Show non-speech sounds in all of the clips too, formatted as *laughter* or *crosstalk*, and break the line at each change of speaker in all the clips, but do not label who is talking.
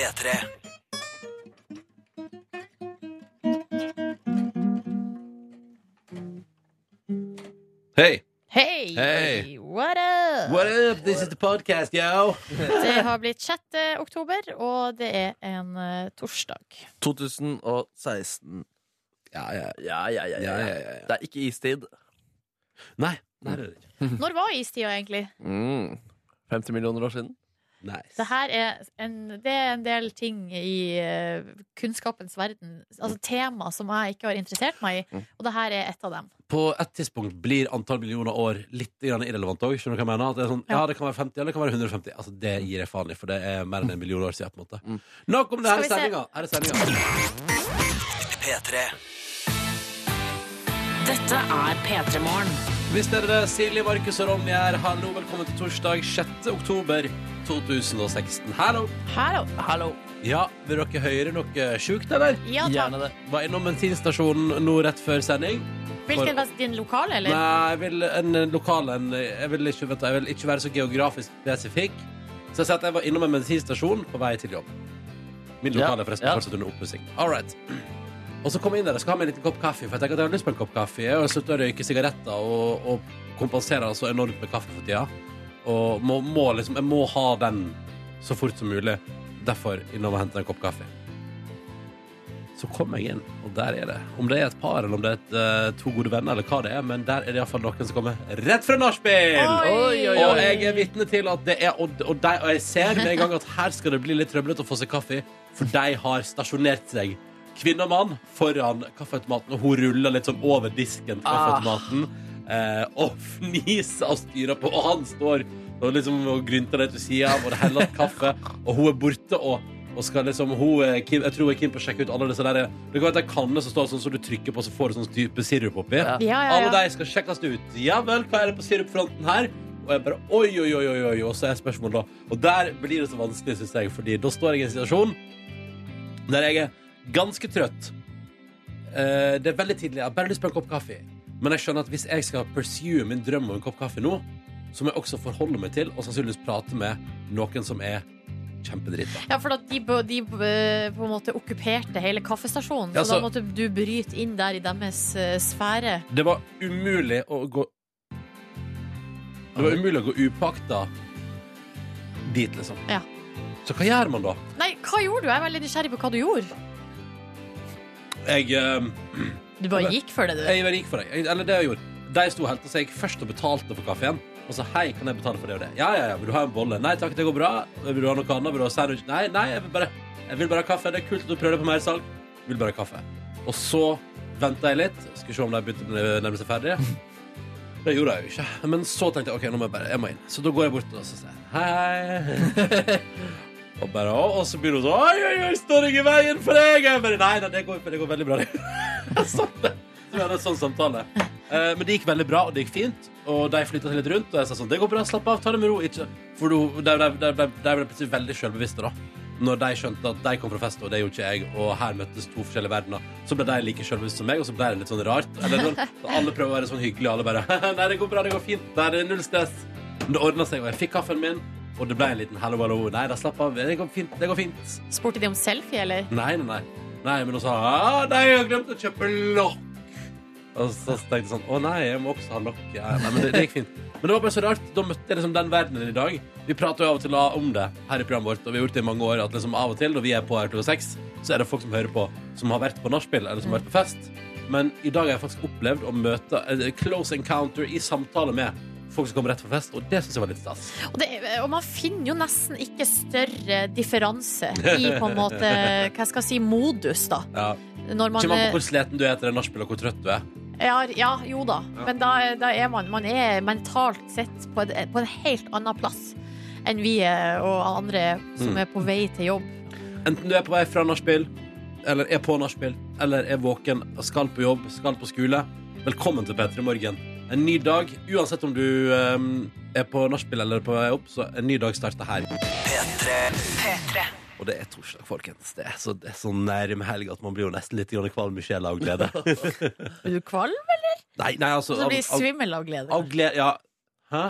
P3.
Hei!
Hei!
Hei!
What up?
What up? This is the podcast, yo!
Det har blitt 6. oktober, og det er en eh, torsdag.
2016.
Ja, ja,
Ja, ja, ja. ja,
ja, ja,
ja.
ja, ja.
Det er ikke istid.
Nei. Nei, det er det ikke.
Når var istida, egentlig?
Mm. 50 millioner år siden.
Det
Nice.
her er en, det er en del ting i eh, kunnskapens verden, altså tema som jeg ikke har interessert meg i, og det her er et av dem.
På et tidspunkt blir antall millioner år litt grann irrelevant òg. Skjønner du hva jeg mener? At det er sånn, ja, det kan være 50, eller det kan være 150. Altså, det gir jeg faen i, for det er mer enn en million år siden. På en måte. Nok om det. Her er
Skal vi se.
sendinga. Her er sendinga.
P3.
Dette er P3 Morgen.
Hvis dere det, Silje, Markus og Ronny her, hallo, velkommen til torsdag 6. oktober 2016. Hallo!
Her,
Hallo.
Ja, vil dere høre noe sjukt, eller?
ja, takk.
Gjerne det.
Var innom bensinstasjonen nå rett før sending.
Hvilken var din lokale, eller?
Nei, jeg vil en eh, lokal en, jeg, vil ikke, vet du, jeg vil ikke være så geografisk spesifikk. Så jeg sier at jeg var innom en bensinstasjon på vei til jobb. Min
Ja,
lokale er forresten
ja.
fortsatt under oppussing. All right. *clears throat* Og så kom jeg inn der og skal ha meg en liten kopp kaffe. For jeg tenker at jeg har lyst på en kopp kaffe Og jeg slutter å røyke sigaretter og, og kompenserer så enormt med kaffe for tida. Og må, må liksom, jeg må ha den så fort som mulig. Derfor innom og henter en kopp kaffe. Så kom jeg inn, og der er det. Om det er et par, eller om det er et, eh, to gode venner, eller hva det er, men der er det iallfall noen som kommer rett fra nachspiel!
Oi, oi,
Og jeg er vitne til at det er Og, og, de, og jeg ser med en gang at her skal det bli litt trøblete å få seg kaffe, for de har stasjonert seg, kvinne og mann, foran kaffeautomaten, og hun ruller litt sånn over disken til kaffeautomaten eh, og fniser og styrer på, og han står og liksom og grynter litt ved sida av, og det heller kaffe, og hun er borte og og skal liksom, hun, er keen- Jeg tror hun er keen på å sjekke ut alle disse der Du kan være en kanne som står sånn som du trykker på, så får du sånn dype sirup oppi.
Ja.
Ja, ja,
Alle
ja.
de skal sjekkes ut. Ja vel, hva er det på sirupfronten her? Og jeg bare oi, oi, oi, oi, oi, og så er spørsmålet da. Og der blir det så vanskelig, syns jeg, fordi da står jeg i en situasjon der jeg er ganske trøtt. Eh, det er veldig tidlig. Jeg har bare lyst på en kopp kaffe. Men jeg skjønner at hvis jeg skal pursue min drøm om en kopp kaffe nå, så må jeg også forholde meg til og sannsynligvis prate med noen som er kjempedrita.
Ja, for at de, bo- de bo- på en måte okkuperte hele kaffestasjonen, så
Ja, så-
da måtte du bryte inn der i deres eh, sfære.
Det var umulig å gå Det var umulig å gå upakta dit, liksom.
Ja.
Så hva gjør man da?
Nei, hva gjorde du? Jeg er veldig nysgjerrig på hva du gjorde.
Jeg, eh,
Du bare gikk for det, du.
jeg var rik for deg. Jeg- Eller det jeg gjorde. De sto helt, og så jeg gikk først og betalte for kaffen. Og så hei, kan jeg betale for det og det? Ja, ja, ja. Vil du ha en bolle? Nei takk, det går bra. Vil du ha noe annet? Vil du ha sandwich? Nei, nei, jeg vil bare, jeg vil bare ha kaffe. Det er kult at du prøver på mer salg. Jeg vil bare ha kaffe. Og så venta jeg litt. Skulle se om de begynte å nærme seg ferdig. Det gjorde jeg jo ikke. Men så tenkte jeg ok, nå må jeg bare jeg må inn. Så da går jeg bort og så sier jeg, hei. *laughs* Og bare, «Å», og så begynner hun sånn Oi, oi, oi, står jeg i veien for deg? Jeg bare, nei, nei, det går, det går veldig bra. det.» *laughs* sånn, det. Så vi hadde en sånn samtale. Eh, men det gikk veldig bra, og det gikk fint. Og de flytta seg litt rundt, og jeg sa sånn Det går bra, slapp av, ta det med ro. Ikke. For de, de, de, de, de ble plutselig veldig sjølbevisste, da. Når de skjønte at de kom fra fest, og det gjorde ikke jeg, og her møttes to forskjellige verdener, så ble de like sjølbevisste som meg, og så ble det litt sånn rart. Eller, sånn, alle prøver å være sånn hyggelige, alle bare *laughs* Nei, det går bra, det går fint. Nei, det er null stress. Men det ordna seg, og jeg fikk kaffen min, og det ble en liten hallo, hallo. Nei da, slapp av. Det går fint. Det går fint.
Spurte de om selfie, eller?
Nei, nei, nei. nei men hun sa «Ah, Nei, jeg har glemt å kjøpe lokk. Og så tenkte jeg sånn Å nei, jeg må også ha lokk. Ja, nei, men det, det gikk fint. Men det var bare så rart. Da møtte jeg liksom den verdenen i dag. Vi prater jo av og til om det her i programmet vårt, og vi har gjort det i mange år, at liksom av og til når vi er på her klokka seks, så er det folk som hører på, som har vært på nachspiel, eller som har vært på fest. Men i dag har jeg faktisk opplevd å møte eh, close encounter i samtale med folk som kom rett fra fest, og det syns jeg var litt stas.
Og, det, eh, og man finner jo nesten ikke større
*laughs*
differanse i på en måte, hva skal jeg si, modus, da.
Ja.
Når man eh,
Kommer an på hvor sliten du er etter det nachspielet, og hvor trøtt du er.
ja, ja, jo da. Men da, da er man Man er mentalt sett på, et, på en helt annen plass enn vi er, og andre
Mm.
som er på vei til jobb.
Enten du er på vei fra nachspiel, eller er på nachspiel, eller er våken og skal på jobb, skal på skole, velkommen til P3 Morgen. En ny dag, uansett om du ehm, er på nachspiel eller på vei opp, så en ny dag starter her.
P3.
Og det er torsdag, folkens. Det er så, det er så nærme helg at man blir jo nesten litt grann kvalm i sjela av
*laughs*
glede.
Blir du kvalm?
nei, nei, altså
Og så
av,
blir du
av,
svimmel av glede?
av glede Ja. Hæ?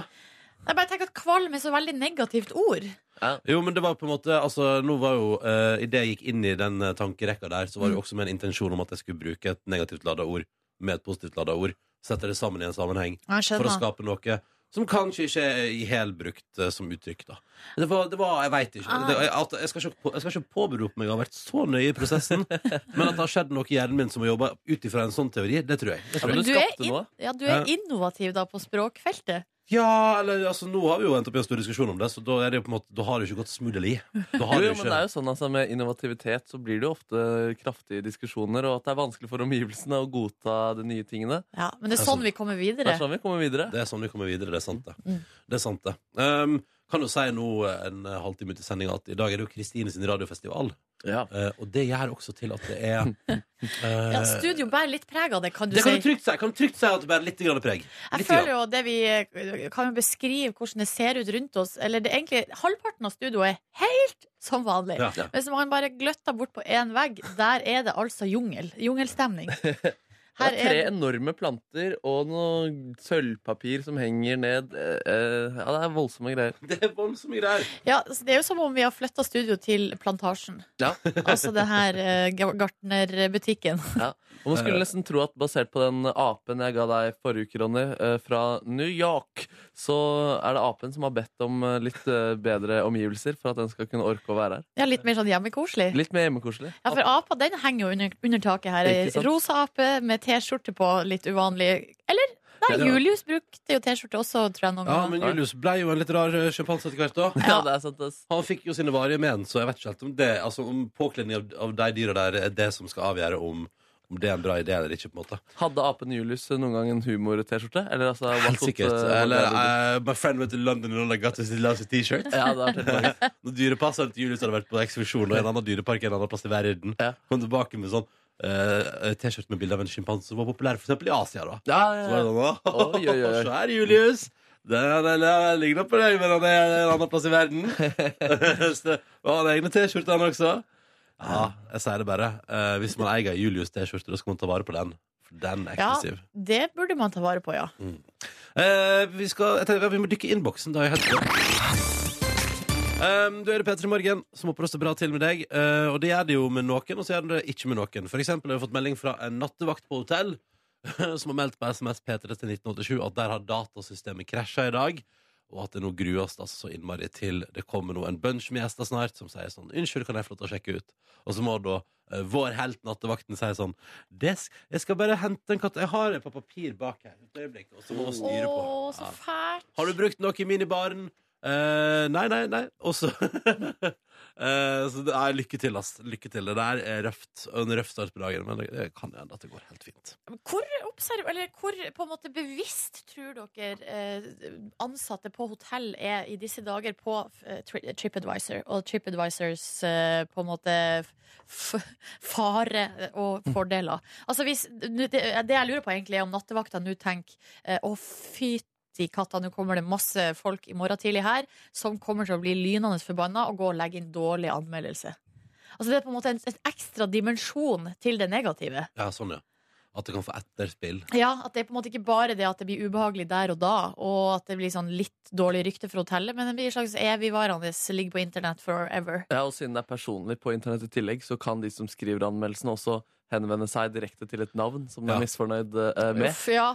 Jeg bare tenker at kvalm er så veldig negativt ord.
Ja.
Jo, men det var på en måte Altså, nå var jo uh, Idet jeg gikk inn i den eh, tankerekka der, så var det jo også med en intensjon om at jeg skulle bruke et negativt lada ord med et positivt lada ord. Sette det sammen i en sammenheng
Jeg
for å
skjønner.
skape noe som kanskje ikke er i helbrukt eh, som uttrykk, da. Det var, det var Jeg veit ikke.
Ah.
Det, jeg, at, jeg skal ikke, på- jeg skal ikke påberope meg å ha vært så nøye i *laughs* prosessen, men at det har skjedd noe i hjernen min som har jobba ut ifra en sånn teori, det tror jeg.
Ja,
Det
men
tror jeg.
Men
du
du er
skapte noe.
Ja, du er
Ja.
innovativ da på språkfeltet.
Ja, eller altså, nå har vi jo endt opp i en stor diskusjon om det, så da, er det jo på en måte, da har det jo ikke gått smudderlig. Da
Jo,
har det
jo,
jo
men det er
ikke
jo sånn altså, Med innovativitet så blir det jo ofte kraftige diskusjoner, og at det er vanskelig for omgivelsene å godta de nye tingene.
Ja, men det er
Altså,
sånn vi kommer
Det
videre.
er sånn vi kommer videre.
Det er sånn vi kommer videre, det er sant det.
Mm.
Det er sant det. Um, kan jo si nå eh, en eh, halvtime til sending at i dag er det jo Kristine sin radiofestival,
Ja.
eh, og det gjør også til at det er eh,
Ja, studio bærer litt preg av det, kan du
Det kan du
si.
trygt si, kan du trygt si at det bærer litt grann preg.
Jeg
Litt
føler
grann.
jo det vi eh, kan jo beskrive hvordan det ser ut rundt oss. Eller det er egentlig halvparten av studioet er helt som vanlig.
Ja.
Hvis man bare gløtter bort på én vegg, der er det altså jungel.
*laughs*
Jungelstemning.
Det
Her
er tre
er
enorme planter og noe sølvpapir som henger ned. eh, eh, Ja, det er voldsomme greier.
*laughs* Det er voldsomme greier.
Ja, altså, det er jo som om vi har flytta studio til Plantasjen.
Ja.
Altså det her eh, ga- gartnerbutikken.
Og man skulle nesten tro at basert på den apen jeg ga deg forrige uke, Ronny, eh, fra New York, så er det apen som har bedt om eh, litt eh, bedre omgivelser for at den skal kunne orke å være her.
Ja, litt mer sånn hjemmekoselig.
Litt mer hjemmekoselig.
Ja, for apa den henger jo under, under taket her.
Ikke sant?
Rosa ape med T-skjorte på, litt uvanlig. Eller? Nei,
Ja, det var-
Julius brukte jo T-skjorte også, tror jeg, noen
Ja,
ganger.
men Julius ble jo en litt rar eh, sjimpanse etter hvert, da.
*laughs* Ja, det er sant. ass.
Han fikk jo sine varige men, så jeg vet ikke helt om det Altså om påkledning av, av de dyra der er det som skal avgjøre om, om det er en bra idé eller ikke. på en måte
Hadde apen Julius noen gang en humor-T-skjorte? Eller altså what
Helt
would,
sikkert.
eh, what
Eller
would I do?
eh, My friend went to London and all I got was his lousy T-shirt.
Ja, det er helt
*laughs*
magisk.
Når dyrepasseren til Julius hadde vært på ekskursjon og i en annen dyrepark i en annen plass i verden,
Ja.
kom tilbake med sånn eh, T-skjorte med bilde av en sjimpanse som var populær for eksempel i Asia. da
Ja, ja,
Så var
ja.
det sånn, «Åh,
Oi, oi,
*laughs*
oi.
Se her, Julius! Den, den, den ligner på deg, men han er en annen plass i
*laughs*
verden. Så, og han har egne T-skjorter, han også. Ja, jeg sier det bare. Eh, hvis man eier Julius' T-skjorte, da skal man ta vare på den. For den er
Ja.
eksklusiv.
Det burde man ta vare på, ja.
Eh, vi, skal, jeg tenker, vi må dykke i innboksen. Da, jeg um, du er det Petter i Morgen som håper det står bra til med deg. eh, og det gjør det jo med noen, og så gjør det det ikke med noen. For eksempel har vi fått melding fra en nattevakt på hotell *laughs* som har meldt på SMS P3 til 1987 at der har datasystemet krasja i dag. Og at det nå grues altså, så innmari til det kommer nå en bunch med gjester snart som sier sånn 'Unnskyld, kan jeg få lov til å sjekke ut?' Og så må da eh, vår helt nattevakten si sånn det, sk- 'Jeg skal bare hente en katt Jeg har det på papir bak her. Et øyeblikk.' Og så må vi styre på.
Å,
Ja.
så fælt.
Har du brukt noe i minibaren? Eh, nei, nei, nei. Og så *laughs* Eh, Så det er lykke til, ass. Lykke til. Det der er røft. En røff start på dagen, men det kan hende at det går helt fint.
Men Hvor, observ, eller hvor på en måte bevisst tror dere eh, ansatte på hotell er i disse dager på eh, Tri- TripAdvisor og TripAdvisors eh, på en måte f fare og fordeler? Altså hvis, nu- det, det jeg lurer på egentlig er om nattevakta nå tenker eh, å fytti katta, nå kommer det masse folk i morgen tidlig her som kommer til å bli lynende forbanna og gå og legge inn dårlig anmeldelse. Altså Det er på en måte en, en ekstra dimensjon til det negative.
Ja, sånn, ja. At det kan få etterspill.
Ja, at det er på en måte ikke bare det at det blir ubehagelig der og da, og at det blir sånn litt dårlig rykte for hotellet, men det blir en slags evigvarende ligger på internett forever.
Ja, og siden det er personlig på internett i tillegg, så kan de som skriver anmeldelsene også henvende seg direkte til et navn som de
Ja.
er misfornøyd eh, med.
Uff, ja.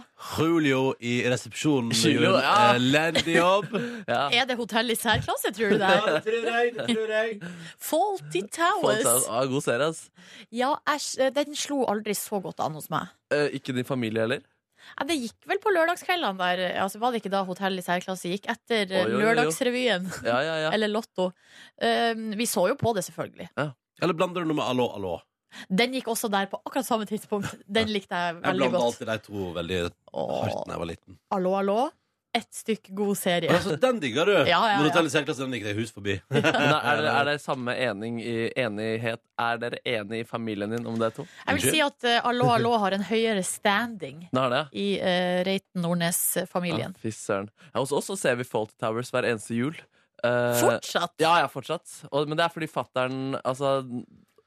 Julio i resepsjonen
Julio,
gjorde en
ja.
elendig jobb.
Ja.
Er det hotell i særklasse, tror du det
*laughs* Ja, *laughs*
er?
det tror jeg. Det tror jeg.
Faulty
Folk sa,
Towers.
ah, god serie, ass.
Ja, æsj, eh, den slo aldri så godt an hos meg.
Eh, ikke din familie heller?
Ja, det gikk vel på lørdagskveldene der, altså var det ikke da hotell i særklasse gikk, etter
Oi,
eh,
oi, oi, oi.
lørdagsrevyen,
Ja, ja, ja.
eller Lotto. Um, vi så jo på det, selvfølgelig.
Eller blander du noe med allo, allo?
Den gikk også der på akkurat samme tidspunkt. Den likte jeg
Jeg
veldig
blander
godt.
alltid de to veldig hardt da
Åh,
jeg var liten.
Allo, allo. Et stykk god serie.
Altså, den digger du!
ja, ja.
Men hotellet Særklasse, den gikk det hus forbi.
Men er, er, det, er det samme ening i, enighet? Er dere enige i familien din om det to?
Jeg vil si at eh, Allo Allo har en høyere standing
Nå er det, ja.
i eh, Reiten Nordnes-familien.
Ja, Fy søren. Ja, hos oss så ser vi Faulty Towers hver eneste jul. Eh,
Fortsatt!
Ja, ja, fortsatt. Og, men det er fordi fattern altså,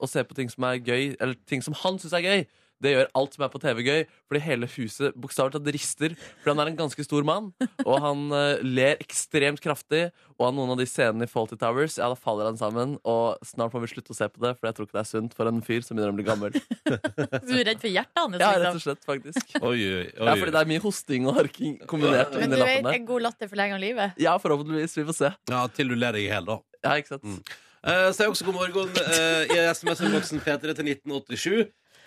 Å se på ting som er gøy, eller ting som han syns er gøy, Det gjør alt som er på TV gøy, fordi hele huset bokstavelig talt rister. For han er en ganske stor mann, og han eh, ler ekstremt kraftig. Og av noen av de scenene i Faulty Towers, ja, da faller han sammen. Og snart må vi slutte å se på det, for jeg tror ikke det er sunt for en fyr som begynner å bli *laughs* gammel.
Du er redd for hjertet hans?
Ja, rett
liksom.
og slett, faktisk.
Oi, oi, oi.
Ja, fordi det er mye hosting og harking kombinert
Men
under
du vet,
lappen der.
en god latter forlenger livet.
Ja, forhåpentligvis. Vi får se.
Ja, til du ler deg i hjel, da.
Ja, ikke sant?
Mm. Eh, så er også god morgen eh, i SMS-innboksen P3 til 1987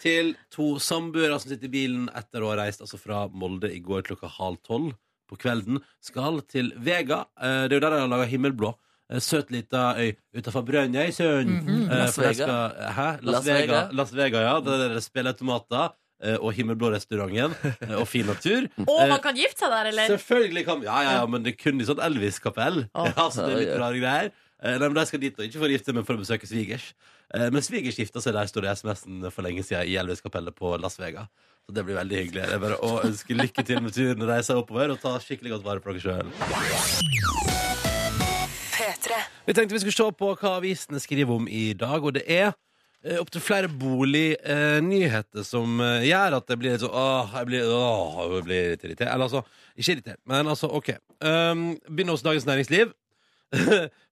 til to samboere som sitter i bilen etter å ha reist altså fra Molde i går klokka halv tolv på kvelden. Skal til Vega. Eh, det er jo der de har laga himmelblå. Eh, Søt lita øy utafor Brønnøysund. Eh,
Mhm, Las
for der
Vega.
skal- Hæ? Las,
Las
Vega.
Vega.
Las Vega, ja. Der er det spilleautomater eh, og himmelblå-restauranten eh, og fin
*laughs*
natur.
Å,
Eh,
man kan gifte seg der, eller?
Selvfølgelig kan Ja, ja, ja, men det er kun i sånn Elvis-kapell.
Åh.
*laughs* Ja, så det er litt
Ja, ja.
rare greier. Eh, Nei, men De skal dit, og ikke for å gifte, men for å besøke svigers. Eh, Men svigers gifta seg der, står det i SMS-en for lenge siden, i Elvis-kapellet på Las Vegas. Så det blir veldig hyggelig. Det er bare å ønske lykke til med turen og reise oppover, og ta skikkelig godt vare på dere sjøl. Vi tenkte vi skulle se på hva avisene skriver om i dag, og det er eh, opp til flere bolignyheter eh, nyheter som eh, gjør at det blir litt sånn Åh, jeg blir, åh, jeg blir litt irritert. Eller altså, ikke irritert, men altså, OK. Um, begynner hos Dagens Næringsliv. *laughs*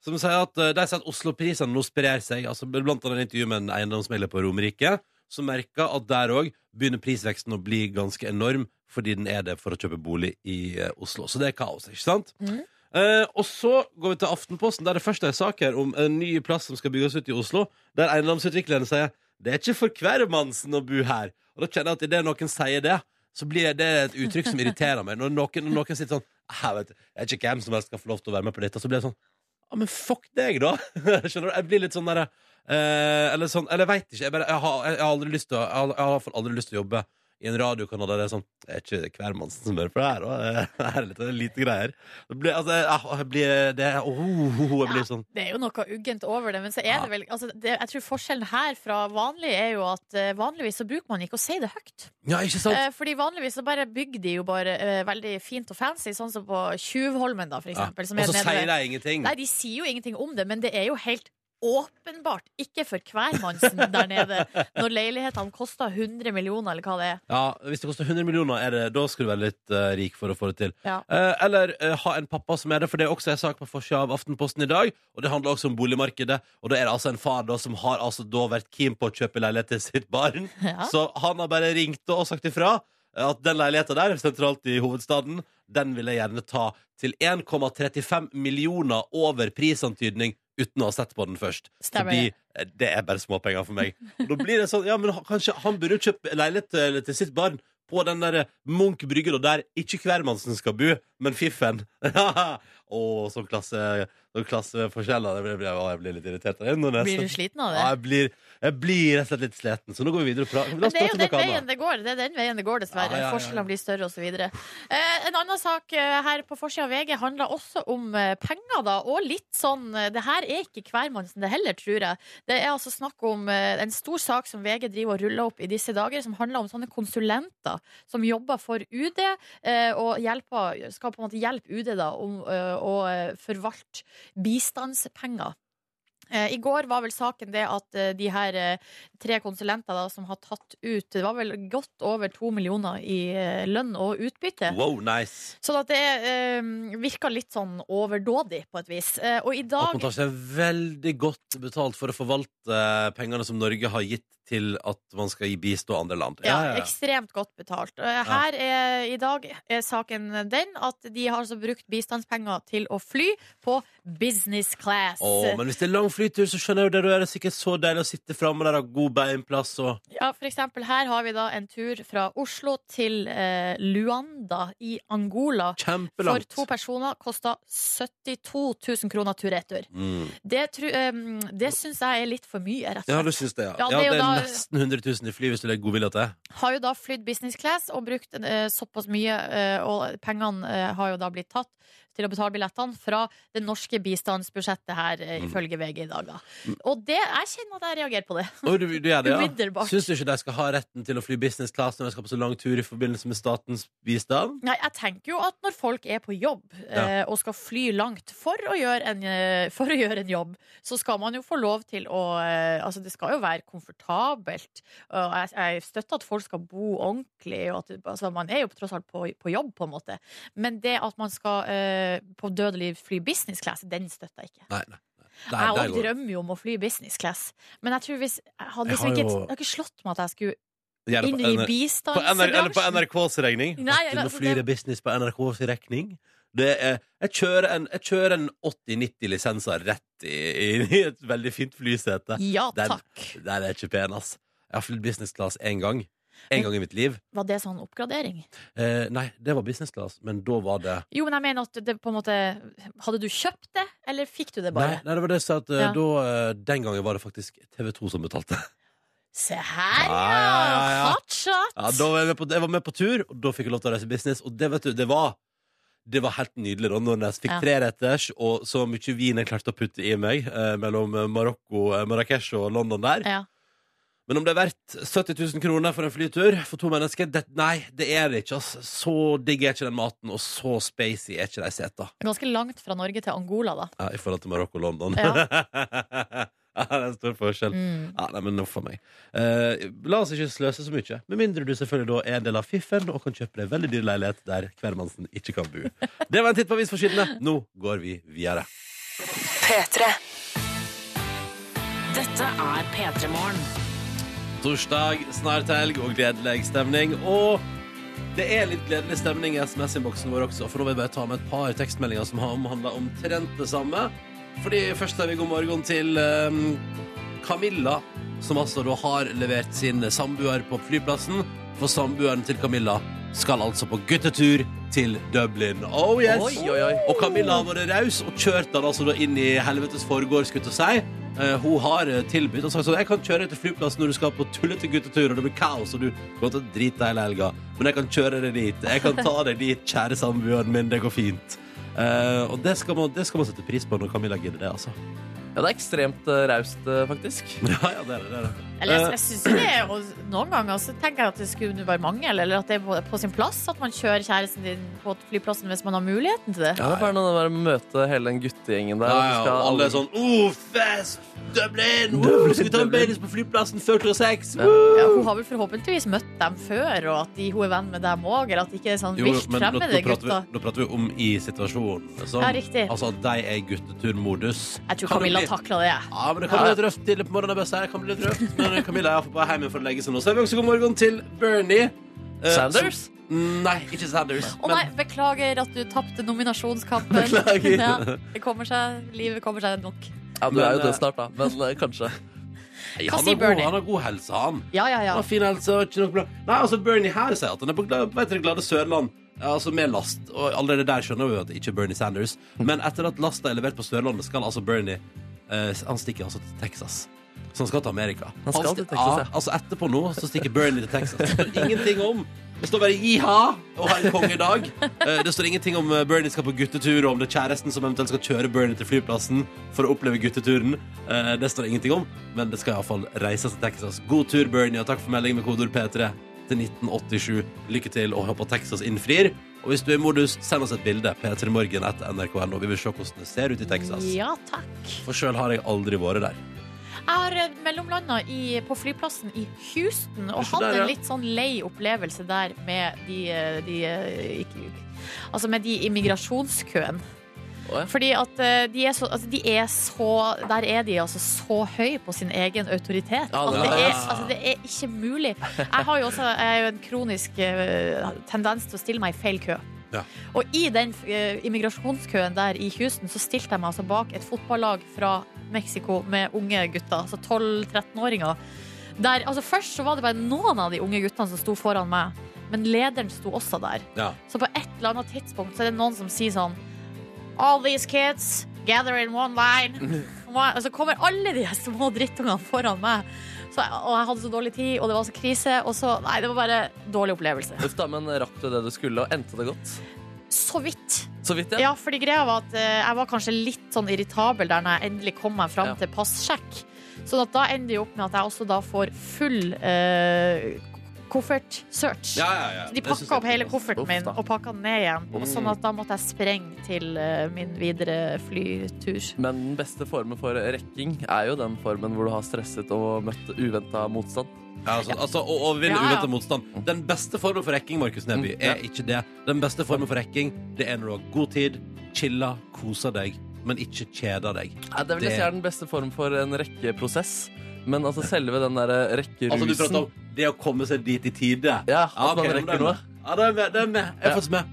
som sier at eh, de sier at Oslo-prisene nå sprer seg. Altså, blant annet intervju med en eiendomsmegler på Romerike, som merker at der òg begynner prisveksten å bli ganske enorm, fordi den er det for å kjøpe bolig i eh, Oslo. Så det er kaos, ikke sant? Eh, og så går vi til Aftenposten, der det først er sak her om en ny plass som skal bygges ut i Oslo, der eiendomsutviklerne sier det er ikke for hvermannsen å bo her. Og da kjenner jeg at idet noen sier det, så blir det et uttrykk som irriterer meg. Når noen, når noen sitter sånn jeg vet, jeg vet ikke hvem som helst skal få lov til å være med på dette, så blir det sånn Ja, men fuck deg, da! *laughs* Skjønner du? Jeg blir litt sånn derre eh, Eller sånn Eller jeg veit ikke. Jeg, bare, jeg, har, jeg, har aldri lyst til å, jeg har- jeg har i hvert fall aldri lyst til å jobbe i en radiokanal der det er sånn Det er ikke hvermannsen som hører på det her, og eh, det er litt det er lite greier. Det blir, altså, jeg, jeg blir det, oh, jeg blir sånn
Det er jo noe uggent over det, men så er det vel altså, det, Jeg tror forskjellen her fra vanlig er jo at eh, vanligvis så bruker man ikke å si det høyt.
Ja, ikke sant?
Eh, fordi vanligvis så bare bygger de jo bare eh, veldig fint og fancy, sånn som på Tjuvholmen, da, for
Ja.
eksempel. som
Og
er
så
nede
sier
ved-
jeg ingenting.
Nei, de sier jo ingenting om det, men det er jo helt åpenbart ikke for hvermannsen der nede, når leilighetene koster 100 millioner, eller hva det er.
Ja, Hvis det koster 100 millioner, er det, da skal du være litt eh, rik for å få det til.
Ja.
Eh, eller eh, ha en pappa som er det, for det er også en sak på forsida av Aftenposten i dag. Og det handler også om boligmarkedet. Og da er det altså en far da som har altså da vært keen på å kjøpe leilighet til sitt barn.
*laughs* Ja.
Så han har bare ringt og sagt ifra eh, at den leiligheta der, sentralt i hovedstaden, den vil jeg gjerne ta til 1,35 millioner over prisantydning uten å ha sett på den først.
Stemmer
Fordi
det.
eh, det er bare småpenger for meg. Og da blir det sånn, ja, men han- kanskje han burde jo kjøpe leilighet eh, til, til sitt barn på den der eh, Munch brygge da, der ikke hvermannsen skal bo, men fiffen. *laughs* Å, sånn klasse, sånn klasseforskjeller. Det blir- blir- å, Jeg blir litt irritert av det. nå nesten.
Blir du sliten av det?
Ja, jeg blir, jeg blir rett og slett litt sliten. Så nå går vi videre og prater. La
Men
oss
det er jo den
prate om noe
veien
annet.
det går, det er den veien det går dessverre.
Ja, ja, ja, ja.
Forskjellene blir større osv. Eh, en annen sak eh, her på forsida av VG handler også om eh, penger, da. Og litt sånn eh, Det her er ikke hvermannsen det heller, tror jeg. Det er altså snakk om eh, en stor sak som VG driver og ruller opp i disse dager, som handler om sånne konsulenter som jobber for UD, eh, og hjelper, skal på en måte hjelpe UD da om eh, å eh, forvalte bistandspenger. Eh, I går var vel saken det at eh, de her eh, tre konsulenter da, som har tatt ut Det var vel godt over to millioner i eh, lønn og utbytte.
Wow, nice.
Sånn at det eh, virka litt sånn overdådig, på et vis. Eh, og i
At
dag
man tar seg veldig godt betalt for å forvalte eh, pengene som Norge har gitt til at man skal gi bistå andre land.
Ja, ekstremt godt betalt. Eh, Her er, i dag er saken den at de har altså brukt bistandspenger til å fly på business class.
Å, men hvis det er lang flytur, så skjønner jeg jo det. Da er det sikkert så deilig å sitte framme der og ha god beinplass og
Ja, for eksempel her har vi da en tur fra Oslo til eh, Luanda i Angola. For
kjempelangt.
to personer kosta 72 000 kroner tur-retur.
Mm.
Det, tru- em, det syns jeg er litt for mye, rett og
Ja,
slett.
du syns det, ja.
Ja,
ja,
det
det
er
er,
jo da-
nesten 100 000 i fly hvis du legger godvilje til.
Har jo da flydd business class og brukt eh, såpass mye, eh, og pengene eh, har jo da blitt tatt. til å betale billettene fra det norske bistandsbudsjettet her, eh, ifølge VG i dag. Da. Og det, jeg kjenner at jeg reagerer på det.
Å, du, du gjør det, ja.
Umiddelbart.
Syns du ikke de skal ha retten til å fly business class når de skal på så lang tur i forbindelse med statens bistand?
Nei, jeg tenker jo at når folk er på jobb eh, og skal fly langt for å, gjøre en, eh, for å gjøre en jobb, så skal man jo få lov til å eh, Altså, det skal jo være komfortabelt. Og jeg, jeg støtter at folk skal bo ordentlig, og at altså, man er jo tross alt på, på jobb, på en måte. Men det at man skal eh, på dødelig fly business class, den støtter jeg ikke.
Nei, nei. nei. Der,
Jeg
der
også
går det.
drømmer jo om å fly business class, men jeg tror hvis Jeg hadde
Jeg
liksom
har
ikke,
jo-
det har ikke slått meg at jeg skulle
Gjør det
inn
på
i
NR på NR eller på
bistandsbransjen.
NRKs regning.
Nei,
At du
eller-
må fly det business på NRKs regning. Det er, jeg kjører en, jeg kjører en 80-90 lisenser rett i, i et veldig fint flysete.
Ja
Den-
takk.
Der er ikke pen, ass. Jeg har flydd business class én gang. En gang i mitt liv.
Var det sånn oppgradering?
Eh, nei, det var business class, men da var det
Jo, men jeg mener at det på en måte Hadde du kjøpt det, eller fikk du det
Nei,
bare?
nei, det var det jeg sa at eh,
Ja.
da, eh, den gangen var det faktisk TV2 som betalte. *laughs*
Se her, ja!
Ja, ja, ja, ja.
Hot shot!
Ja, da var jeg, med på, jeg var med på tur, og da fikk jeg lov til å reise business. Og det vet du, det var det var helt nydelig da når jeg fikk
Ja.
treretters og så mye vin jeg klarte å putte i meg eh, mellom eh, Marokko, eh, Marrakech og London der.
Ja.
Men om det er verdt 70 000 kroner for en flytur for to mennesker, det, nei, det er det ikke. ass. Så digg er ikke den maten, og så spacey er ikke de seta
Ganske langt fra Norge til Angola, da.
ja, i forhold til Marokko og London. Ja.
Ja.
*laughs* det er en stor forskjell.
Mm.
Ja, nei, men nå for meg. Eh, la oss ikke sløse så mye. Med mindre du selvfølgelig da er en del av fiffen og kan kjøpe deg veldig dyr leilighet der hvermannsen ikke kan bo. Det var en titt på avisforsidene. Nå går vi videre.
Dette er P3morgen.
Torsdag, snart helg og gledelig stemning. Og det er litt gledelig stemning i SMS-innboksen vår også, for nå vil jeg bare ta med et par tekstmeldinger som har omhandla omtrent det samme. Fordi først har vi god morgen til ehm, Camilla, som altså da har levert sin samboer på flyplassen. For samboeren til Camilla skal altså på guttetur til Dublin. Oh yes!
Oi, oi, oi.
Og Camilla har vært raus og kjørt han altså da inn i helvetes forgård, skulle jeg til å si. Eh, hun har eh, tilbudt og sagt sånn Jeg kan kjøre deg til flyplassen når du skal på tullete guttetur, og det blir kaos, og du kommer til å drite deg hele helga, men jeg kan kjøre deg dit. Jeg kan ta deg dit, kjære samboeren min. Det går fint. Eh, og det skal, man, det skal man sette pris på når Camilla gidder det, altså. *laughs*
Ja, det er ekstremt eh, raust, eh, faktisk.
Ja, ja, det er det. det, er det.
Eller jeg,
Eh.
jeg syns jo det. er jo- noen ganger så tenker jeg at det skulle være mangel, eller at det er på, på sin plass at man kjører kjæresten din på flyplassen hvis man har muligheten til det.
Ja, det er bare noe med å møte hele den guttegjengen der.
Ja,
og så
ja,
skal
og alle
alle-
er sånn oh, fest! Dublin! Oh,
Dublin,
skal vi ta en
Dublin.
Baileys på flyplassen før klokka seks?
Ja.
Woo!
Ja, hun har vel forhåpentligvis møtt dem før, og at de, hun er venn med dem òg, eller at det ikke er sånn
Jo,
vilt
men nå, nå,
fremmede
prater vi,
gutter.
nå prater vi om i situasjonen. Sånn.
Ja, riktig.
Altså at de er i gutteturmodus.
Jeg tror
Kan det
Camilla
bli-
takla det, jeg.
Ja, men det kan
Ja,
bli
ja.
litt røft tidlig på morgenen. Det beste her kan bli litt røft.
*laughs*
Men Camilla er på vei hjem for å legge seg nå. Så er vi også god morgen til Bernie. Eh,
Sanders?
som- Nei, ikke Sanders.
Å nei, beklager at du tapte nominasjonskampen. *laughs*
Beklager.
Ja, det kommer seg, livet kommer seg nok.
Ja, du
Men,
er jo
eh,
død snart, da. Men eh, kanskje.
Nei,
Hva
han,
sier
har god,
Bernie?
han har god helse, han.
Ja, ja, ja.
Han har fin helse og ikke noe bra. Nei, altså Bernie her sier at han er på glad- vei til det glade Sørland. Ja, Altså med last. Og allerede der skjønner vi jo at det ikke er Bernie Sanders.
Mm.
Men etter at lasta er levert på Sørlandet, skal altså Bernie eh, Han stikker altså til Texas. Så han skal til Amerika.
Han skal til
sti-
Texas, ja.
ja. Altså etterpå nå så stikker Bernie til Texas. Det står ingenting om. Det står bare 'jiha' og 'ha en kongedag'. Eh, Det står ingenting om eh, Bernie skal på guttetur, og om det er kjæresten som eventuelt skal kjøre Bernie til flyplassen for å oppleve gutteturen. Eh, Det står det ingenting om, men det skal iallfall reises til Texas. God tur, Bernie, og takk for melding med kodeord P3 til 1987. Lykke til, og håper Texas innfrir. Og hvis du er i modus, send oss et bilde. P3morgen etter nrk.no. Vi vil se hvordan det ser ut i Texas.
Ja, takk.
For sjøl har jeg aldri vært der.
Jeg har eh, mellomlanda i, på flyplassen i Houston og
Se
hadde
der, ja.
en litt sånn lei opplevelse der med de, eh, de eh, ikke, Altså med de immigrasjonskøen.
Å, ja.
Fordi at eh, de er, så, altså de er så Der er de altså så høy på sin egen autoritet.
Ja,
at
det
det,
er-
er, altså det er ikke mulig. Jeg har jo også jeg er jo en kronisk eh, tendens til å stille meg i feil kø.
Ja.
Og i den eh, immigrasjonskøen der i Houston så stilte jeg meg altså bak et fotballag fra Mexico med unge gutter, altså 12-13-åringer. Der, altså først så var det bare noen av de unge guttene som sto foran meg, men lederen sto også der.
Ja.
Så på et eller annet tidspunkt så er det noen som sier sånn All these kids gather in one line. Og så kommer alle de her små drittungene foran meg. Så, jeg- og jeg hadde så dårlig tid, og det var så krise. Og så, nei, det var bare dårlig opplevelse.
Uff da, men rakk du det du skulle, og endte det godt?
Så vidt.
Så så vidt, ja.
Ja, fordi greia var at eh, jeg var kanskje litt sånn irritabel der når jeg endelig kom meg fram
Ja.
til passsjekk. Sånn at da ender det jo opp med at jeg også da får full eh, koffert-search.
Ja, ja, ja.
De
Det synes
pakka
jeg-
opp hele kofferten
Uff,
min
da.
og pakka den ned igjen.
Mm.
Sånn at da måtte jeg sprenge til eh, min videre flytur.
Men den beste formen for rekking er jo den formen hvor du har stresset og møtt uventa motstand.
Ja, altså, altså, å overvinne
Ja, ja.
uventet motstand. Den beste formen for rekking Markus Neby,
Mm, ja.
er ikke det. Den beste formen for rekking det er når du har god tid, chiller, koser deg, men ikke kjeder deg.
Nei, det vil jeg
Det-
si er den beste form for en rekkeprosess. Men altså selve den derre rekkerusen
Altså, du prater om det å komme seg dit i tide.
Ja, at man
ok, men det
rekker
er
noe.
med. Ja, det er med. Det er med. Jeg er
Ja.
faktisk med.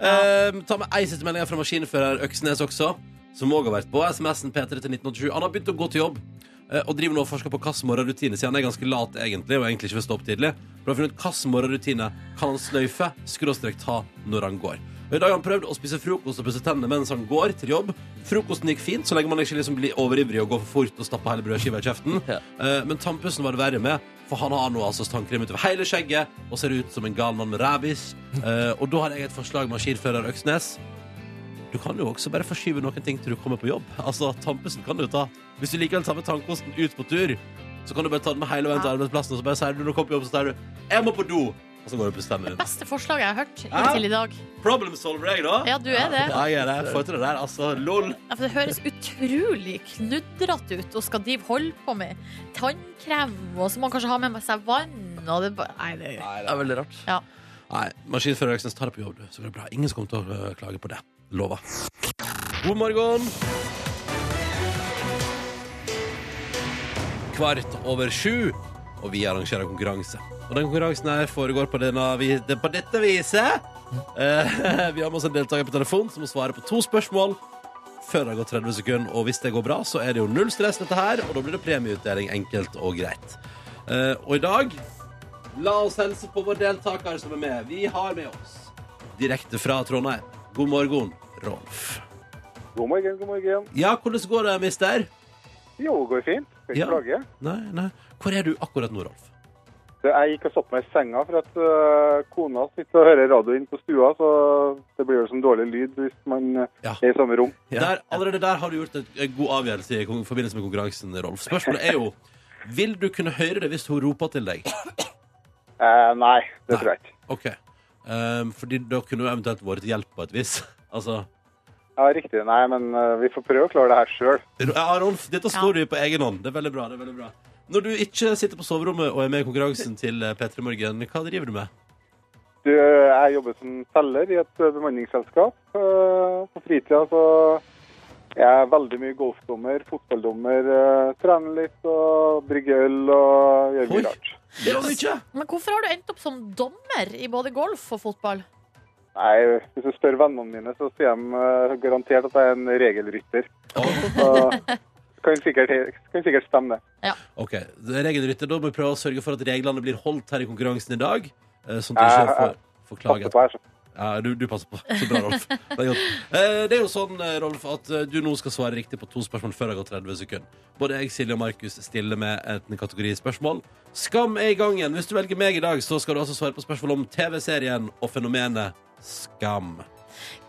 Ehm, ta med ei siste melding her fra maskinfører Øksnes også, som òg har vært på SMS-en P3 til 1987. Han har begynt å gå til jobb. eh, Og driver nå og forsker på hvilken morgenrutine, siden han er ganske lat egentlig. Og egentlig ikke vil stå opp tidlig Men har funnet ut hvilken morgenrutine kan han sløyfe, skråstrek ta, når han går. Og I dag har han prøvd å spise frokost og pusse tennene mens han går til jobb. Frokosten gikk fint, så lenge man ikke liksom blir overivrig og går for fort og stapper hele brødskiva i kjeften.
Ja.
Eh, Men tannpussen var det verre med, for han har nå altså tannkrem utover hele skjegget og ser ut som en gal mann med ræbis. Eh, Og da har jeg et forslag, maskinfører Øksnes. Du kan jo også bare forskyve noen ting til du kommer på jobb. Altså, Tannpussen kan du ta. Hvis du likevel tar med tannkosten ut på tur, så kan du bare ta den med hele veien til
Ja.
arbeidsplassen, og så bare sier du når du kommer på jobb, så sier du 'Jeg må på do', og så går du på stemmen din.
Beste forslaget jeg har hørt
Ja.
inntil i dag.
Problem solver jeg, da.
Ja, du er det.
Ja, jeg er det. Får til det der, altså. Lol.
Ja, for det høres utrolig knudrete ut og skal drive holde på med tannkrem, og så må man kanskje ha med seg vann, og det bare Nei, det
Det er veldig rart.
Ja.
Nei, maskinfører Øksnes tar det på jobb, du. Så går det bra. Ingen som kommer til å øh, klage på det. Lova. God morgen. Kvart over sju, og vi arrangerer konkurranse. Og den konkurransen her foregår på, denne, vi- det- på dette viset. Eh, *laughs* vi har med oss en deltaker på telefon som må svare på to spørsmål før det har gått 30 sekunder. Og hvis det går bra, så er det jo null stress, dette her. Og da blir det premieutdeling enkelt og greit. Eh, og i dag La oss helse på vår deltaker som er med. Vi har med oss direkte fra Trondheim. God morgen, Rolf.
God morgen, god morgen.
Ja, hvordan går det, mister?
Jo, det går fint. Skal ikke
Ja.
klage.
Nei, nei. Hvor er du akkurat nå, Rolf?
Så jeg gikk og satte meg i senga for at øh, kona sitter og hører radio inn på stua, så det blir jo sånn dårlig lyd hvis man øh,
Ja.
er i samme rom.
Der, allerede der har du gjort en en god avgjørelse i kon- forbindelse med konkurransen, Rolf. Spørsmålet er jo vil du kunne høre det hvis hun roper til deg.
Eh, nei, det
Nei.
tror jeg ikke.
OK. Um, fordi da kunne hun eventuelt vært til hjelp på et vis. *laughs* Altså
Ja, riktig. Nei, men øh, vi får prøve å klare det her sjøl.
Ja, Rolf, dette står du i på egen hånd. Det er veldig bra. det er veldig bra Når du ikke sitter på soverommet og er med i konkurransen til eh, P3 Morgen, hva driver du med?
Du, jeg jobber som selger i et øh, bemanningsselskap. Øh, på fritida så er jeg veldig mye golfdommer, fotballdommer, øh, trener litt og brygger øl og gjør
Oi.
mye rart.
Det var mye!
Men hvorfor har du endt opp som dommer i både golf og fotball?
Nei, hvis du spør vennene mine, så sier de eh, garantert at jeg er en regelrytter. Så kan sikkert, kan sikkert stemme det.
Ok, regelrytter, da må vi prøve å sørge for at reglene blir holdt her i konkurransen i dag. eh, Sånn at du
Ja,
ikke får,
jeg
får klage.
eh, Passer på her. så.
Ja, du, du passer på. Så bra, Rolf. Det er, godt. Eh, det er jo sånn, eh, Rolf, at eh, du nå skal svare riktig på to spørsmål før det har gått 30 sekunder. Både jeg, Silje og Markus stiller med enten kategori spørsmål. Skam er i gang igjen. Hvis du velger meg i dag, så skal du altså svare på spørsmål om TV-serien og fenomenet Skam.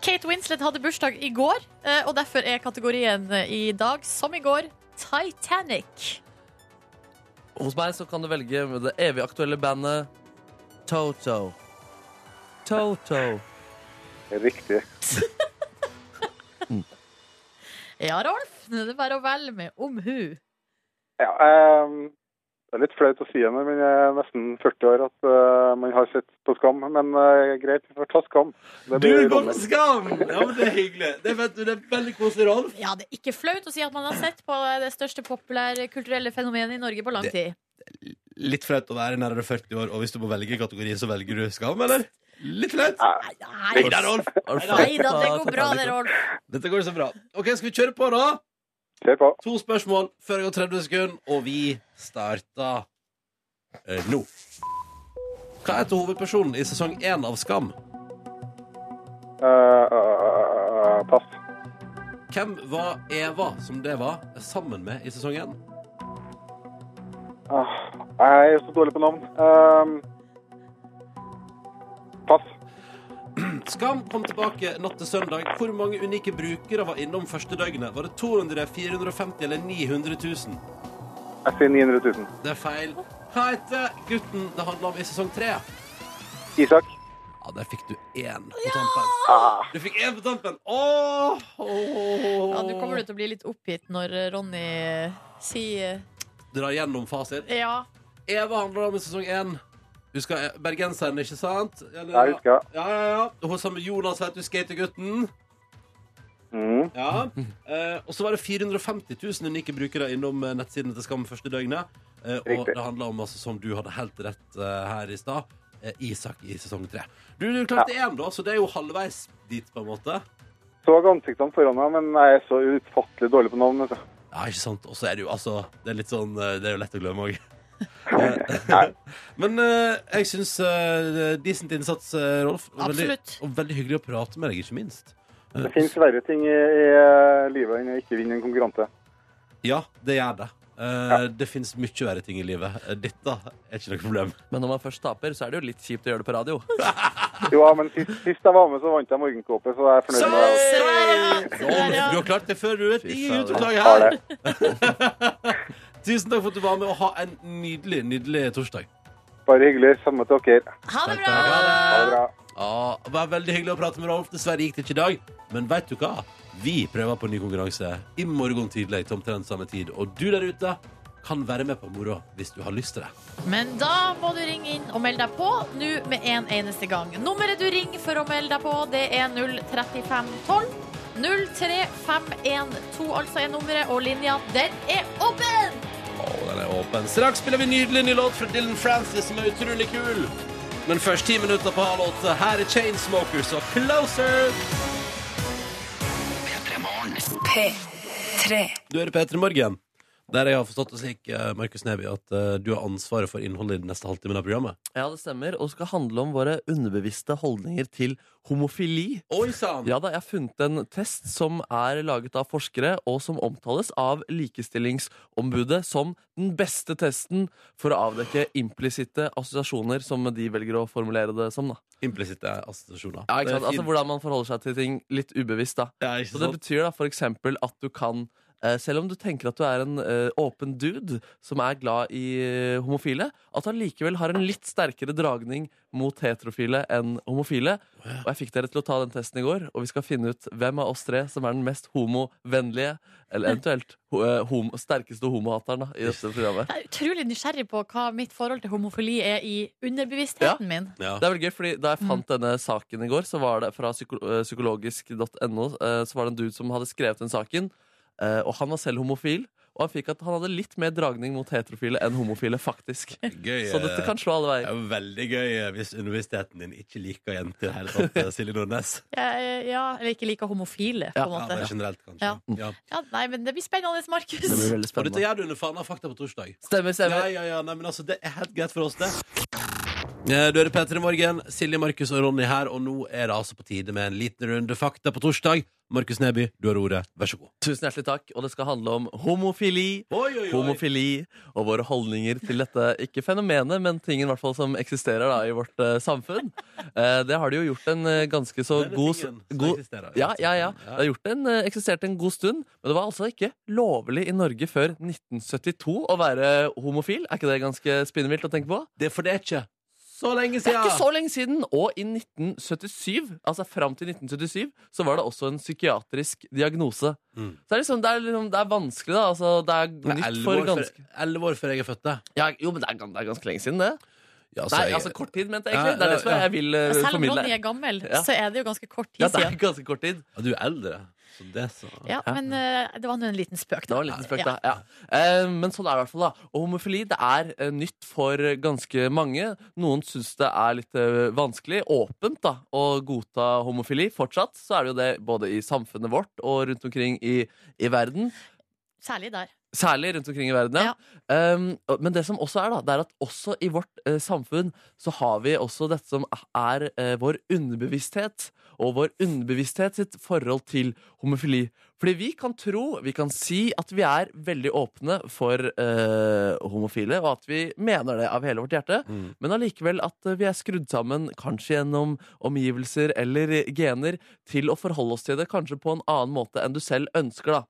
Kate Winslet hadde bursdag i går, eh, og derfor er kategorien eh, i dag, som i går, Titanic.
Hos meg så kan du velge med det evig aktuelle bandet Toto. Toto.
Riktig.
Ja, Rolf, nå er det bare å velge med omhu.
Ja, eh, det er litt flaut å si det når man er nesten 40 år at eh, man har sett på Skam, men eh, greit, vi får ta Skam. Det
Du
blir
går
dommer.
på Skam! Ja, men Det er hyggelig. Det er, vet du, det er veldig koselig, Rolf.
Ja, det er ikke flaut å si at man har sett på det største populære kulturelle fenomenet i Norge på lang
Det-
tid.
Litt flaut å være nærmere 40 år, og hvis du må velge kategori, så velger du Skam, eller? Litt flaut.
Nei, nei,
Nei da, Rolf.
Har du
nei
fått
da, det
ta
går bra det,
Titanic?
Rolf.
Dette går så bra. Ok, Skal vi kjøre på, da?
Kjør på.
To spørsmål før det går 30 sekunder, og vi starter eh, nå. Hva heter hovedpersonen i sesong 1 av Skam?
Eh, eh, eh, pass.
Hvem var Eva, som det var, sammen med i sesong 1?
Ah, jeg er Ehm, så dårlig på navn. Eh, pass.
Skam kom tilbake natt til søndag. Hvor mange unike brukere var innom første døgnet? Var det 200, 450 eller 900 000?
Jeg sier 900 000.
Det er feil. Hva heter gutten det handler om i sesong tre?
Isak?
Ja, der fikk du én på tampen. Du fikk én på tampen! Åh!
Ja, Nå kommer du til å bli litt oppgitt når eh, Ronny sier
Dra gjennom fasit.
ja.
Eva handler om i sesong én. Husker jeg- bergenseren, ikke sant? Eller-
Jeg husker.
Ja, ja, ja. Hun sammen med Jonas het du skatergutten.
Mm.
Ja. Eh, og så var det 450 000 unike brukere innom eh, nettsidene til Skam første døgnet. Eh, og
Riktig.
det handla om, altså, som du hadde helt rett eh, her i stad, eh, Isak i sesong tre. Du, du klarte én, da, så det er jo halvveis dit, på en måte.
Så ansiktene foran meg, men jeg er så utfattelig dårlig på navn. Altså.
Ja, ikke sant? Og så er det jo altså Det er litt sånn eh, Det er jo lett å glemme òg. *laughs* Men eh, jeg syns eh, decent innsats, eh, Rolf. Og
Absolutt.
Veldig, og veldig hyggelig å prate med deg, ikke minst.
Det finnes verre ting i, i eh, livet enn å ikke vinne en konkurranse.
Ja, det gjør det. Eh, Det fins mye verre ting i livet. Eh, Dette er ikke noe problem.
Men når man først taper, så er det jo litt kjipt å gjøre det på radio.
Jo, ja, men sist, sist jeg var med, så vant jeg morgenkåpe, så jeg er fornøyd med det. altså.
Se der, ja. Se der, ja.
Du har klart det før, du vet.
Fy
Ingen
fader.
uteklager
Har
her.
det.
*laughs* Tusen takk for at du var med, og ha en nydelig, nydelig torsdag.
Bare hyggelig. Samme til dere.
Ha det bra!
Ha det bra.
Ja, det var veldig hyggelig å prate med Rolf. Dessverre gikk det ikke i dag. Men vet du hva? Vi prøver på en ny konkurranse i morgen tidlig til omtrent samme tid. Og du der ute kan være med på moroa hvis du har lyst til det.
Men da må du ringe inn og melde deg på nå med en eneste gang. Nummeret du ringer for å melde deg på, det er 03512. 03512 altså er nummeret, og linja, den er åpen!
Og den er åpen. Straks spiller vi nydelig ny låt fra Dylan Francis, som er utrolig kul. Men først ti minutter på halv åtte. Her er Chainsmokers og Closer. Du er i P3 Morgen, der jeg har forstått det slik, eh, Markus Neby, at eh, du har ansvaret for innholdet i den neste halvtimen av programmet.
Ja, det stemmer. Og skal handle om våre underbevisste holdninger til homofili.
Oi sann!
Ja da, Jeg har funnet en test som er laget av forskere, og som omtales av Likestillingsombudet som den beste testen for å avdekke implisitte assosiasjoner, som de velger å formulere det som. da.
Implisitte assosiasjoner.
Ja, ikke sant?
Det er
Altså
fint.
Hvordan man forholder seg til ting litt ubevisst. da.
Ja, ikke
Så det
sant?
betyr da for eksempel at du kan eh, selv om du tenker at du er en eh, åpen dude som er glad i eh, homofile, at han likevel har en litt sterkere dragning mot heterofile enn homofile. Og jeg fikk dere til å ta den testen i går, og vi skal finne ut hvem av oss tre som er den mest homovennlige, eller eventuelt ho eh, homo sterkeste homohateren da, i
*laughs*
dette programmet.
Jeg er utrolig nysgjerrig på hva mitt forhold til homofili er i underbevisstheten min.
Ja.
Det er veldig gøy, fordi Da jeg
Mm.
fant denne saken i går, så var det fra psyko eh, psykologisk.no eh, Så var det en dude som hadde skrevet den saken, eh, og han var selv homofil. Og han fikk at han hadde litt mer dragning mot heterofile enn homofile,
*laughs*
faktisk.
Gøy, eh,
Så dette kan slå alle
Det
veier.
er jo veldig gøy eh, hvis underbevisstheten din ikke liker jenter i det hele tatt, eh, Silje Nordnes.
Jeg, ja, eller ikke like homofile, på
Ja,
en
Ja, det
måte.
er generelt, kanskje. Mm.
Ja. Ja, nei, men det blir spennende,
Det
Markus.
blir veldig
Og dette
spennende.
gjør du under faen av fakta på torsdag.
Stemmer,
Ja,
stemmer.
ja, ja, nei, men altså, det er helt greit for oss, det. Eh, Du hører Petter i morgen, Silje, Markus og Ronny her, og nå er det altså på tide med en liten runde fakta på torsdag. Markus Neby, du har ordet. Vær så god.
Tusen hjertelig takk. Og det skal handle om homofili.
Oi, oi, oi.
Homofili og våre holdninger til dette. Ikke fenomenet, men tingen i hvert fall som eksisterer da, i vårt eh, samfunn. Eh, det har de jo gjort en eh, ganske så
Denne
god,
tingen som
god
eksisterer,
Ja, ja, ja.
Ja.
Det har gjort en, eh, eksistert en god stund, men det var altså ikke lovlig i Norge før 1972 å være homofil. Er ikke det ganske spinnevilt å tenke på?
Det er for det er ikke så lenge
Det
siden.
er ikke så lenge siden! Og i 1977, altså fram til 1977, så var det også en psykiatrisk diagnose.
Mm.
Så det er, liksom, det, er liksom, det er vanskelig, da. Altså, det er
Det er
nytt
elleve
for
år, før-
ganske
elleve år før jeg er født, det.
ja, Jo, men det er, gan- det er ganske lenge siden, det.
Ja,
Nei,
jeg-
altså kort tid, mente jeg
Ja,
egentlig. Det er det
ja,
som
ja.
jeg vil eh,
Selv om
formidle.
Ronny er gammel,
Ja.
så er det jo ganske kort tid
Ja, det er
siden.
ganske kort tid.
Ja, du er eldre. Så det, så.
Ja, men eh, det var nå en liten spøk,
Det
da.
var en liten spøk, da. Ja. Eh, men sånn er det i hvert fall. da Og homofili det er eh, nytt for ganske mange. Noen syns det er litt eh, vanskelig, åpent, da å godta homofili. Fortsatt så er det jo det både i samfunnet vårt og rundt omkring i, i verden.
Særlig der.
Særlig rundt omkring i verden, ja. Um, og- men det som også er, da, det er at også i vårt eh, samfunn så har vi også dette som er eh, vår underbevissthet, og vår underbevissthet sitt forhold til homofili. Fordi vi kan tro, vi kan si at vi er veldig åpne for eh, homofile, og at vi mener det av hele vårt hjerte,
Mm.
men allikevel at eh, vi er skrudd sammen, kanskje gjennom omgivelser eller eh, gener, til å forholde oss til det kanskje på en annen måte enn du selv ønsker, da.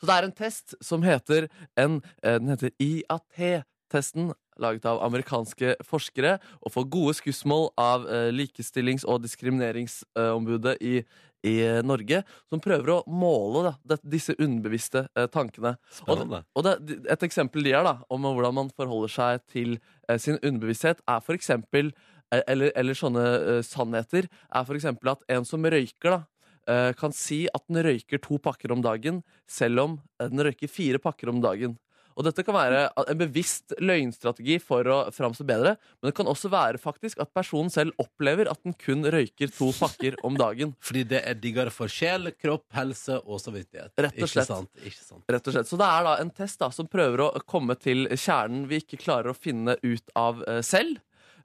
Så det er en test som heter en eh, Den heter IAT-testen. Laget av amerikanske forskere og får gode skussmål av eh, likestillings- og diskrimineringsombudet i, i eh, Norge, som prøver å måle da, det, disse underbevisste eh, tankene.
Spennende.
Og det, et eksempel de har da, om hvordan man forholder seg til eh, sin underbevissthet, er for eksempel, eh, eller, eller sånne eh, sannheter, er for eksempel at en som røyker da, eh, kan si at den røyker to pakker om dagen, selv om eh, den røyker fire pakker om dagen. Og dette kan være a- en bevisst løgnstrategi for å framstå bedre, men det kan også være faktisk at personen selv opplever at den kun røyker to pakker om dagen.
Fordi det er diggere for sjel, kropp, helse og samvittighet.
Rett og slett.
Ikke sant? Ikke sant?
Rett og slett. Så det er da en test da, som prøver å komme til kjernen vi ikke klarer å finne ut av eh, selv.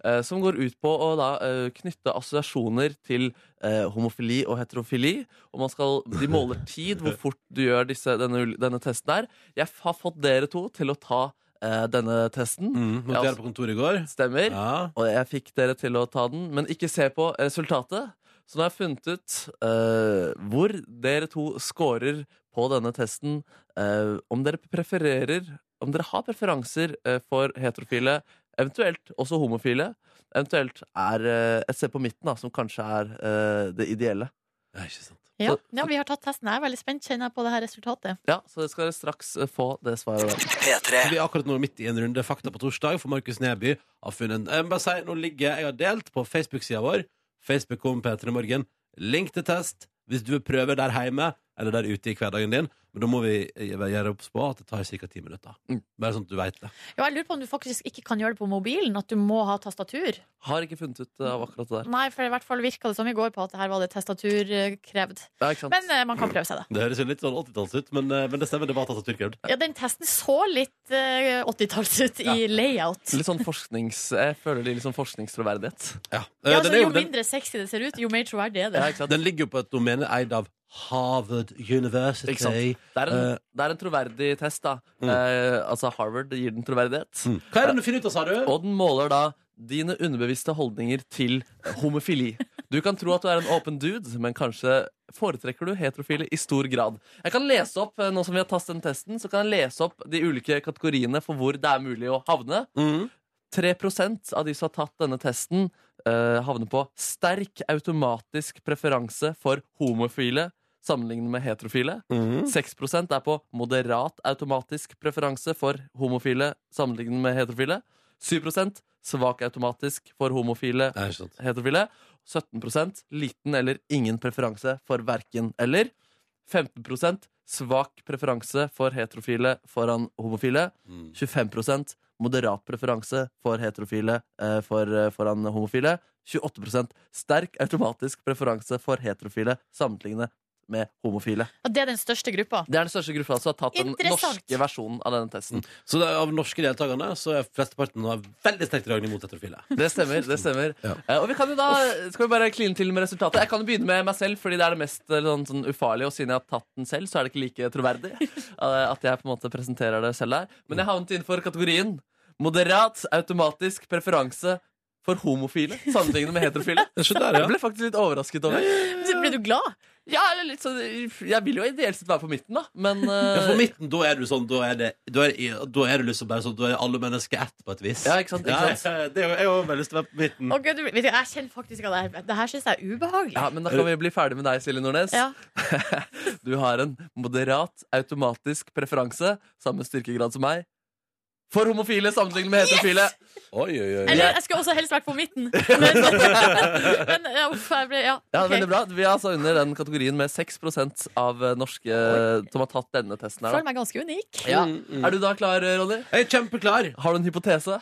eh, som går ut på å da eh, knytte assosiasjoner til eh, homofili og heterofili. Og man skal, de måler tid, hvor fort du gjør disse, denne, ul- denne testen her. Jeg har fått dere to til å ta eh, denne testen.
Mm, måtte
Ja,
gjøre
altså-
det på kontoret i går.
Stemmer.
Ja.
Og jeg fikk dere til å ta den, men ikke se på resultatet. Så nå har jeg funnet ut eh, hvor dere to scorer på denne testen. eh, om dere prefererer Om dere har preferanser eh, for heterofile, eventuelt også homofile. Eventuelt er eh, et sted på midten, da, som kanskje er eh, det ideelle.
ja, ikke sant.
Ja. ja, vi har tatt testen. Jeg er veldig spent, kjenner jeg, på det her resultatet.
Ja, Så dere skal straks eh, få det svaret. der.
P3
Vi er akkurat nå midt i en runde fakta på torsdag, for Markus Neby har funnet en Jeg må bare si, nå ligger jeg har delt på Facebook-sida vår, Facebook om P3 Morgen, link til test hvis du vil prøve der hjemme eller der ute i hverdagen din. Men da må vi eh, gjøre obs på at det tar ca. ti minutter.
Mm.
Bare sånn at du veit det.
Ja, jeg lurer på om du faktisk ikke kan gjøre det på mobilen, at du må ha tastatur.
Har ikke funnet ut eh, av akkurat det der.
Nei, for i hvert fall virka det som i går på at her var det testatur eh, krevd.
Ja, ikke sant?
Men eh, man kan prøve seg, da.
Det høres jo litt sånn 80-talls ut, men, eh, men det stemmer. Det var tatt av tyrkere.
Ja, den testen så litt eh, 80-talls ut i layout.
Litt sånn forsknings... Jeg føler det er litt sånn forskningstroverdighet.
Ja. Eh,
Ja,
den
altså,
er
jo
jo- den-
mindre sexy det ser ut, jo mer troverdig er det.
Ja, ikke sant?
Den ligger jo på et domene eid av Harvard
Ikke sant?
University.
Det er en,
Eh.
det er en troverdig test, da.
Mm.
Eh, altså Harvard gir den troverdighet.
Mm. Hva er det du finner ut av, sa du?
Og den måler da dine underbevisste holdninger til homofili. Du kan tro at du er en åpen dude, men kanskje foretrekker du heterofile i stor grad. Jeg kan lese opp, eh, Nå som vi har tatt den testen, så kan jeg lese opp de ulike kategoriene for hvor det er mulig å havne.
Mm.
3 av de som har tatt denne testen, eh, havner på sterk automatisk preferanse for homofile sammenlignet med heterofile.
Mm.
6 er på moderat automatisk preferanse for homofile sammenlignet med heterofile. 7 svak automatisk for homofile
Ja, ikke sant.
heterofile. 17 liten eller ingen preferanse for verken eller. 15 svak preferanse for heterofile foran homofile. 25 moderat preferanse for heterofile eh, for, eh, foran homofile. 28 sterk automatisk preferanse for heterofile sammenlignet med homofile.
Og det er den største gruppa.
Det er den største gruppa som har tatt den
Interessant.
norske versjonen av denne testen.
Så det, er av norske deltakerne så er flesteparten av veldig sterkt dragende mot heterofile.
Det stemmer. det stemmer
*laughs* Ja.
Eh, Og vi kan jo da, Skal vi bare kline til med resultatet? Jeg kan jo begynne med meg selv, fordi det er det mest eh, sånn, sånn ufarlige. Og siden jeg har tatt den selv, så er det ikke like
*laughs*
troverdig eh, at jeg på en måte presenterer det selv der. Men jeg havnet innenfor kategorien moderat automatisk preferanse for homofile sammenlignet med heterofile.
Så der,
Jeg
*laughs* ja.
ble faktisk litt overrasket over.
Så Blir du glad?
Ja, eller litt sånn Jeg vil jo ideelt sett være på midten, da, men
Ja,
eh,
På midten, da er du sånn Da er det, da er, da er det liksom bare sånn Da er alle mennesker ett, på et vis.
Ja, ikke sant, ikke sant?
Ja, det er jo, jeg har jo veldig lyst til å være på midten.
Å, Gud, du blir- vet du, jeg kjenner faktisk at det her, det her syns jeg er ubehagelig.
Mm. Ja, men da kan vi bli ferdig med deg, Silje Nordnes.
Ja.
*laughs* Du har en moderat automatisk preferanse, samme styrkegrad som meg, for homofile sammenlignet med heterofile.
Oi, oi, oi.
Eller jeg skulle også helst vært på
*laughs*
midten. Men, *laughs* men ja, uff, jeg ble Ja.
Ja,
ok.
veldig bra. Vi er altså under den kategorien med 6 av eh, norske som har tatt denne testen. her
Føler
da.
meg ganske unik.
Ja. Er du da klar, eh, Ronny?
mm, Jeg er kjempeklar.
Har du en
*laughs*
hypotese?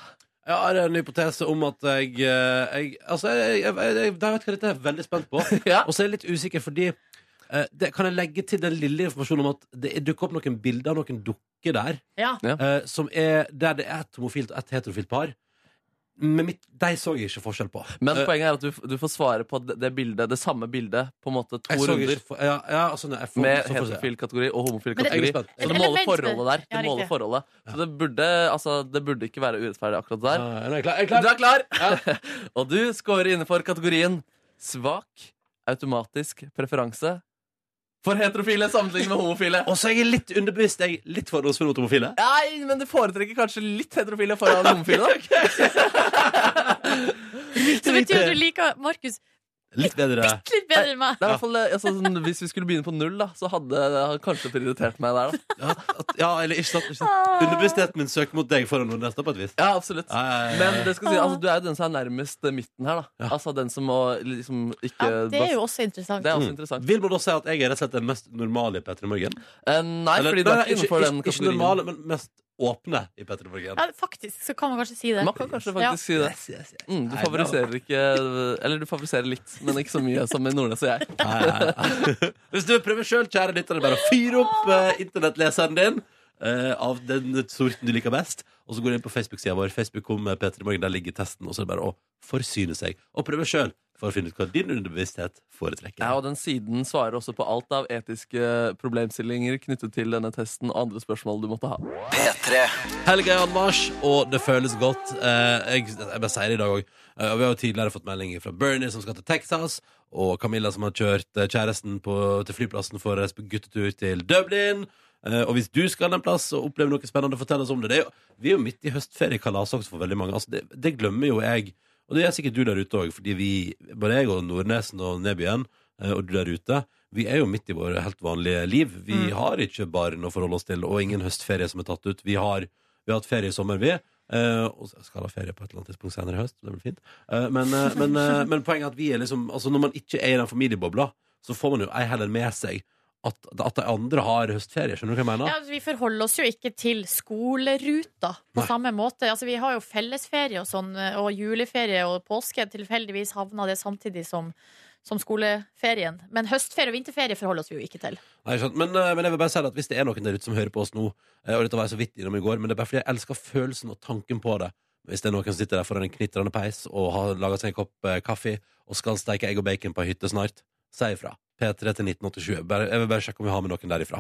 Jeg har en hypotese om at jeg, eh, jeg Altså, jeg, jeg, jeg, jeg, jeg vet hva dette er jeg veldig spent
*laughs*
på.
Ja.
Og så er jeg litt usikker, fordi eh, det, Kan jeg legge til den lille informasjonen om at det dukker opp noen bilder av noen dukker der?
Ja.
eh, som er der det er et homofilt og et heterofilt par. men mitt, de så jeg ikke forskjell på.
Men
Eh,
poenget er at du, du får svare på det, det bildet, det samme bildet, på en måte to
jeg så
runder.
ikke for, ja, ja, altså, nei, jeg får,
Med
så får jeg se.
heterofil kategori og homofil
Men det-
kategori.
Jeg er spent.
Så
Et
det måler
element med-
forholdet der.
Ja,
Det måler
riktig.
forholdet Så det burde, altså, det burde ikke være urettferdig akkurat der.
Ja, nå er jeg klar. Jeg er
Du
klar.
er klar! *laughs* og du scorer innenfor kategorien svak automatisk preferanse for heterofile sammenlignet med homofile.
Og så er jeg litt underbevist. Jeg er litt fordomsfull mot homofile.
Nei, men du foretrekker kanskje litt heterofile foran homofile.
*laughs*
da.
*laughs* Så betyr det at du liker Markus
Litt bedre.
litt bedre enn meg.
Det er i hvert fall, eh, altså, sånn, hvis vi skulle begynne på null, da, så hadde han kanskje prioritert meg der.
*laughs*
Da.
Ja, at, ja eller ikke sant. Ikke sant. Underbevisstheten min søker mot deg foran noen neste, på et vis.
Ja, absolutt.
Ja, ja, ja, ja.
Men det skal si, altså, du er jo den som er nærmest eh, midten her. da Altså den som må liksom ikke
Ja, det er jo også interessant.
Det er også interessant.
Mm. Vil man da si at jeg er rett og slett den mest normale i Petter i Morgen?
Eh, nei,
Eller-
fordi du er ikke
ikke,
innenfor den
ikke, ikke
kategorien.
normale, men mest åpne i Petter i Morgen.
Ja, faktisk så kan man kanskje si det.
Man kan kanskje faktisk si det. Mm, du
Nei,
favoriserer ikke Eller du favoriserer litt, men ikke så mye som Nordnes og jeg.
Nei, nei, nei. *laughs* Hvis du vil prøve sjøl, kjære lytter, er det bare å fyre opp eh, internettleseren din. eh, av den sorten du liker best. Og så går du inn på Facebook-sida vår. Facebook kom med Peter i morgen, Der ligger testen. Og så er det bare å forsyne seg. Og prøve sjøl for å finne ut hva din underbevissthet foretrekker.
Ja, og Den siden svarer også på alt av etiske problemstillinger knyttet til denne testen og andre spørsmål du måtte ha.
P3
Helga er anmarsj, og det føles godt. Eh, jeg, jeg bare sier det i dag òg. Eh, og vi har jo tidligere fått meldinger fra Bernie, som skal til Texas, og Camilla, som har kjørt eh, kjæresten på, til flyplassen for å reise på guttetur til Dublin. Eh, og hvis du skal en plass og opplever noe spennende, fortell oss om det. det er jo, vi er jo midt i høstferiekalaset også for veldig mange. Altså, det, det glemmer jo jeg. Og det gjør sikkert du der ute òg, fordi vi, både jeg og Nordnesen og Nebyen, eh, og du der ute, vi er jo midt i våre helt vanlige liv. Vi har ikke barn å forholde oss til, og ingen høstferie som er tatt ut. Vi har vi har hatt ferie i sommer, vi. Eh, og så skal ha ferie på et eller annet tidspunkt senere i høst. Det blir fint. Eh, men, eh, men, eh, men poenget er at vi er liksom Altså når man ikke er i den familiebobla, så får man jo ei heller med seg at, at de andre har høstferie. Skjønner du hva jeg mener?
Ja, altså, vi forholder oss jo ikke til skoleruta på
Nei.
samme måte. Altså, vi har jo fellesferie og sånn, og juleferie og påske. Tilfeldigvis havna det samtidig som, som skoleferien. Men høstferie og vinterferie forholder oss vi jo ikke til.
Nei, ikke sant? men, eh, men jeg vil bare si det at hvis det er noen der ute som hører på oss nå eh, Og dette var jeg så vidt innom i går, men det er bare fordi jeg elsker følelsen og tanken på det. Hvis det er noen som sitter der foran en knitrende peis og har laga seg en kopp eh, kaffe og skal steike egg og bacon på ei hytte snart, si ifra. P3 til 1987. Bare, jeg vil bare sjekke om vi har med noen derifra.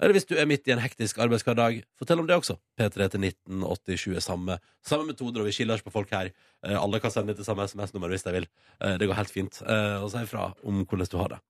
Eller hvis du er midt i en hektisk arbeidshverdag, fortell om det også. P3 til 1987 er samme, samme metoder, og vi skiller oss på folk her. Eh, alle kan sende til samme SMS-nummer hvis de vil. Eh, det går helt fint. Eh, og si ifra om hvordan du har det.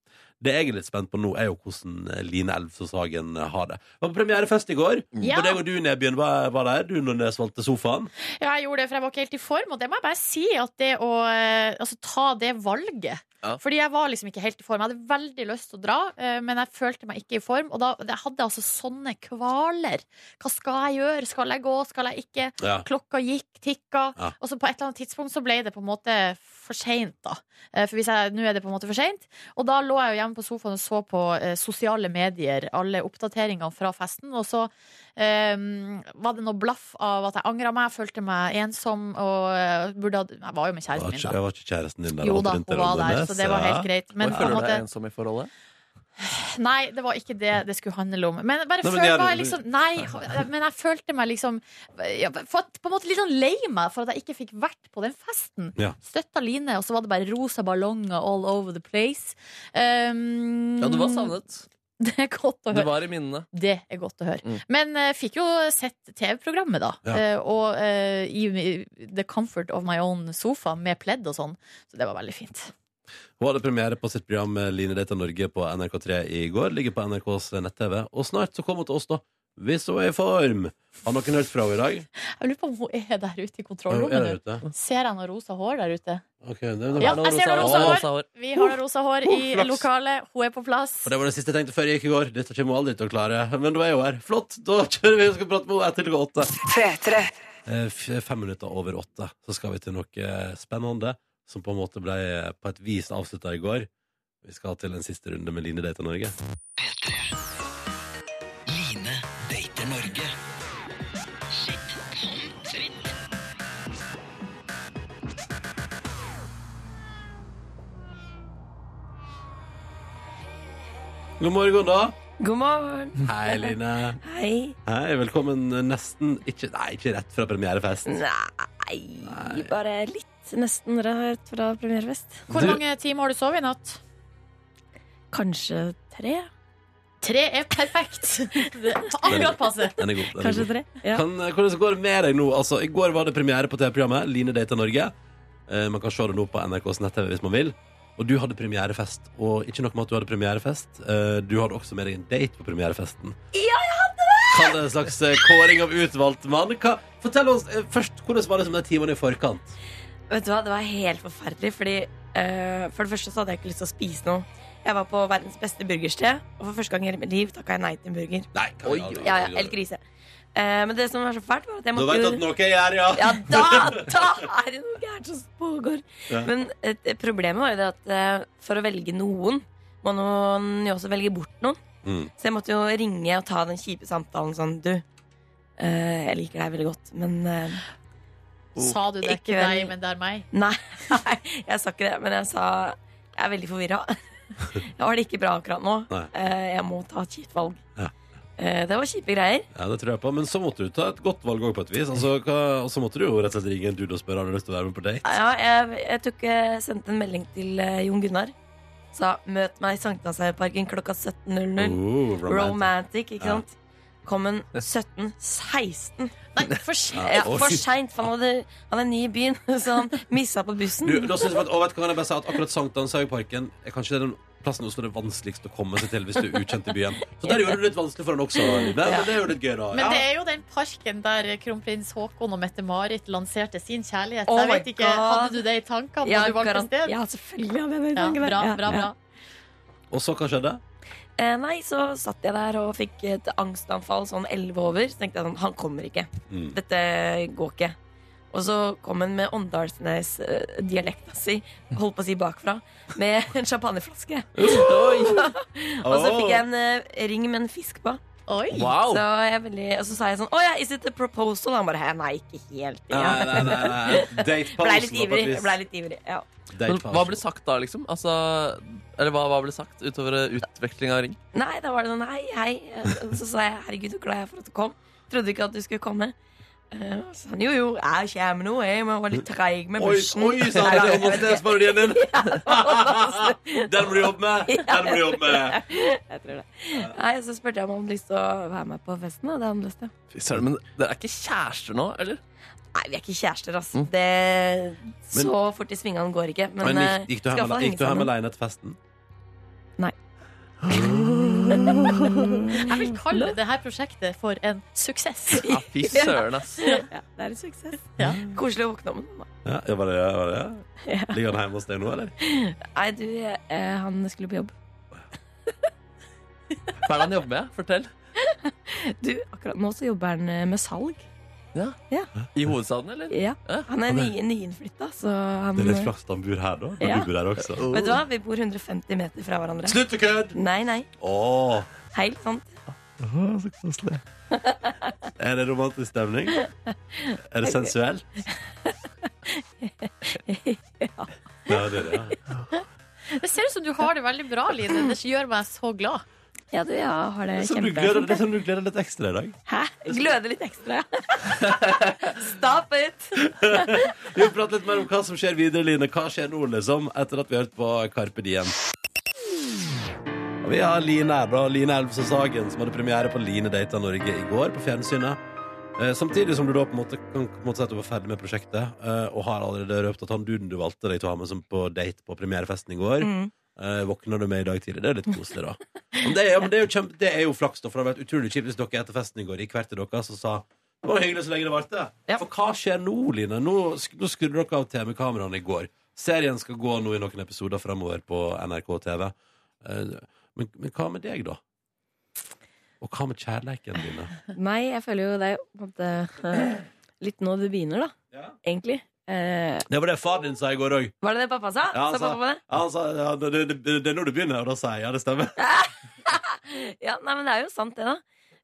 Det jeg er litt spent på nå, er jo hvordan eh, Line Elvsås Hagen har det. Det var på premierefest i går.
Ja.
Både deg og du, Nebyen, var, var der. Du Nordnes valgte sofaen.
Ja, jeg gjorde det, for jeg var ikke helt i form. Og det må jeg bare si, at det å eh, altså, ta det valget
Ja.
Fordi jeg var liksom ikke helt i form. Jeg hadde veldig lyst til å dra, eh, men jeg følte meg ikke i form. Og da jeg hadde altså sånne kvaler. Hva skal jeg gjøre? Skal jeg gå? Skal jeg ikke?
Ja.
Klokka gikk, tikka.
Ja.
Og så på et eller annet tidspunkt så ble det på en måte for seint, da. Eh, For hvis jeg, nå er det på en måte for seint. Og da lå jeg jo hjemme på sofaen og så på eh, sosiale medier, alle oppdateringene fra festen. Og så eh, var det noe blaff av at jeg angra meg, følte meg ensom og eh, burde ha Jeg var jo med
Jeg var,
kjæresten min,
ikke,
da.
jeg var ikke kæresten din der.
Jo da,
rundt
hun var der,
Nordnes.
så det var helt greit. Men
Oi,
på en
føler du
måte,
deg ensom i forholdet?
Nei, det var ikke det det skulle handle om. Men bare
Nei, men
føl
det er-
meg liksom Nei, *laughs* men jeg følte meg liksom ja, for, at- På en måte litt sånn lei meg for at jeg ikke fikk vært på den festen.
Ja.
Støtta Line, og så var det bare rosa ballonger all over the place. Um,
Ja, du var savnet.
*laughs* Det er godt å
Du
høre.
var i minnene.
Det er godt å høre.
Mm.
Men jeg fikk jo sett TV-programmet, da.
Ja.
eh, og eh, i the comfort of my own sofa med pledd og sånn. Så det var veldig fint.
Hun hadde premiere på sitt program eh, Line Data Norge på NRK3 i går. Ligger på NRKs eh, nett-TV. Og snart så kommer hun til oss, da. Hvis hun er i form. Har noen hørt fra henne i dag?
Jeg lurer på om hun er der ute i
Er hun- er
kontrollrommet
hun
nå.
ute?
Ser jeg noe rosa hår der ute?
Ok, det, det, var-
Ja,
Er det
jeg ser
rosa
det
hår?
rosa hår.
Rosa
*laughs*
hår.
Vi har da rosa hår i
flaks.
lokalet. Hun er på plass.
Og det var det siste jeg tenkte før jeg gikk i går. Dette kommer hun aldri til å klare. Men da er hun her. Flott! Da kjører vi og skal prate med henne etter klokka åtte. Eh, f- Fem minutter over åtte Så skal vi til noe eh, spennende Som på en måte ble eh, på et vis avsluttet i går Vi skal til en siste runde med Line Data Norge
Line dater Norge
God morgen da
God morgen.
Hei Line
*laughs* Hei.
Hei, velkommen nesten ikke, Nei, ikke rett fra premierefest
Nei, Nei, bare litt. Nesten rett fra premierefest.
Hvor
Du-
mange timer har du sovet i natt?
Kanskje
*laughs*
tre?
Tre er perfekt. Det er Akkurat passe.
Den er god. Den er
Kanskje
god.
tre? Ja.
Kan, eh, hvordan går det med deg nå? Altså, I går var det premiere på TV-programmet Line Data Norge. Eh, man kan se det nå på NRKs nett-TV hvis man vil. Og du hadde premierefest. Og ikke nok med at du hadde premierefest, eh, du hadde også med deg en date på premierefesten. Ja, jeg hadde det! Kall det en slags eh, kåring av utvalgt mann. Hva, fortell oss eh, først, hvordan var det som de timene i forkant?
Vet du hva, Det var helt forferdelig. Fordi eh, For det første så hadde jeg ikke lyst til å spise noe. Jeg var på verdens beste burgersted, og for første gang i hele mitt liv takka jeg nei til en burger.
Nei, hva
Oi, ja, ja, helt grise. Eh, men det som var så fælt, var at
Du
jeg måtte
vet
jo
at noe jeg gjør, ja.
ja, da, da er det noe gærent som pågår.
Ja.
Men et, problemet var jo det at eh, for å velge noen, må man jo også velge bort noen.
Mm.
Så jeg måtte jo ringe og ta den kjipe samtalen sånn Du, eh, jeg liker deg veldig godt, men eh,
Oh.
Sa du det
Ikke
ikke deg,
veldig.
men det er meg?
Nei, *laughs* jeg sa ikke det, men jeg sa jeg er veldig forvirra. *laughs* Jeg har det ikke bra akkurat nå.
Nei.
Eh, Jeg må ta et kjipt valg.
Ja.
Eh, Det var kjipe greier.
Ja, det tror jeg på. Men så måtte du ta et godt valg òg, på et vis. Altså, hva, og så måtte du jo rett og slett ringe en dude og spørre om du har lyst til å være med på date.
Ja, jeg, jeg tok, eh, sendte en melding til eh, Jon Gunnar. Sa 'møt meg i Sankthanshauparken klokka 17.00'.
Oh, romantic.
Romantic, ikke
Ja.
sant? Kom en 17.16.
Nei, for sent.
Ja,
oi.
for seint, for han, hadde- han er ny i byen, *laughs* så han missa på bussen.
Du, da synes jeg at, å, vet du hva kan jeg bare si at akkurat Sankthanshaugparken er kanskje den plassen i Oslo det er vanskeligst å komme seg til hvis du er ukjent i byen. Så der gjorde du det litt vanskelig for han også, Line. Men det er jo litt gøy, da.
Men det er jo den parken der kronprins Haakon og Mette-Marit lanserte sin kjærlighet.
Oh
Så jeg
my
vet ikke, Hadde du det i tankene da
Ja,
du var på
garan-
sted?
ja, selvfølgelig hadde jeg det i
Ja,
tankene.
bra,
Ja,
bra,
ja.
bra.
Og så hva skjedde?
Eh, nei, så satt jeg der og fikk et angstanfall sånn 11 over. Så tenkte jeg sånn, han kommer ikke.
Mm.
Dette går ikke. Og så kom han med Åndalsnes-dialekta si, holdt på å si bakfra, med en champagneflaske. Og så fikk jeg en eh, ring med en fisk på.
Oi!
Wow!
Så jeg veldig, og så sa jeg sånn Å ja, is it a proposal? Han bare «Hæ, Nei, ikke helt.
Nei,
Ja.
nei, nei. nei.
Blei
Date-pausen
litt ivrig. Blei litt ivrig ja.
Men hva ble sagt da, liksom? Altså, eller hva, hva ble sagt utover eh, utveksling av ring?
Nei, da var det sånn hei, hei. Og Så sa jeg herregud, så glad jeg er for at du kom. Trodde ikke at du skulle komme. Eh, og Så sa han jo jo, jeg kommer nå, jeg må være litt treig med
Oi,
bussen.
oi, sa han til
*laughs*
Åndalsnes-parodien din! *laughs* Den må du jobbe med! Den må du jobbe med!
Jeg tror det. Nei, så spurte jeg om han hadde lyst til å være med på festen, og det hadde han lyst til.
Fy søren, men dere er ikke kjærester nå, eller?
Nei, vi er ikke kjærester, ass.
Mm.
Det, så fort i svingene går ikke. Men,
Men
eh,
gikk, gikk du
skal
hjem,
få henge
gikk du hjem
sammen.
alene etter festen?
Jeg vil kalle det her prosjektet for en
*laughs*
suksess.
Ja, fy søren, ass.
Ja, det er en suksess.
Ja.
Koselig å våkne om den. da.
Ja, var det var det? Ligger han hjemme hos deg nå, eller?
Nei, du, eh, han skulle på jobb.
Hva er det han jobber med? Fortell.
Du, akkurat nå så jobber han eh, med salg.
I hovedstaden, eller?
Ja.
Ja.
Han er ny, nyinnflytta, så han
Det er litt flaks at han bor her, da. Men
Ja.
du bor her også.
Vet du hva, vi bor 150 meter fra hverandre.
Slutt å kødde!
Nei, nei.
Åh,
Helt sant.
så koselig. *laughs* Er det romantisk stemning? Er det
*laughs*
sensuelt? Ja, det er det. ja.
Det ser ut som du har det veldig bra,
*laughs*
Line. Det gjør meg så glad.
Ja, du, ja, har det
Det er som du gleder, det
kjempefint.
er som du gleder litt ekstra i dag.
Hæ? Gløder litt ekstra, ja. Stop it!
*laughs* Vi vil prate litt mer om hva som skjer videre, Line. Hva skjer nå, liksom, etter at vi har hørt på Carpe Diem? Og vi har Line her, da. Line Elvsås Hagen, som hadde premiere på Line Data Norge i går på fjernsynet. Eh, samtidig som du da på en måte kan på en måte si at du var ferdig med prosjektet, eh, og har allerede røpt at han duden du valgte deg til å ha med som på date på premierefesten i går,
Mm.
Eh, våkner du med i dag tidlig. Det er litt koselig, da. Men det, er, ja, men det, er, jo kjempe, det er jo flaks, da, for det har vært utrolig kjipt hvis dere etter festen i går gikk hver til dere og sa det var hyggelig så lenge det varte.
Ja.
For hva skjer nå, Line? Nå, sk- nå skrudde dere av TV-kameraene i går. Serien skal gå nå i noen episoder framover på NRK TV. Eh, Men, men hva med deg, da? Og hva med kjærleiken dine?
Nei, jeg føler jo det er jo på en måte eh, litt nå det begynner, da.
Ja.
Egentlig. Eh,
Det var det far din sa i går òg.
var det det pappa sa?
Ja, han
sa
sa-
pappa det?
Han sa ja, det, det, det er nå du begynner, og da sa jeg ja, det stemmer.
Ja, nei, men det er jo sant, det, da.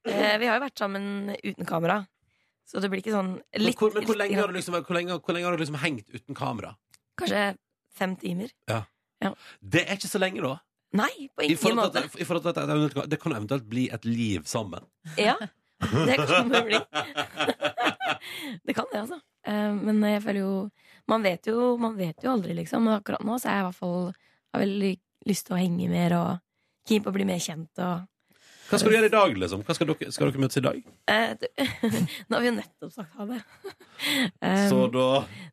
Eh, vi har jo vært sammen uten kamera. Så det blir ikke sånn
Men
litt,
hvor, men hvor
litt
lenge
grann.
har du liksom, hvor lenge, hvor lenge har du liksom hengt uten kamera?
Kanskje fem timer?
Det er ikke så lenge, da.
Nei, på
I
ingen
forhold
måte.
til, at- i forhold til at det, eventuelt- det kan jo eventuelt bli et liv sammen.
Ja, det kan det bli. *laughs* Det kan det, altså. Eh, Men jeg føler jo man, vet jo man vet jo aldri, liksom. Men akkurat nå så er jeg i hvert fall har veldig lyst til å henge mer og keen på å bli mer kjent. Og,
Hva skal du gjøre i dag, liksom? Hva skal, dere, skal dere møtes i dag?
eh, *laughs* du, nå har vi jo nettopp sagt ha det. *laughs* Eh,
Så da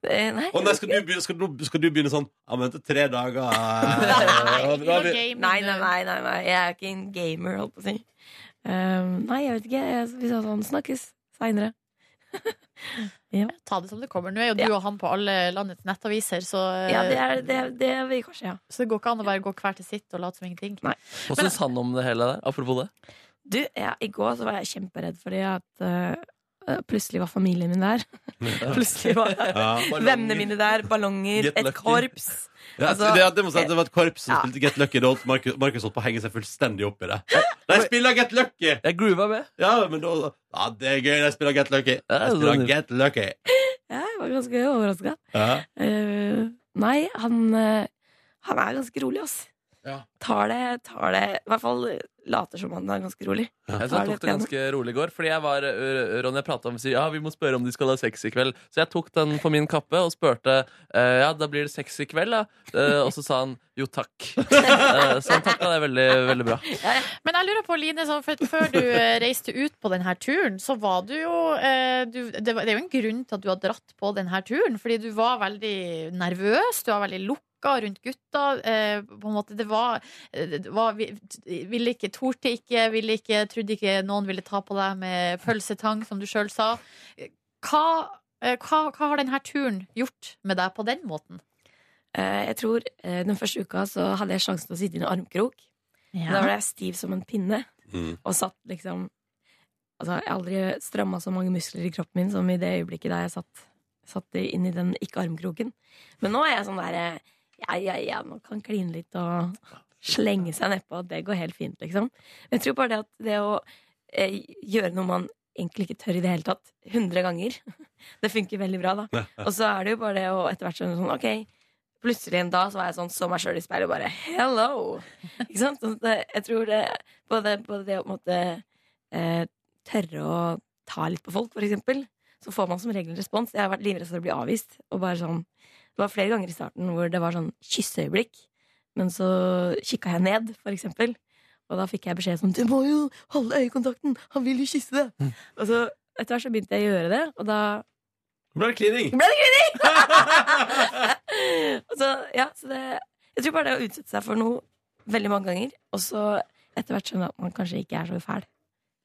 eh, nei,
Å nei, skal du, begynne, skal, du, skal du begynne sånn Ja, men etter tre dager eh, og da
Ikke
har
noe
vi-
game,
nei,
du.
nei, nei, nei, nei. Jeg er ikke en gamer, holdt på å si. Eh, nei, jeg vet ikke. Jeg- Vi sa sånn snakkes seinere.
Ta det som det kommer. Nå er jo du
Ja.
og han på alle landets nettaviser, så,
Ja, det, er, det, det vil jeg kanskje, ja.
så det går ikke an å bare gå hver til sitt og late som ingenting.
Hva syns han om det hele der? Apropos det.
Du, jeg, I går så var jeg kjemperedd fordi at eh, plutselig var familien min der. *laughs* plutselig
*laughs*
var
Ja.
vennene mine der, ballonger,
Get
et
lucky.
korps.
Ja,
Altså,
det, det må si at det var et korps som
ja.
spilte Get Lucky. Da holdt Markus, Markus holdt på å henge seg fullstendig opp i det. De spiller Get Lucky!
Jeg groova med.
Ja, men da Ja, det er gøy. De spiller Get Lucky. De
Ja,
spiller
sånn.
det-
Get Lucky.
Ja, jeg var ganske overraska.
Ja.
nei, han, eh, han er ganske rolig, ass.
Ja.
Tar det, tar det I hvert fall later som han er ganske rolig.
Jeg så jeg tok det ganske rolig i går. Fordi jeg var, øh, Ronny jeg pratet om sier, Ja, vi må spørre om de skal ha sex i kveld. Så jeg tok den på min kappe og spurte eh, Ja, da blir det sex i kveld, da. Eh, og så sa han jo takk. Eh, så han takka det veldig, veldig bra.
Men jeg lurer på, Line, sånn, for før du eh, reiste ut på denne turen, så var du jo eh, du, det, var, det er jo en grunn til at du har dratt på denne turen, fordi du var veldig nervøs, du var veldig lukka rundt gutta. Eh, på en måte, det var, eh, det var vi- Ville ikke, torde ikke, ville ikke, trodde ikke noen ville ta på deg med pølsetang, som du sjøl sa. Hva, eh, hva, hva har denne turen gjort med deg på den måten?
Eh, jeg tror eh, Den første uka så hadde jeg sjansen til å sitte i en armkrok. Da var jeg stiv som en pinne
Mm.
og satt liksom Altså, jeg har aldri stramma så mange muskler i kroppen min som i det øyeblikket da jeg satt, satt i- inn i den ikke-armkroken. Men nå er jeg sånn derre Ja, ja, ja, man kan kline litt og slenge seg nedpå, og det går helt fint, liksom. Men jeg tror bare det at det å eh, gjøre noe man egentlig ikke tør i det hele tatt, 100 ganger, *laughs* det funker veldig bra, da. Og så er det jo bare det å etter hvert skjønne sånn OK. Plutselig en dag så var jeg sånn så meg sjøl i speilet og bare hello! Ikke sant? Sånn at det- Jeg tror det både, både det å på en måte eh, tørre å ta litt på folk, for eksempel, så får man som regel en respons. Jeg har vært livredd for å bli avvist. Og bare sånn, det var flere ganger i starten hvor det var sånn kysseøyeblikk, men så kikka jeg ned, for eksempel. Og da fikk jeg beskjed sånn 'Du må jo holde øyekontakten! Han vil jo kysse deg!' Og så etter hvert så begynte jeg å gjøre det, og da *laughs*
Nå ble det klining.
ble det grining! og så, ja, så det, jeg tror bare det å utsette seg for noe veldig mange ganger, og så etter hvert skjønne at man kanskje ikke er så fæl,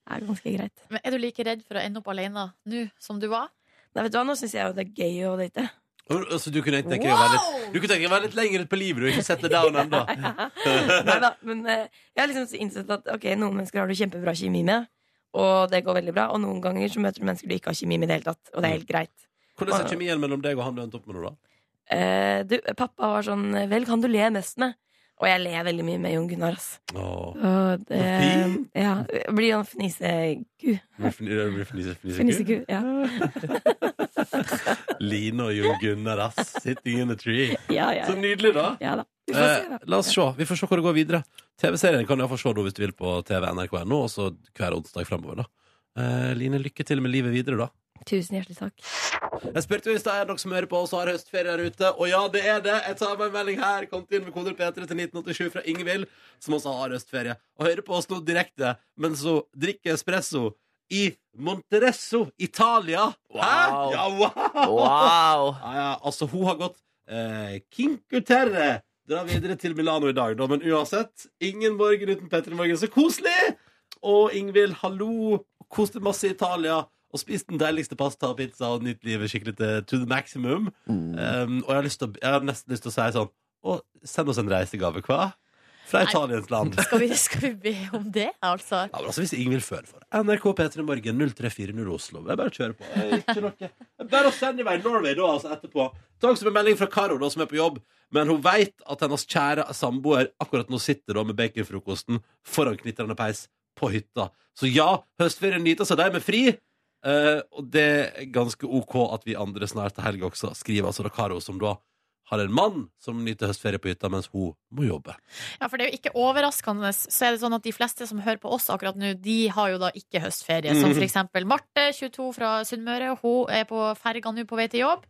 er ganske greit.
Men er du like redd for å ende opp alene nå som du var?
Nei, vet du hva, Nå syns jeg jo det er gøy å date.
Så altså, du kunne tenke deg å være litt, du kunne tenke deg å være litt lenger ut på livet og ikke sette down ennå?
*laughs* Nei da, men eh, jeg har liksom innsett at ok, noen mennesker har du kjempebra kjemi med, og det går veldig bra, og noen ganger så møter du mennesker du ikke har kjemi med i det hele tatt, og det er helt greit.
Hvordan er kjemien mellom deg og han du endte opp med nå, da?
Eh, du, pappa var sånn 'Velg han du ler mest med', og jeg ler veldig mye med Jon Gunnar, ass.
Åh,
Og det,
Fint.
ja, jeg blir sånn fniseku.
blir fni- blir fnise- fniseku.
Fniseku, ja.
*laughs* Line og Jon Gunnar, ass. Sitting in a tree.
Ja, ja,
Så nydelig, da.
ja da. Vi får se,
Eh,
da.
la oss se. Vi får se hvor det går videre. TV-serien kan du iallfall se nå hvis du vil på TV NRK.no, og så hver onsdag framover, da. Eh, Line, lykke til med livet videre, da.
Tusen hjertelig takk.
Jeg spurte jo i stad, er det noen som hører på oss og har høstferie der ute? Og ja, det er det! Jeg tar meg en melding her. Kom til med koder P3 til 1987 fra Ingvild, som også har høstferie. Og hører på oss nå direkte, men så drikker espresso i Monteresso, Italia.
Wow.
Ja, wow!
Wow!
Ja, ja, altså, hun har gått eh, Kinco Terre. Dra videre til Milano i dag, da. Men uansett, ingen morgen uten Petter i morgen. Så koselig! Og Ingvild, hallo. Kos deg masse i Italia. Og spis den deiligste pasta og pizza og nytt livet skikkelig til to the maximum. Um, og jeg har, lyst til, å- jeg har nesten lyst til å si sånn Å, send oss en reisegave, hva? Fra
Nei.
Italiens land.
Skal vi, skal vi be om det, altså?
Ja, men altså Hvis Ingvild føler for det. NRK P3 Morgen 0340 Oslo. Det er bare å kjøre på. Det er Ikke noe. *laughs* Det er Bare å sende i vei Norway da, altså, etterpå. Takk som en melding fra Karo, da, som er på jobb. Men hun veit at hennes kjære samboer akkurat nå sitter da med baconfrokosten foran knitrende peis på hytta. Så ja, høstferien nyter seg de med fri. Eh, og det er ganske OK at vi andre snart til helg også, skriver altså da Karo, som da har en mann som nyter høstferie på hytta, mens hun må jobbe.
Ja, for det er jo ikke overraskende. Så er det sånn at De fleste som hører på oss akkurat nå, de har jo da ikke høstferie. Som for eksempel Marte, 22 fra Sunnmøre. Hun er på ferga nå på vei til jobb.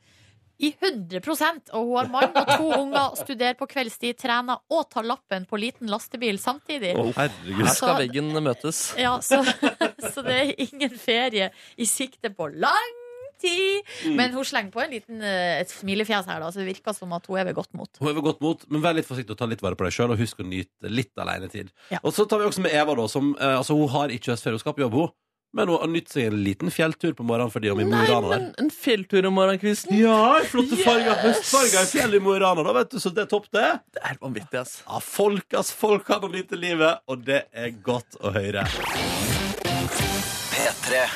I 100 Og hun har mann og to unger, studerer på kveldstid, trener og tar lappen på liten lastebil samtidig.
herregud.
Her skal veggen møtes.
Ja, så, *laughs* så det er ingen ferie i sikte på lang tid. Men hun slenger på en liten, eh, et smilefjes her, da, så det virker som at hun er ved godt mot.
Hun er ved godt mot, men vær litt forsiktig og ta litt vare på deg sjøl, og husk å nyte litt alenetid.
Ja.
Og så tar vi også med Eva, da, som eh, altså, hun har ikke høstferie, hun skal på jobb, hun. Men hun har nytt seg en liten fjelltur på morgenen fordi hun er i Mo i Rana der.
en fjelltur om morgenen, Kristen.
Ja, flotte
Yes!
farger, høstfarger i fjellet i Mo i Rana, da, vet du, så det er topp, det.
Det er vanvittig, ass.
Ja, folk, ass, folk kan å nyte livet, og det er godt å høre.
P3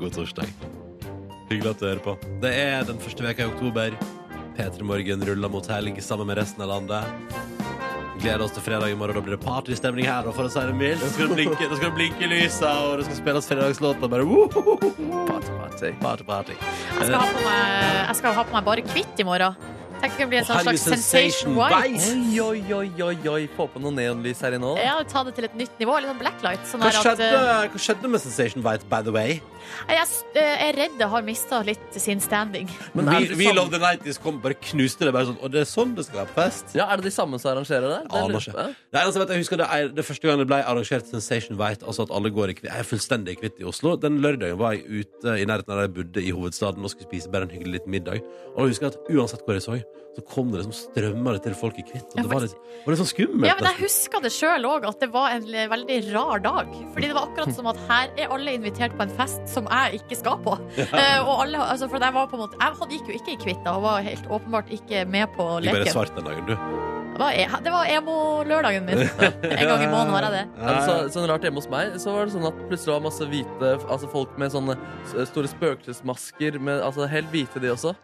God torsdag. Hyggelig at du hører på. Det er den første veka i oktober. P3 Morgen ruller mot helg sammen med resten av landet. Gleder oss til fredag i morgen. Da blir det partystemning her. Og for å si det mildt, da skal det blinke, da skal det blinke i lysa, og det skal spilles fredagslåter. Bare wohohoho.
Party, party.
Party, party.
Jeg skal ha på meg, jeg skal ha på meg bare hvitt i morgen. Tenk det kan bli en
Og her
sånn
blir
slags sensation
Eh, Sensation
white.
Vice.
Oi, oi, oi, oi, oi. Få på noe neonlys her inne òg.
Ja, ta det til et nytt nivå. Litt sånn blacklight. Sånn
Hva
her at,
skjedde, hva skjedde med Sensation White, by the way?
eh, jeg s- eh, er redd det har mista litt sin standing.
Men er
We,
det de
we
samme-
Love the 90s kom bare knuste det. bare sånn, Og det er sånn det skal være på fest.
Ja, Er det de samme som arrangerer det? det?
Aner
lurer
ikke.
jeg på.
Det eneste jeg altså, vet, jeg husker det, er, det første gang det ble arrangert Sensation White, altså at alle går i kvitt, jeg er fullstendig kvitt i Oslo. Den lørdagen var jeg ute i nærheten av der jeg bodde i hovedstaden og skulle spise bare en hyggelig liten middag. Og da husker jeg at uansett hvor jeg så, så kom det liksom strømmer til folk i kvitt. Og
Ja,
det var litt, var litt sånn skummelt.
Ja, men Jeg
nesten.
husker det sjøl òg, at det var en l- veldig rar dag. Fordi det var akkurat som at her er alle invitert på en fest som jeg ikke skal
*laughs*
på. Eh, og alle, altså, for jeg var på en måte Jeg hadde- gikk jo ikke i kvitt da, og var helt åpenbart ikke med på
Jeg ble bare
leken.
svart den dagen, du.
Det var, e- det var emo-lørdagen min.
*laughs*
En gang i måneden har jeg det.
Altså, sånn rart Hjemme hos meg så var det sånn at plutselig var det masse hvite Altså folk med sånne s- eh, store spøkelsesmasker, med- altså helt hvite de også.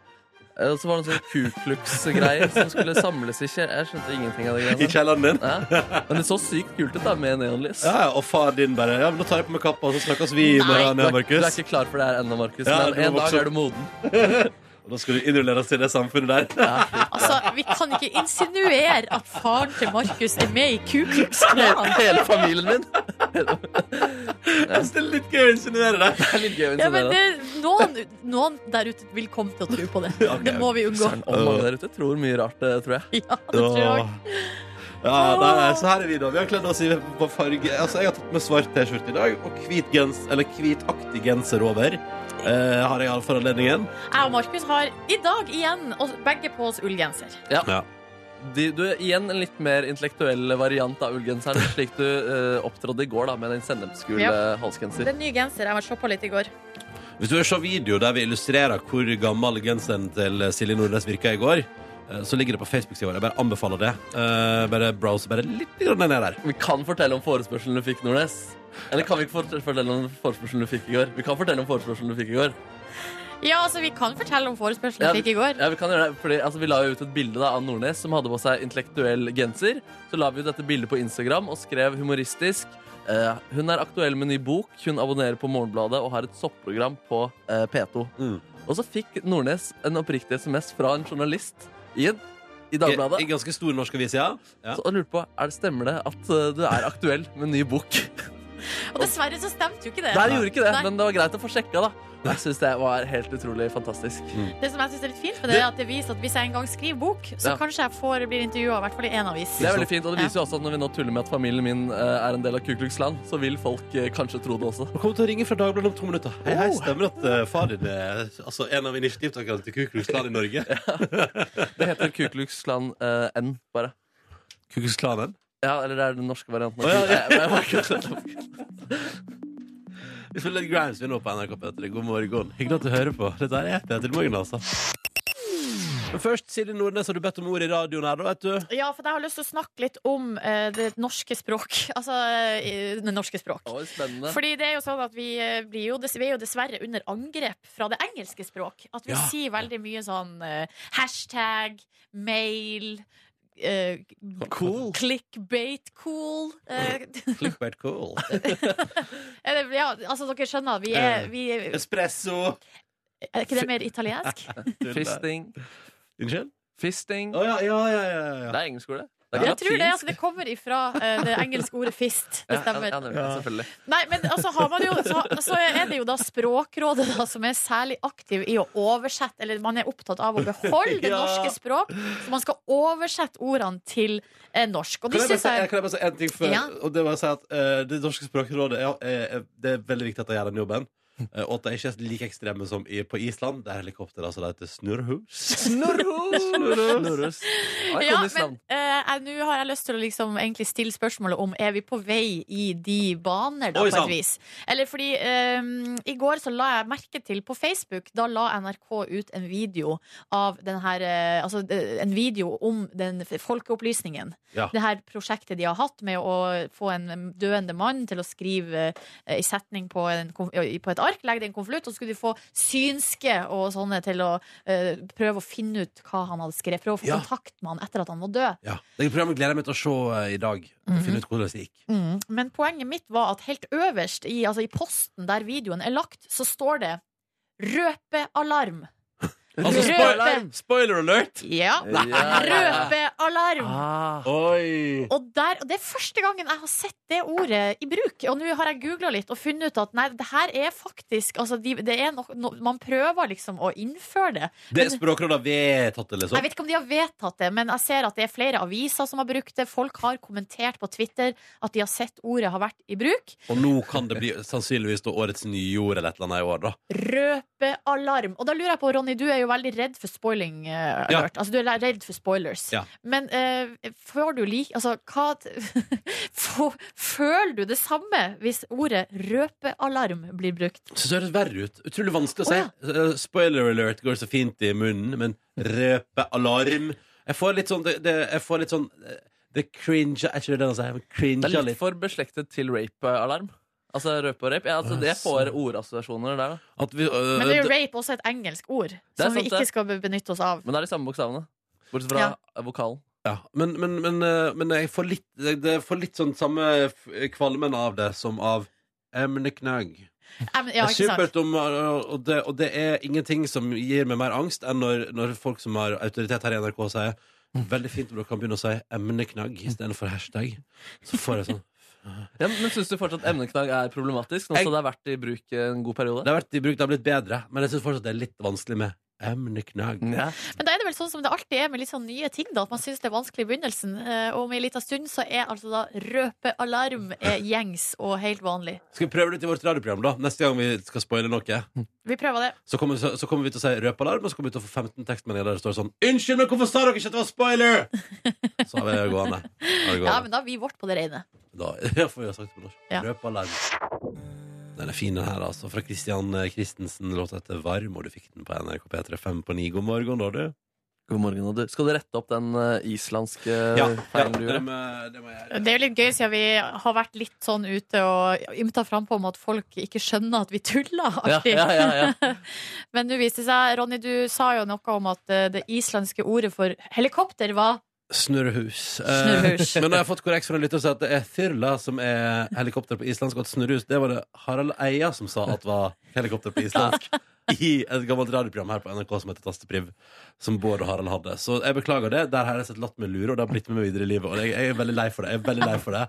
Eh, Og så var det noen sånne Ku Klux-greier som skulle samles i kje- Jeg skjønte ingenting av de
I
greiene.
kjelleren din.
Ja. Men det så sykt kult ut da, med neonlys.
Ja, ja, og far din bare Ja, men da tar jeg på meg kappa, og så snakkes vi i
Nei.
morgen,
Du er, du er
Markus.
ikke klar for det her ennå, Markus,
Ja,
men
du må
en dag
vokse opp.
er du moden.
Og da skal du innrulleres til det samfunnet *laughs* der.
Altså, Vi kan ikke insinuere at faren til Markus er med i Ku Klux Klan.
Hele familien din.
Det er litt gøy å insinuere det.
Det er litt gøy å
Ja, men
insinuere.
det, noen, noen der ute vil komme til å tro
*laughs*
på det. Det må vi unngå.
Søren, og mange der ute tror mye rart, eh, tror jeg.
Ja, det tror jeg.
Åh. Ja, nei, nei, så her er vi da. Vi har kledd oss i på farge. Altså, jeg har tatt med svart T-skjorte i dag, og hvit gens, eller hvitaktig genser over. Eh, har jeg all for anledningen.
Jeg og Markus har i dag igjen og begge på oss ullgenser.
De, du er igjen en litt mer intellektuell variant av ullgenseren, slik du eh, opptrådte i går da, med den sennepsgule
Ja.
eh, halsgenser.
Det er en ny genser. Jeg har shoppa litt i går.
Hvis du vil se video der vi illustrerer hvor gammel genseren til Silje Nordnes virka i går, eh, så ligger det på Facebook-sida vår. Jeg bare anbefaler det. Eh, bare browse bare litt grann ned der.
Vi kan fortelle om forespørselen du fikk, Nordnes. Eller kan vi ikke fort- fortelle om forespørselen du fikk i går? Vi kan fortelle om forespørselen du fikk i går.
Ja, altså, Vi kan fortelle om forespørselen
Ja,
jeg fikk i går.
Ja, Vi kan gjøre det, fordi altså, vi la jo ut et bilde da, av Nordnes som hadde på seg intellektuell genser. Så la vi ut dette bildet på Instagram og skrev humoristisk. eh, hun er aktuell med ny bok, hun abonnerer på Morgenbladet og har et soppprogram på eh, P2.
Mm.
Og så fikk Nordnes en oppriktig SMS fra en journalist i, en- i
I, I
Dagbladet.
ganske stor norsk avis, ja. ja.
Så jeg lurte på, er det stemmer det at eh, du er aktuell med en ny bok?
Og dessverre så stemte jo ikke det.
Nei, jeg gjorde ikke det,
Nei.
men det var greit å få sjekka, da. Jeg syns det var helt utrolig fantastisk.
Det som jeg synes er litt fint med det, er at det viser at hvis jeg en gang skriver bok, så
Ja.
kanskje jeg får blir intervjua i hvert fall i én avis.
Det er veldig fint, og det viser jo også at når vi nå tuller med at familien min eh, er en del av Ku Klux Klan, så vil folk eh, kanskje tro det også.
Nå kommer til å ringe fra Dagbladet om to minutter. Hei, hei, stemmer at eh, far din er altså, en av initiativtakerne til Ku Klux Klan i Norge?
Det heter Ku Klux Klan eh, N, bare.
*laughs* Ku Klux Klanen?
Ja, eller det er den norske varianten.
Å, ja,
av Ku- Eh, men jeg
ja.
var
*laughs*
ikke-
Vi spiller litt Grimes vi nå på NRK P3. God morgen. Hyggelig at du hører på. Dette er P3 Morgen, altså. Men først, Silje Nordnes, har du bedt om ordet i radioen her, da, vet du?
Ja, for jeg har lyst til å snakke litt om eh, det norske språk. *laughs* Altså eh, det norske språk.
Å, spennende.
Fordi det er jo sånn at vi, eh, blir jo, dess- vi er jo dessverre under angrep fra det engelske språk. At vi
Ja.
sier veldig mye sånn eh, hashtag, mail, eh,
Cool.
clickbait, cool. eh, *laughs*
Clickbait cool.
eller, ja, altså dere skjønner, vi er, vi er,
Espresso.
er ikke det mer italiensk?
Fisting.
Unnskyld?
Fisting.
Å ja, ja, ja. ja,
Det
ja.
er engelsk ord, det. Det er
Jeg tror det,
latinsk.
altså det kommer ifra eh, det engelske ordet fist.
Ja, ja,
Det stemmer.
ja, nemlig, selvfølgelig.
Nei, men altså har man jo, så, så er det jo da Språkrådet da, som er særlig aktiv i å oversette, eller man er opptatt av å beholde det
*laughs* Ja.
norske språk, så man skal oversette ordene til eh, norsk. Og
Kan
det
jeg, bare
synes
si, jeg,
jeg
kan jeg bare si en ting før?
Ja.
Og det var å si at eh, Det norske språkrådet er, er, er, Det er veldig viktig at de gjør den jobben. eh, og at de ikke er like ekstreme som i, på Island, der helikopteret altså, det heter snurrhus.
Snorros. Det er
ja,
konisk
men
navn.
eh, jeg- nå har jeg lyst til å liksom egentlig stille spørsmålet om er vi på vei i de baner, da,
Oi,
på
sann.
et vis. Eller fordi eh, i går så la jeg merke til på Facebook, da la NRK ut en video av den her eh, Altså eh, en video om den f- folkeopplysningen.
Ja.
Det her prosjektet de har hatt med å få en døende mann til å skrive eh, i setning på, en, konf- i- på et ark, legge det i en konvolutt, og så skulle de få synske og sånne til å eh, prøve å finne ut hva han hadde skrevet. Prøve å få
Ja.
kontakt med han etter at han var død.
Ja, Det programmet gleder jeg meg til å se eh, i dag.
Mhm.
Finne ut hvordan det gikk.
Men poenget mitt var at helt øverst i, altså i posten der videoen er lagt, så står det Røpealarm.
Altså, spoiler, spoiler alert!
Ja.
Ja, ja, ja.
Røpealarm.
Ah.
Oi!
Og, der, og det er første gangen jeg har sett det ordet i bruk. Og nå har jeg googla litt og funnet ut at nei, det her er faktisk altså, de, det er nok- no, Man prøver liksom å innføre det.
Det er Språkrådet har vedtatt det,
Jeg
liksom?
vet ikke om de har vedtatt det, men jeg ser at det er flere aviser som har brukt det. Folk har kommentert på Twitter at de har sett ordet har vært i bruk.
Og nå kan det bli sannsynligvis da årets nyord eller et eller annet i år, da.
Røpealarm. Og da lurer jeg på, Ronny, du er jo veldig redd for spoiling eh,
Ja.
alert. Altså, du er redd for spoilers.
Ja.
Men eh, får du like Altså, hva t- *laughs* Få- Føler du det samme hvis ordet røpealarm blir brukt?
Synes det høres verre ut. Utrolig vanskelig å si.
Å,
Eh, Spoiler alert går så fint i munnen, men røpealarm Jeg får litt sånn det, det, Jeg får litt sånn eh, Det cringer Er ikke det det han sier?
Det
Cringer
er litt
litt.
for beslektet til rape-alarm. Altså røpe og rape. Ja, altså, det får ordassosiasjoner der, da.
At vi, øh,
Men det er jo
det-
rape også et engelsk ord,
er
som vi
sant,
ikke
det.
skal be- benytte oss av.
Men det er de samme bokstavene. Bortsett fra vokalen.
ja. men, men, men, eh, men jeg får litt det, det får litt sånn samme f- kvalmen av det som av emneknagg.
Nei, men, ja,
det
ikke
er
sant?
supert om, øh, og, det, og det er ingenting som gir meg mer angst enn når, når folk som har autoritet her i NRK sier Veldig fint om dere kan begynne å si emneknagg istedenfor hashtag. Så får jeg sånn
Ja, men syns du fortsatt emneknagg er problematisk? Nå
Jeg-
som det har vært i bruk en god
Det
periode?
har vært i bruk, det har blitt bedre, men jeg syns fortsatt det er litt vanskelig med emneknagg.
Ja.
Men da er det vel sånn som det alltid er med litt sånn nye ting, da, at man syns det er vanskelig i begynnelsen. Eh, Og om en liten stund så er altså da røpealarm er gjengs og helt vanlig.
Skal vi prøve det ut i vårt radioprogram, da? Neste gang vi skal spoile noe.
Vi prøver det.
Så kommer, så, så kommer vi til å si røpalarm, og så kommer vi til å få 15 tekstmeldinger der det står sånn Unnskyld, men hvorfor sa dere ikke at det var spoiler?! Så har vi det gående. Har vi det
Ja,
gående.
men da har vi vårt på det reine.
Da *laughs* ja, får vi ha sagt det på norsk.
Ja.
Røpalarm. Den er fin, den her, altså. Fra Christian Christensen. Låta heter Varm, og du fikk den på NRK P3 5 på 9. God morgen, da, du.
God morgen, Odd. Skal du rette opp den eh, islandske feilen Eh, du
det
gjorde?
må det må jeg gjøre.
Det er jo litt gøy siden vi har vært litt sånn ute og ymta frampå om at folk ikke skjønner at vi tuller.
Ja,
alltid.
ja, ja,
*laughs*
ja.
Men nå viste det seg, Ronny, du sa jo noe om at eh, det islandske ordet for helikopter var
Snurrehus. Eh,
Snurrehus.
men nå har jeg fått korrekt fra en lytter som sier at det er Thyrla som er helikopter på islandsk, og at snurrehus det var det Harald Eia som sa at var helikopter på islandsk. *laughs* I et gammelt radioprogram her på NRK som heter Tastepriv, som Bård og Harald hadde. Så jeg beklager det. Der har jeg sett latt meg lure, og det har blitt med meg videre i livet. Og jeg, jeg er veldig lei for det. Jeg er veldig lei for det.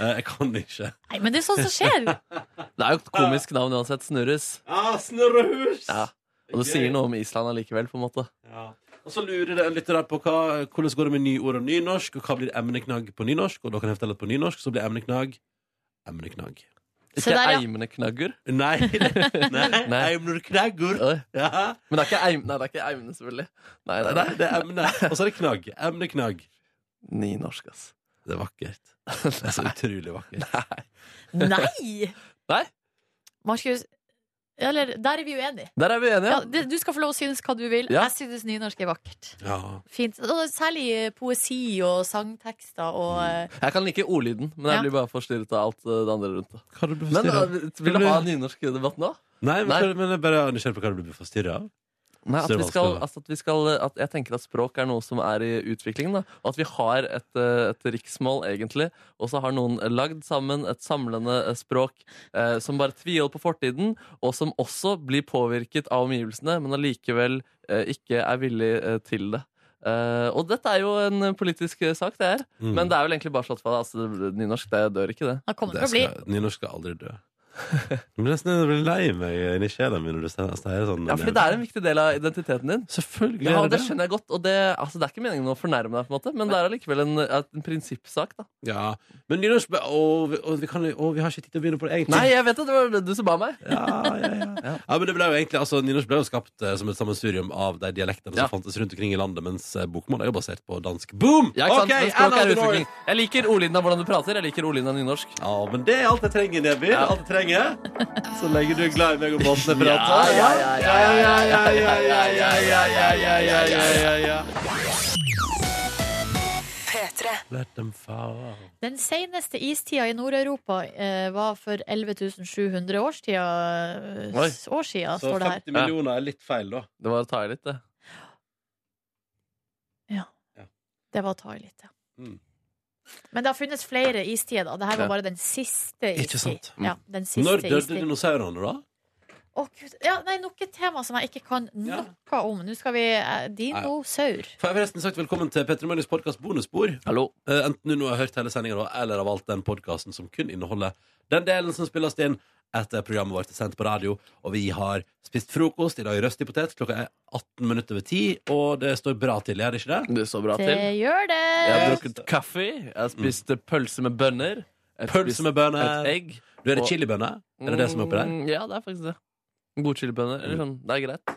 Eh, Jeg kan ikke.
Nei, men det er sånt som skjer!
Det er jo et komisk navn uansett. Snurres.
Ah, snurrehus!
Ja. Og det sier noe om Island allikevel, på en måte.
Ja. Og så lurer det en lytter der på hva, hvordan går det med nyord og nynorsk, og hva blir emneknagg på nynorsk? Og da kan jeg fortelle at på nynorsk så blir emneknagg emneknagg.
Se
Ikke
der, ja.
eimneknagger.
Nei,
*laughs*
nei, nei.
Nei.
emneknaggur.
Oi.
Ja.
Men det er ikke eim, nei, det er ikke eimne, selvfølgelig. Nei, nei,
Nei,
nei.
det er emne. Og så er det knagg. Emneknagg.
Nynorsk, ass.
Det er vakkert. *laughs* Det er så utrolig vakkert.
Nei!
Nei.
Markus, Eller, der er vi uenige.
Der er vi
Ja,
enige.
det, du skal få lov å synes hva du vil.
Ja.
Jeg synes nynorsk er vakkert.
Ja.
Fint. Og særlig eh, poesi og sangtekster og eh,
Jeg kan like ordlyden, men
Ja.
jeg blir bare forstyrret av alt eh, det andre rundt. det.
Hva du blir
Men
forstyrret av?
eh, Vil du ha nynorsk debatt nå?
Nei, men,
Nei.
hva- men jeg bare er nysgjerrig på hva du blir forstyrret av.
Nei, at
Så det
vi
er
skal,
vanskelig, da.
altså at vi skal at Jeg tenker at språk er noe som er i utvikling. Da. Og at vi har et, eh, et riksmål, egentlig. Og så har noen lagd sammen et samlende eh, språk eh, som bare tviholder på fortiden, og som også blir påvirket av omgivelsene, men allikevel eh, ikke er villig eh, til det. Eh, og dette er jo en eh, politisk eh, sak, det her.
Mm.
Men det er vel egentlig bare slått fast. Altså, nynorsk det dør ikke, det.
Han kommer
Det
til å bli
skal, nynorsk skal aldri *laughs* dø. Jeg blir nesten jeg blir lei meg eh, inni sjela mi når du sier sier sånn.
Ja, fordi det er en viktig del av identiteten din.
Selvfølgelig
Ja,
er
det
det det.
skjønner jeg godt. Og det, altså, det er ikke meningen å fornærme deg, på en måte men det er allikevel en, en prinsippsak. *laughs* da
Ja. Men nynorsk be- Å, vi, å, vi, kan, å, vi har ikke tid til å begynne på det, egentlig.
Nei, jeg vet det, det var du som ba meg.
Ja, ja, ja. *laughs* ja, men det ble jo egentlig altså, Nynorsk ble jo skapt eh, som et sammensurium av de dialektene
Ja.
som fantes rundt omkring i landet, mens eh, bokmål er jo basert på dansk. Boom!
Ja, ikke sant?
Ok,
Men språket
Anna
er
Delore.
utvikling. Jeg liker ordlyden av hvordan du prater. Jeg liker ordlyden av nynorsk.
Ja, men det er alt jeg trenger, Nebby.
Ja.
Alt jeg trenger. Så lenge du er glad i meg og båten er prata.
Ja, ja, ja,
Let them fall.
Den seneste istida i Nord-Europa eh, var for 11 700 årstida,
Oi.
s- år siden,
Så
står det her.
50 millioner er litt feil, da.
Det var å ta i litt, det.
Det var å ta i litt, ja.
Mm.
Men det har funnes flere istider. da. Dette
Ja.
var bare den siste istid.
Ikke sant? Mm.
Ja, den siste
Når døde
istid.
dinosaurene, da?
Å, Gud. Ja, nei, nok et tema som jeg ikke kan
Ja.
noe om. Nå skal vi eh, Dinosaur.
Får jeg forresten sagt velkommen til Petter Møllings podkast Bonusspor.
Hallo.
Eh, enten du nå har hørt hele sendinga, da, eller har valgt den podkasten som kun inneholder den delen som spilles inn etter programmet vårt er sendt på radio. Og vi har spist frokost i dag, røstig potet. Klokka er 18 minutter over 10, og det står bra til, gjør det ikke det?
Du så bra
Det
til.
gjør det!
Jeg har drukket kaffe. Jeg har spist pølse med bønner. Jeg har spist
Pølse med bønner.
Et egg.
Du er det chilibønner? Er det det som er oppi der? Mm.
Mm, Ja, det er faktisk det. Godchilibønner. Eller sånn. Det er greit.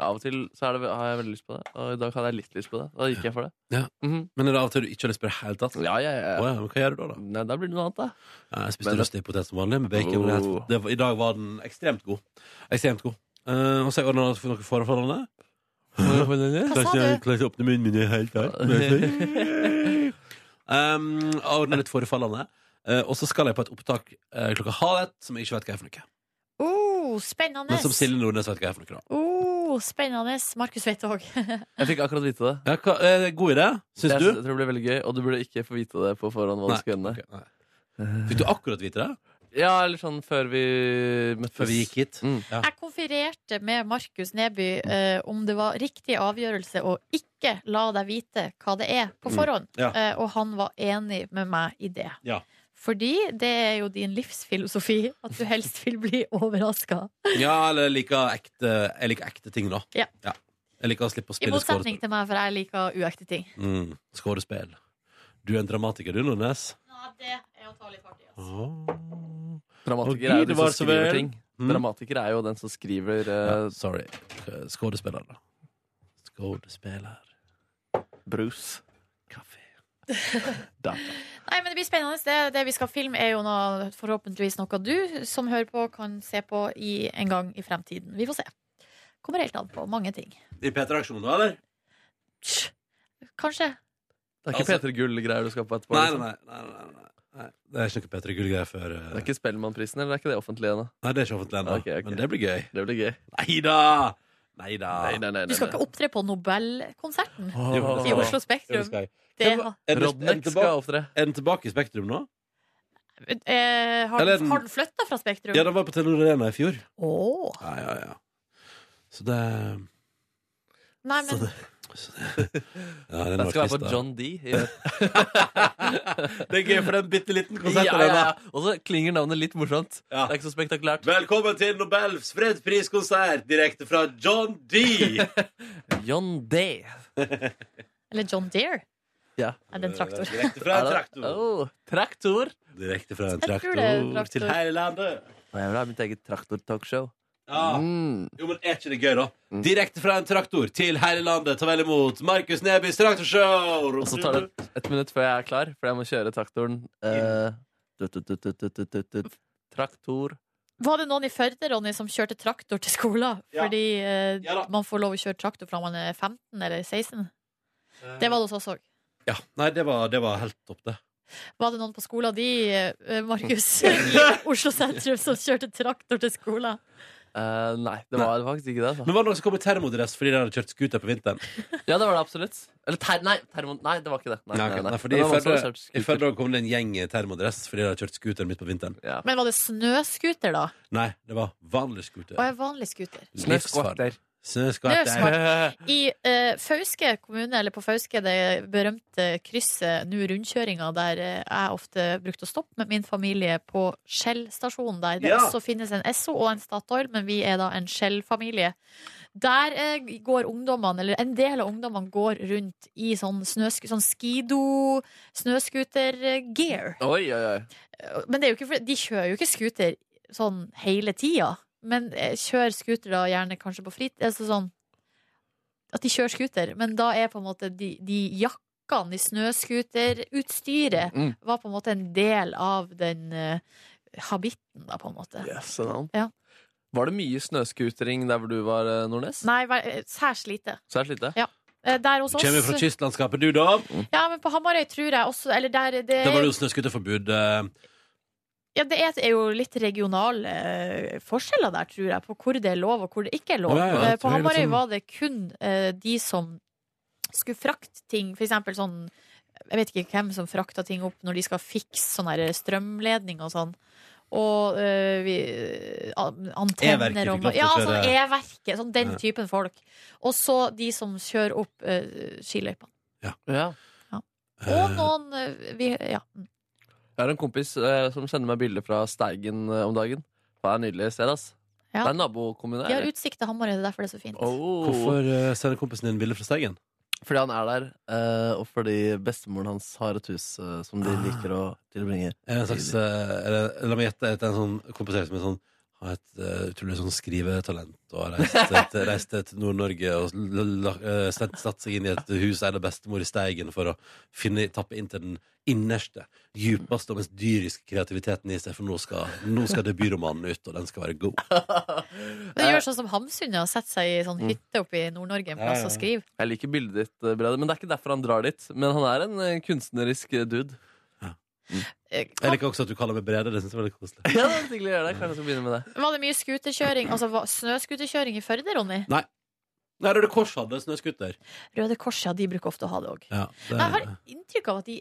Av og til så er det, har jeg veldig lyst på det, og i dag hadde jeg litt lyst på det. Da gikk jeg for det.
Ja.
Mhm.
Men er det av og til du ikke har lyst på det i det hele tatt?
ja, ja, ja.
Å ja, men hva gjør du da? da?
Nei, da blir det noe annet, da.
Ja, Eh, Jeg spiste
Men-
røstig potet som vanlig med bacon. men jeg-
Oh.
Det, var- I dag var den ekstremt god. Ekstremt god. Eh, og så har jeg ordna noe forfallende.
Hva sa du?
klarte å åpne munnen min i det hele tatt. um, jeg ordna litt forfallende. Eh, og så skal jeg på et opptak eh, klokka halv ett som jeg ikke vet hva er for noe.
Oh, spennende!
Men som Silje Nordnes vet hva er for noe. da.
Oh, spennende. Markus vet det òg.
Jeg fikk akkurat vite det.
Ja, hva, eh, god idé, syns
Jeg
du?
synes- jeg tror det blir veldig gøy, og du burde ikke få vite det på forhånd. hva
Nei,
du skal gjøre.
ok, nei. Fikk du akkurat vite det
Ja, eller sånn før vi møttes.
før vi gikk hit?
Mm.
Ja.
Jeg konfererte med Markus Neby eh, om det var riktig avgjørelse å ikke la deg vite hva det er på forhånd,
Mm. Ja.
eh, og han var enig med meg i det.
Ja.
Fordi det er jo din livsfilosofi at du helst vil bli overraska.
Ja, eller jeg liker ekte, jeg liker ekte ting, da.
Ja.
Jeg liker å slippe å
I
spille
motsetning
skuespill.
til meg, for jeg liker uekte ting.
Mm, skuespill. Du er en dramatiker, du, Nordnes.
Ja, det er å ta litt hardt i.
Ah.
altså.
Åh. Og
Dramatiker er jo de
Gud, det var
som
så
skriver
vel.
ting.
Mm.
Dramatiker er jo den som skriver eh,
Ja, sorry. Skuespiller, da. Skuespiller.
brus.
Kaffe.
Nei, men det blir spennende. Det, det vi skal filme, er jo noe, forhåpentligvis noe du som hører på, kan se på i, en gang i fremtiden. Vi får se. Kommer helt an på mange ting.
I P3-aksjonen, da, eller?
Tsk. Kanskje.
Det er ikke
Altså-
Peter Gull-greier du skal på etterpå?
Nei,
liksom.
nei, nei. nei, nei, sånn? nei. Det er ikke noe P3 Gull-greie før eh,
Det er ikke Spellemannprisen, eller det er ikke det offentlige ennå?
Nei, det er ikke offentlig ennå.
Ok, ok.
Men det blir gøy.
Det blir gøy.
Nei da! Nei da.
Nei, nei, nei, nei,
Du skal
nei.
ikke opptre på Nobelkonserten
Jo,
i
det
Oslo
Jo, det
Spektrum.
skal jeg.
Det,
Hvem var- Er den- er den
Rodnek skal
tilbake-
opptre.
er den tilbake i Spektrum nå?
eh, har,
Eller den-
har den flytta fra Spektrum?
Ja, den var på Telenor Arena i fjor.
Åh.
Ja, ja, ja. Så det
Nei, men
ja, det er en
Den skal være
artist, da.
på John D.
*laughs*
i
Det er gøy for den bitte liten
Ja,
konserten.
ja,
der, da.
ja. Og så klinger navnet litt morsomt.
Ja.
Det er ikke så spektakulært.
Velkommen til Nobels fredspriskonsert direkte fra John
*laughs*
D.
John D.
Eller John Deere?
Ja.
Er det en traktor?
Direkte fra
Er
en
det-
traktor.
Åh, traktor.
Direkte fra en
Jeg tror det er en
traktor
traktor.
til hele landet.
Og jeg vil ha mitt eget traktortalkshow.
Ja.
Mm.
Jo, men Er ikke det gøy, da? Direkte fra en traktor til hele landet. Ta vel imot Markus Nebys traktorshow!
Og så tar det et minutt før jeg er
Mm.
klar, for jeg må kjøre traktoren. Eh, tut, tut, tut, tut, tut, tut, tut. Traktor
Var det noen i Førde, Ronny, som kjørte traktor til skolen?
Ja.
Fordi eh,
Ja da.
man får lov å kjøre traktor fra man er 15 eller 16? Det var det hos oss òg.
Ja, nei, det var, det var helt topp, det.
Var det noen på skolen di, eh, Markus,
*laughs*
i Oslo sentrum, som kjørte traktor til skolen?
Eh, nei, det var faktisk ikke det. Altså.
Men var det noen som kom i termodress fordi de hadde kjørt scooter på vinteren?
Ja, det var det absolutt. Eller ter nei, termo nei, det var ikke det. Nei,
Nei,
nei,
ok,
nei.
nei, fordi
Det
I
var noen som hadde
Førde-
kjørt
i
scooter.
Førde kom det en gjeng i termodress fordi de hadde kjørt scooter midt på vinteren.
Ja.
Men var det snøscooter, da?
Nei, det var vanlig scooter.
Og en vanlig scooter?
Livsfarlig.
Snøskvatter.
Snøskvatter.
Snøskvatt. I eh, Fauske kommune, eller på Fauske, det berømte krysset, nå rundkjøringa der eh, jeg ofte brukte å stoppe med min familie på Shell-stasjonen der. Det
Ja.
også finnes en Esso og en Statoil, men vi er da en Shell-familie. Der eh, går ungdommene, eller en del av ungdommene går rundt i sånn, snøsk sånn skido, eh, snøscooter-gear.
Oi, oi, oi.
Men det er jo ikke, for- de kjører jo ikke scooter sånn hele tida. Men eh, kjører scooter da gjerne kanskje på fritid. Altså sånn at de kjører scooter. Men da er på en måte de, de jakkene, de snøscooterutstyret,
Mm.
var på en måte en del av den eh, habitten, da, på en måte.
Yes, no.
Ja.
Var det mye snøscootering der hvor du var, eh, Nordnes?
Nei, vær- eh, særs lite.
Svært lite.
Eh, Der hos
Du
oss
kommer jo fra kystlandskapet, du, da?
Ja, men på Hamarøy tror jeg også Eller der det,
Da var det jo snøscooterforbud. eh,
ja, det er, er jo litt regionale eh, forskjeller der, tror jeg, på hvor det er lov og hvor det ikke er lov.
Å, ja, ja,
Eh,
jeg
på
tror det er litt
Hamarøy
sånn-
var det kun eh, de som skulle frakte ting, for eksempel sånn Jeg vet ikke hvem som frakta ting opp når de skal fikse sånn her strømledning og sånn. Og eh, vi, an-
E-verket fikk
antenner og
lov til å
Ja,
kjøre-
sånn E-verket. Sånn den
Ja.
typen folk. Og så de som kjører opp uh, skiløypene.
Ja.
Og noen eh, vi, Ja.
Jeg har en kompis eh, som sender meg bilder fra Steigen eh, om dagen. Det er nydelig sted, ass.
Ja.
Det er en nabokommune.
De har
eller?
utsikt til Hamarøy, det er derfor det er så fint.
Oh.
Hvorfor eh, sender kompisen din bilde fra steigen?
Fordi han er der, eh, og fordi bestemoren hans har et hus eh, som de
Ah.
liker å tilbringe.
Er det en slags, eh, er det, La meg gjette. Er det en sånn kompensert som en sånn har et eh, utrolig sånn skrivetalent og har reist,
*laughs*
til- reist til Nord-Norge og l- la- eh, satt satt seg inn i et hus eid av bestemor i Steigen for å finne, tappe inn til den innerste, djupeste og mest dyriske kreativiteten i seg, for nå skal, nå skal debutromanen ut, og den skal være god.
Men gjør sånn som Hamsun ja, setter seg i sånn hytte oppe i Nord-Norge en
Mm. Ja,
plass
ja, ja.
og skriver.
Jeg liker bildet ditt, eh, Brede, men det er ikke derfor han drar dit. Men han er en eh, kunstnerisk eh, dude.
Eh,
Jeg liker også at du kaller meg Brede. Det synes jeg var litt koselig.
*laughs* Ja, det er hyggelig å gjøre det. Kanskje jeg skal begynne med det.
Var det mye skuterkjøring, altså hva- snøskuterkjøring i Førde, Ronny?
Nei, Røde Kors hadde snøskuter.
Røde Kors, ja, de bruker ofte å ha det òg.
Ja, det,
Jeg har inntrykk av at de,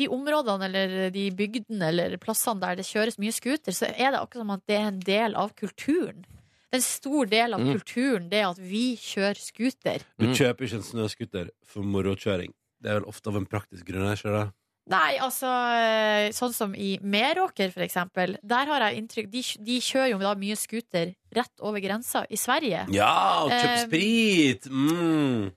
de områdene eller de bygdene eller plassene der det kjøres mye scooter, så er det akkurat som at det er en del av kulturen. Det er En stor del av
Mm.
kulturen det er at vi kjører scooter.
du
Mm.
kjøper ikke en snøskuter for morokjøring. Det er vel ofte av en praktisk grunn. er det Ikke det?
Nei, altså eh, sånn som i Meråker for eksempel Der har jeg inntrykk De, de kjører jo da mye skuter rett over grensa i Sverige
Ja, og kjøp
Eh,
sprit! Mm.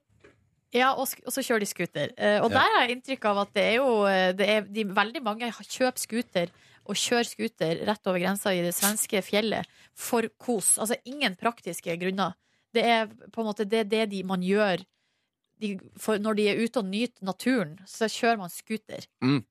Ja, og, sk- og så kjører de skuter Eh, Og
Ja.
der har jeg inntrykk av at det er jo eh, det er, de, Veldig mange har- kjøper skuter Og kjører skuter rett over grensa i det svenske fjellet For kos Altså ingen praktiske grunner Det er på en måte det, det de, man gjør de, for, Når de er ute og nyter naturen Så kjører man skuter
Mm.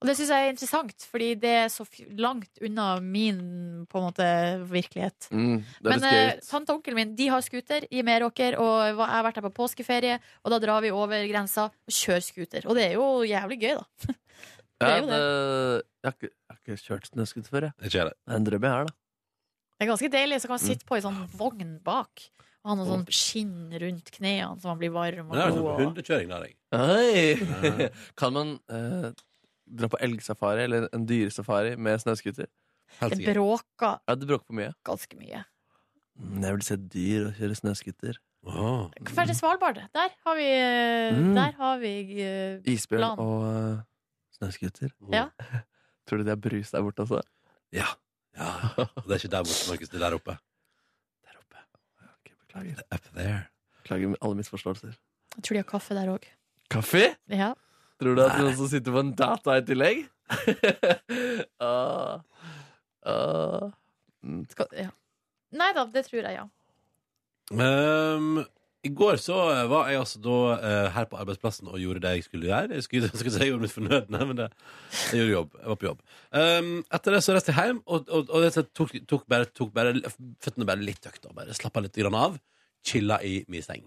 Og det synes jeg er interessant Fordi det er så f- langt unna min På en måte virkelighet
Mm, det
men
er litt
eh,
gøy. ut.
tante og onkelen min de har scooter i Meråker, og jeg har vært her på påskeferie. Og da drar vi over grensa og kjører scooter. Og det er jo jævlig gøy, da.
Ja,
det er jo
det, jeg, har ikke, jeg har ikke kjørt snøskuter før, jeg.
Ikke jeg det.
Det er en drøm jeg har, da.
Det er ganske deilig. Så kan man sitte på ei sånn vogn bak. Og ha noe sånn skinn rundt knærne, så man blir varm
Men
og
det er sånn
god. og-
hundekjøring der, jeg.
Oi! *laughs* Kan man eh, dra på elgsafari eller en dyresafari med snøskuter?
Helt
Det
sikkert.
bråker
Ja, det bråker for mye.
ganske mye.
Mm, Jeg vil se dyr og kjøre snøskuter.
Åh.
Dra til Svalbard. Der har vi, eh,
Mm.
der har vi eh,
Isbjørn
Plan.
og eh, snøskuter.
Ja.
Tror du det er brus der borte også?
Ja. ja. Og det er ikke der borte, Markus. Det er der oppe. Der oppe.
Ok, beklager.
Up there.
Beklager alle misforståelser.
Jeg tror de har kaffe der òg.
Kaffe?
Ja.
Tror du at noen som sitter på en data i tillegg? *laughs* ah, ah. Mm.
Skal- ja. Nei da, det tror jeg, ja.
Um, I går så eh, var jeg altså da eh, her på arbeidsplassen og gjorde det jeg skulle gjøre. Jeg skulle, *laughs* jeg skulle si jeg gjorde mitt fornødne, men det, jeg gjorde jobb. Jeg var på jobb. Um, etter det så reiste jeg hjem, og, og, og det tok, tok, bare, tok bare føttene bare litt økta. Bare slappa litt grann av. Chilla i min seng.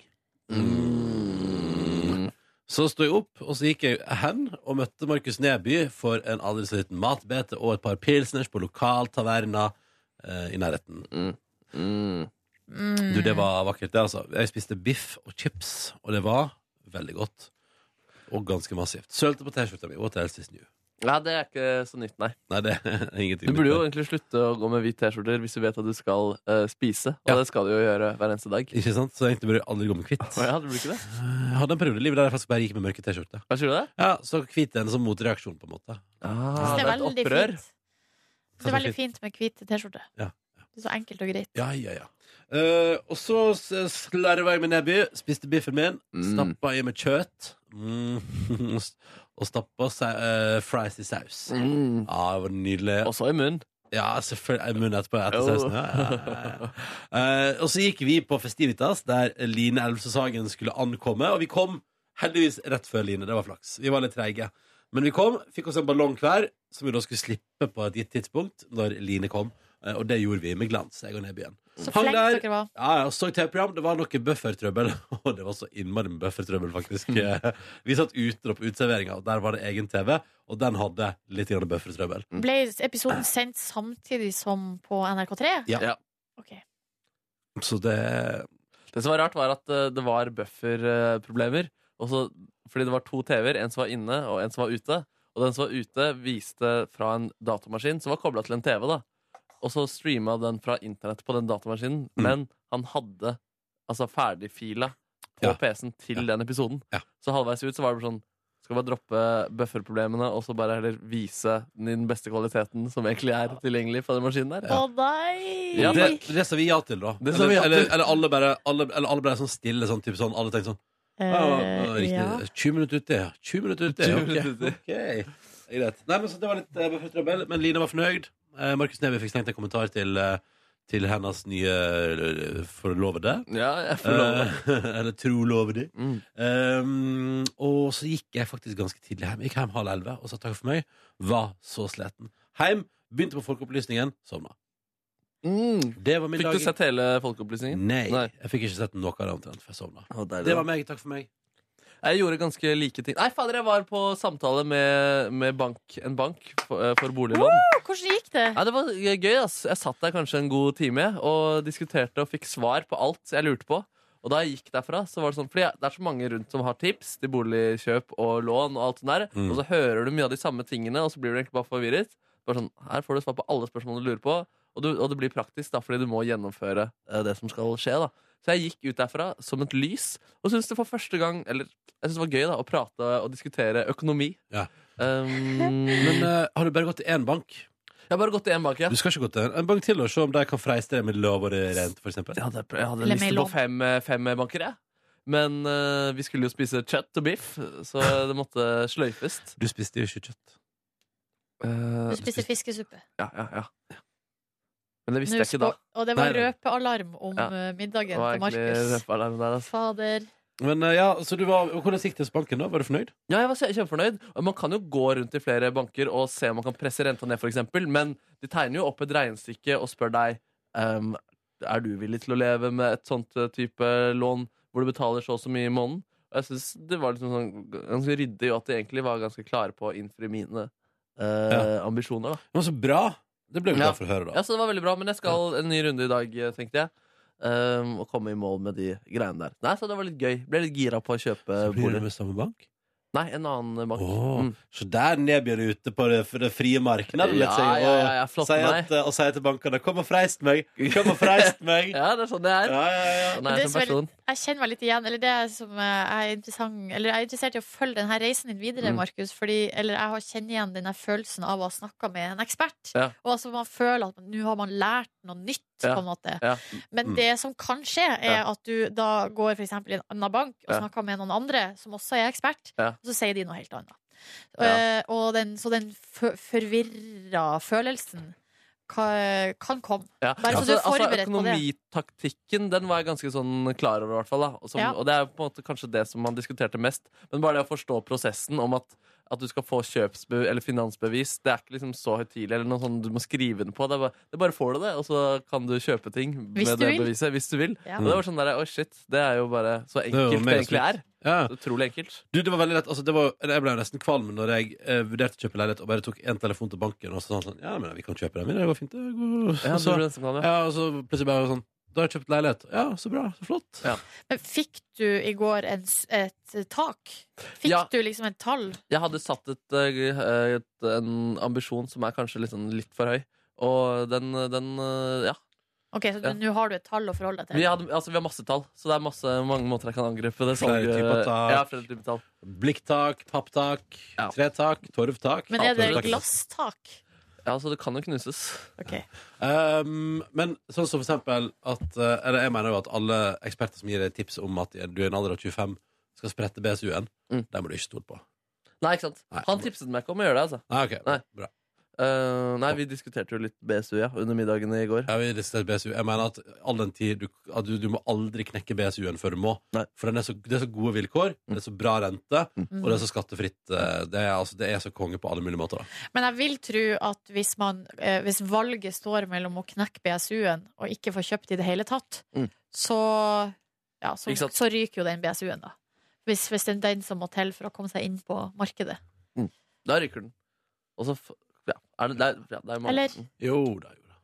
Så sto jeg opp, og så gikk jeg hen og møtte Markus Neby for en aldri så liten matbete og et par pilsners på lokaltaverna eh, i nærheten.
Mm.
Mm.
Du, det var vakkert, det, altså. Jeg spiste biff og chips, og det var veldig godt. Og ganske massivt. Sølte på T-skjorta mi. What else is new?
Ja, det er ikke så nytt, nei.
Nei, det *laughs* er ingenting.
Du burde jo
nytt der.
egentlig slutte å gå med hvit T-skjorter hvis du vet at du skal eh, spise. Og
Ja.
det skal du jo gjøre hver eneste dag.
Ikke sant? Så egentlig burde jeg aldri gå med hvitt.
Å ja, du burde ikke det?
*laughs* Jeg hadde en periode i livet der jeg faktisk bare gikk med mørke T-skjorte.
Hva sier du det?
Ja, så hvit er en sånn motreaksjon, på en måte.
Ah,
det
det er
er
et
veldig
opprør.
fint. Det er veldig fint med hvite T-skjorte.
Ja,
Det er så enkelt og greit.
Ja, ja, ja. Eh, og så s- slarva jeg med Neby, spiste biffen min,
Mm.
stappa i med kjøtt. Mm. *laughs* og stappa sa eh, fries i saus. Ja,
Mm.
det var nydelig.
Også i munnen.
Ja, selvfølgelig. Munnen etterpå etter
Jo.
sausen. Ja, ja, ja, ja. Eh, og så gikk vi på Festivitas, der Line Elvsåshagen skulle ankomme. Og vi kom heldigvis rett før Line. Det var flaks. Vi var litt treige. Men vi kom, fikk oss en ballong hver, som vi da skulle slippe på et gitt tidspunkt. Når Line kom. Eh, og det gjorde vi med glans, jeg og Nebyen.
Så
Hang
flink
der.
dere var.
Ja, jeg så TV-program, det var noe buffertrøbbel *laughs* Og det var så innmari med buffertrøbbel faktisk Eh, Vi satt ute da på utserveringen Og der var det egen TV Og den hadde litt grann buffertrøbbel
Ble episoden sendt samtidig som på NRK3?
Ja.
Ja.
Ok.
Så det
Det som var rart, var at eh, det var bufferproblemer. fordi det var to TV-er, en som var inne, og en som var ute. Og den som var ute, viste fra en datamaskin som var kobla til en TV. da Og så streama den fra internett på den datamaskinen,
Mm.
men han hadde altså ferdigfila på
Ja.
PC-en til
Ja.
den episoden.
Ja.
Så halvveis ut så var det bare sånn skal bare droppe bufferproblemene og så bare heller vise den i den beste kvaliteten som egentlig er tilgjengelig på den maskinen der.
Å nei!
Ja,
det,
men-
det sa vi ja til da
Det sa
eller,
vi ja til.
eller, eller alle bare alle, Eller alle ble sånn stille sånn, typ sånn Alle tenkte sånn
Eh,
ja, ja, riktig,
ja.
20 minutter ute, ja 20 minutter ute,
20
ok,
minutter ute.
ok. Det er greit. Nei, men så det var litt eh, buffertrøbbel Men Line var fornøyd eh, Markus Neby fikk stengt en kommentar til eh, Til hennes nye eh, forlovede
Ja, jeg får lov.
Eh, *laughs* Eller trolovede.
Mm.
Um, og så gikk jeg faktisk ganske tidlig hjem. Gikk hjem halv elleve og sa takk for meg. Var så sliten. Heim, begynte på Folkeopplysningen, sovna.
Mm.
Det var min
Fikk
dag.
du sett hele Folkeopplysningen?
Nei,
Nei.
jeg fikk ikke sett noe av det omtrent, for jeg sovna. Det var meg. Takk for meg.
Jeg gjorde ganske like ting. Nei, fader, jeg var på samtale med, med bank, en bank for, eh, for boliglån.
Hvordan gikk det?
Nei, det var gøy, ass. Jeg satt der kanskje en god time og diskuterte og fikk svar på alt jeg lurte på. Og da jeg gikk derfra, så var det sånn, fordi jeg- det er så mange rundt som har tips til boligkjøp og lån og alt sånt der,
Mm.
og så hører du mye av de samme tingene, og så blir du egentlig bare forvirret. Bare sånn, her får du svar på alle spørsmålene du lurer på, og, du, og det blir praktisk da, fordi du må gjennomføre eh, det som skal skje da. Så jeg gikk ut derfra som et lys, og syntes det for første gang, eller jeg syntes det var gøy da, å prate og diskutere økonomi.
Ja.
Um,
Men eh, har du bare gått til én bank?
jeg har bare gått til en bank, ja.
Du skal ikke gå til en- en bank til og se om de kan freiste deg med lovere rent, for eksempel?
Jeg hadde, jeg hadde en
Eller
liste
melon.
på fem, eh, fem banker, jeg. Men eh, vi skulle jo spise kjøtt og biff, så det måtte sløyfes.
Du spiste jo ikke kjøtt.
Eh,
Du spiste fiskesuppe.
ja, ja, ja. Men det visste
Nå
jeg ikke da.
spå- Og det
Nei,
var
nei.
røpealarm om
Ja.
eh,
Det
middagen
var
til
egentlig
Markus.
røpealarm der, altså.
Fader.
Men eh, ja, så du var, og Hvordan gikk det hos banken? da? Var du fornøyd?
Ja, jeg var kje- kjempefornøyd. Og Man kan jo gå rundt i flere banker og se om man kan presse renta ned, for eksempel Men de tegner jo opp et regnestykke og spør deg um, Er du villig til å leve med et sånt eh, type lån hvor du betaler så og så mye i måneden. Og jeg synes det var liksom sånn ganske ryddig, og at de egentlig var ganske klare på å innfri mine eh, ambisjoner. da
Det var så bra! Det ble vi
Ja.
glad for å høre, da.
Ja, Så det var veldig bra, men jeg skal en ny runde i dag, eh, tenkte jeg. Um, og komme i mål med de greiene der. Nei, Så det var litt gøy. Ble litt gira på å kjøpe
Så blir det
bolig.
med samme bank?
Nei, en annen bank.
Åh,
Mm.
Så der nedbyr det ute på det, for det frie markedet vil jeg
Ja,
si, og,
ja, ja, ja, flott
sier
med
at, eh, og sier til bankene 'Kom og freist meg! Kom og freist meg!'
*laughs*
ja,
Ja, det er sånn det er.
eh, ja,
Sånn
ja.
er
Det
jeg som
som er
person.
Jeg kjenner meg litt igjen. Eller det som eh, jeg er interessant Eller jeg er interessert i å følge denne reisen din videre,
Mm.
Markus. Fordi, eller jeg har kjenner igjen denne følelsen av å ha snakka med en ekspert.
Ja.
Og altså man føler at nå har man lært noe nytt,
Ja.
på en måte.
Ja.
Men
Mm.
det som kan skje, er at du da går for eksempel i en annen bank og
Ja.
snakker med noen andre som også er ekspert,
Ja.
og så sier de noe helt annet.
Ja.
Eh, og den, så den fø- forvirra følelsen ka- kan komme.
Ja.
Bare så
altså,
du er
altså,
forberedt på det.
Økonomitaktikken den var jeg ganske sånn klar over, i hvert fall. Da. Og, som,
Ja.
og det er jo på en måte kanskje det som man diskuterte mest. Men bare det å forstå prosessen om at, at du skal få kjøpsbe eller finansbevis, det er ikke liksom så høytidelig eller noe sånn du må skrive den på. Det er bare, det er bare får du det, og så kan du kjøpe ting
Hvis
med
du
det
vil.
beviset hvis du vil.
Ja.
Og det var sånn der, oi shit, det er jo bare så
er
enkelt
jo
det,
mega
egentlig
sweet.
er.
Ja.
Så Utrolig enkelt.
Du, det var veldig lett altså, det var, Jeg ble nesten kvalm når jeg eh, vurderte å kjøpe leilighet Og bare tok en telefon til banken Og så sa han sånn, ja, men vi kan kjøpe den men Det går fint det går.
Ja,
Og
du
så,
ble nesten glad, ja.
ja, og så plutselig bare sånn Da har jeg kjøpt leilighet Ja, så bra, så flott
Ja.
Men fikk du i går en, s- et tak? Fikk
Ja.
du liksom et tall?
Jeg hadde satt et, eh, et, en ambisjon som er kanskje litt, sånn, litt for høy. Og den, den eh, Ja.
Ok, så du-
Ja.
nå har du et tall å forholde deg
Vi,
til.
hadde, altså, vi har masse tall, så det er masse, mange måter jeg kan angripe det.
Flere
salget.
typer tak.
Ja, flere typer tall.
Blikktak, papptak,
Ja.
tretak, torvtak
Men er det
Torvtak.
glasstak?
Ja, altså, det kan jo knuses.
Ok.
Um, men sånn som for eksempel at, eh, Eller jeg mener jo at alle eksperter som gir deg tips om at du i en alder av 25 skal sprette BSU-en,
Mm.
det må du ikke stole på.
Nei, ikke sant?
Nei.
Han tipset meg ikke om å gjøre det. altså
Nei, ok,
Nei.
bra
Eh, Nei, Vi diskuterte jo litt BSU ja, under middagen i går.
Jeg, vil diskutere BSU. jeg mener at all den tid du, at du, du må aldri knekke BSU-en før du må.
Nei.
For den er så, det er så gode vilkår, det er så bra rente, og det er så skattefritt. eh, Det er, altså, det er så konge på alle mulige måter. Da.
Men jeg vil tro at hvis, man, eh, hvis valget står mellom å knekke BSU-en og ikke få kjøpt i det hele tatt,
Mm.
så, ja, så,
Ikke sant?
så ryker jo den BSU-en, da. Hvis, hvis det er den som må til for å komme seg inn på markedet.
Da ryker den. Og så f- ja, er det, det, er, ja, det er mange-
Eller?
Jo da, jo da.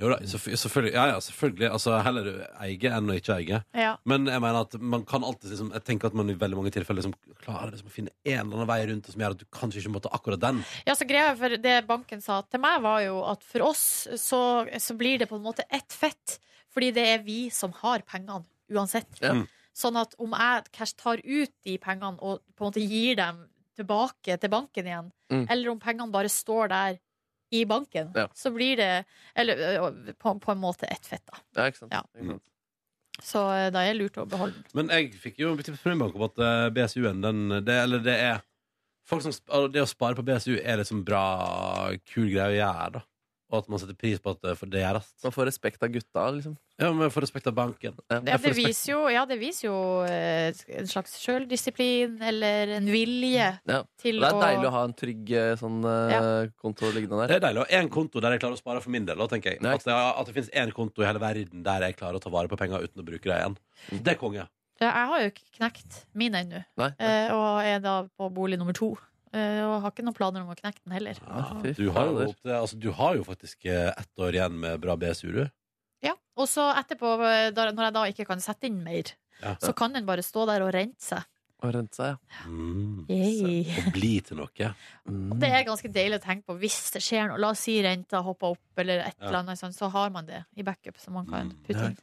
Jo da, selvfø- selvfølgelig. Ja, ja, selvfølgelig. Altså, heller du eie enn å ikke eie.
Ja.
Men jeg mener at man kan alltid liksom, Jeg tenker at man i veldig mange tilfeller liksom, klarer liksom, å finne en eller annen vei rundt det som gjør at du kanskje ikke må ta akkurat den.
Ja, så greia for Det banken sa til meg, var jo at for oss så, så blir det på en måte ett fett. Fordi det er vi som har pengene, uansett.
Ja.
Sånn at om jeg cash tar ut de pengene og på en måte gir dem tilbake til banken igjen,
Mm.
eller om pengene bare står der i banken,
Ja.
så blir det eller, ø, på, på en måte ett fett, da.
Ja, ikke sant?
Ja.
Ikke sant?
Så ø, da er det lurt å beholde den.
Men jeg fikk jo tips fra min bank om at eh, BSU-en, den det, Eller det er folk som, sp- altså, Det å spare på BSU er liksom bra, kul greie å gjøre, da. Og at man setter pris på at det for det gjøres.
Man får respekt av gutta, liksom.
Ja, men for respekt av banken.
Ja,
Jeg får
det
respekt.
viser jo, ja, det viser jo ø, en slags sjøldisiplin eller en vilje
Ja.
til
Det er deilig å
å
ha en trygg eh, sånn, eh, konto liggende
Det
der.
er deilig. Og én konto der jeg klarer å spare for min del. Da, tenker jeg.
Ja,
At det, at det fins én konto i hele verden der jeg klarer å ta vare på penger uten å bruke det igjen. Det er konge.
Ja, Jeg har jo ikke knekt min ennå,
Nei,
eh, og er da på bolig nummer to. Eh, Og har ikke noen planer om å knekke den heller.
Ja, fy
Du har jo,
fader.
opp til, altså, du har jo faktisk eh, ett år igjen med bra BSU, du.
Ja, Og så etterpå, eh, da- når jeg da ikke kan sette inn mer,
Ja.
så kan den bare stå der og rente seg.
Å rense seg, ja.
Mm.
Yay.
Og bli til noe. Mm.
Det er ganske deilig å tenke på hvis det skjer noe. La oss si renta hopper opp, eller et
Ja.
eller annet, sånn, så har man det i backup som man kan
Mm.
putte inn.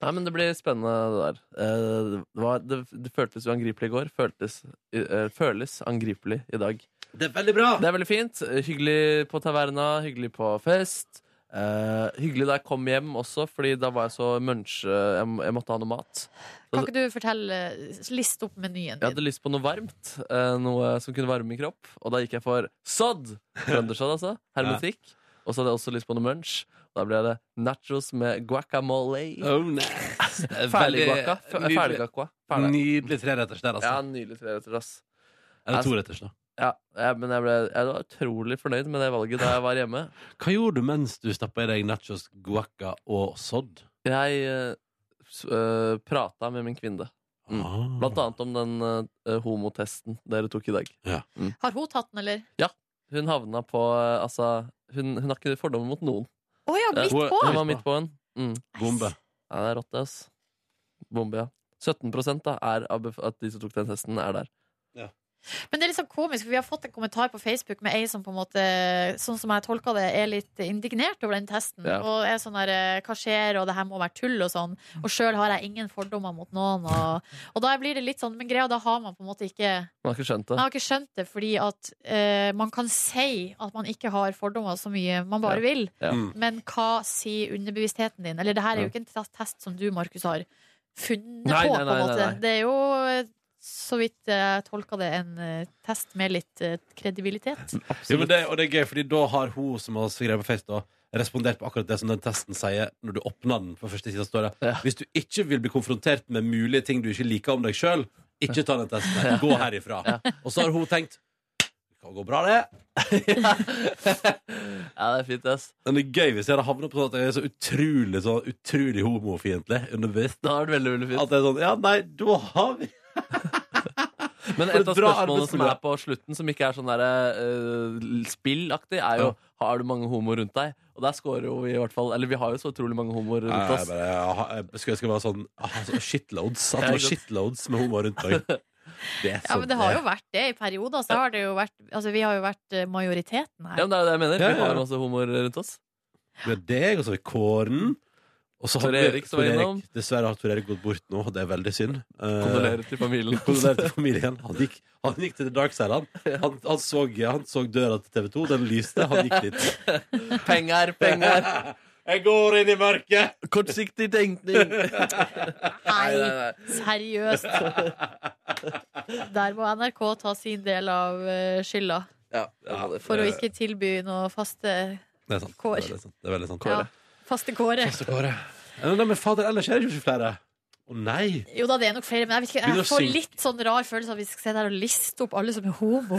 Nei, men det blir spennende, det der. Eh, Det, var, det, det føltes uangripelig i går. Føltes, eh, føles angripelig i dag.
Det er veldig bra!
Det er veldig fint. Hyggelig på taverna, hyggelig på fest. Eh, hyggelig da jeg kom hjem også, Fordi da var jeg så munch... eh, Jeg, jeg måtte ha noe mat.
Kan ikke du fortelle, eh, liste opp menyen
Jeg hadde
din?
lyst på noe varmt, eh, noe som kunne varme min kropp. Og da gikk jeg for sodd! Trøndersodd, altså. Hermetikk. Og så hadde jeg også lyst på noe munch. Da ble det nachos med guacamole.
Oh, nice. Det
*laughs*
er
Ferdig
veldig-
guacca. F-
nydelig-
Ferdig guacua. Ferdig.
Nydelig treretters der, altså.
Ja, altså- nylig treretter, ass.
Eller toretters, da.
Ja, ja, men jeg, ble, jeg var utrolig fornøyd med det valget da jeg var hjemme.
Hva gjorde du mens du stappa i deg nachos, guacca og sodd?
Jeg uh, prata med min kvinne, Mm.
Ah.
blant annet om den eh, homotesten dere tok i dag.
Har hun tatt den, eller?
Hun havna på eh, Altså, hun, hun har ikke fordommer mot noen.
Å ja, midt
Hun-
på!
Hun var midt på en. Mm.
Bombe.
Ja, det er rått, det, ass. Bombe, ja. 17 da er av bef- at de som tok den testen, er der.
Men det er litt sånn komisk, for vi har fått en kommentar på Facebook med ei som på en måte, sånn som jeg tolka det, er litt indignert over den testen.
Ja.
Og er sånn der eh, Hva skjer, og det her må være tull, og sånn. Og sjøl har jeg ingen fordommer mot noen. Og, og da blir det litt sånn, men greia, da har man på en måte ikke
Man har ikke skjønt
Man
det.
har ikke skjønt det, fordi at eh, man kan si at man ikke har fordommer så mye man bare
Ja.
vil.
Ja.
Mm.
Men hva sier underbevisstheten din? Eller det her er jo ikke en test som du, Markus, har funnet
Nei, nei,
på, på en
nei,
måte.
nei, nei.
Det er jo så vidt jeg tolka det, en eh, test med litt eh, kredibilitet.
Jo, men det, og det er gøy, fordi da har hun som har skrevet på Facebook, da, respondert på akkurat det som den testen sier når du åpner den på første sida. står det
Ja.
Hvis du ikke vil bli konfrontert med mulige ting du ikke liker om deg sjøl, ikke ta den testen. her. Gå herifra. Og så har hun tenkt det kan gå bra, det.
Ja, det er fint, ass.
Men det er gøy hvis jeg hadde havnet på sånn at jeg er så utrolig, så utrolig homofiendtlig underbevisst.
Det har vært veldig, veldig fint.
At det er sånn Ja, nei, da har vi
Men et
For
av
et bra
spørsmålene som
arbeidsmiljø.
er på slutten, som ikke er sånn der, eh, spillaktig, er jo
Ja.
har du mange homoer rundt deg. Og der scorer jo vi i hvert fall Eller vi har jo så utrolig mange homoer
Nei,
rundt
jeg,
oss.
bare, jeg, har- jeg skulle ønske det var sånn ah, så shitloads. At
Ja,
det var
ikke sant.
shitloads med homoer rundt *laughs* meg. Det
Ja,
er sånn
men det har jo vært det i perioder. Så har det jo vært, altså, vi har jo vært eh, majoriteten
Ja, men
her.
det er jo det jeg mener.
Ja,
Vi
ja.
har jo masse homoer rundt oss.
Vi har deg, og så har vi Kåren. Og så
Tor
har vi-
Erik som var
Tor Erik.
innom.
Dessverre har Tor Erik gått bort nå, og det er veldig synd. Eh,
Kondolerer til familien.
*laughs* kondolerer til familien. Han gikk, han gikk til The Dark Side, han. Han, han, så, han så døra til TV 2, den lyste, han gikk dit.
Penger,
*laughs*
penger!
Jeg går inn i mørket!
Kortsiktig tenkning! *laughs*
Nei, seriøst! Der må NRK ta sin del av eh, skylda
Ja, ja, det
for å ikke tilby noe faste,
Det er sant.
Kår.
Det er veldig sant. Det er veldig sant.
ja, faste kåre.
Så går det. Ja, Nei, men fader, ellers er det jo ikke flere. Å nei!
Jo da, det er nok flere, men jeg, vet ikke,
Begynner
jeg
å
får
synke.
litt sånn rar følelse av at vi skal se der og liste opp alle som er
*laughs*
homo.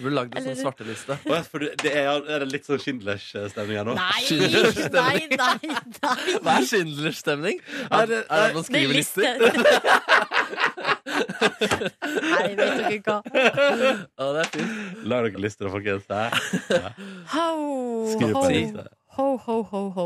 Du burde lagd en sånn
Eller-
svarteliste.
Å, ja, For det det er, er det litt sånn Schindlers-stemning her nå?
Nei,
*laughs*
nei, nei! nei.
Hva er Schindlers stemning?
Er
Er
det-
det at man
Det er
skriver lister?
*laughs* Nei, vet dere hva.
Ja, det er fint.
Lag dere lister, folkens.
Ho,
Skriv på
ho.
lista.
Ho, ho, ho, ho.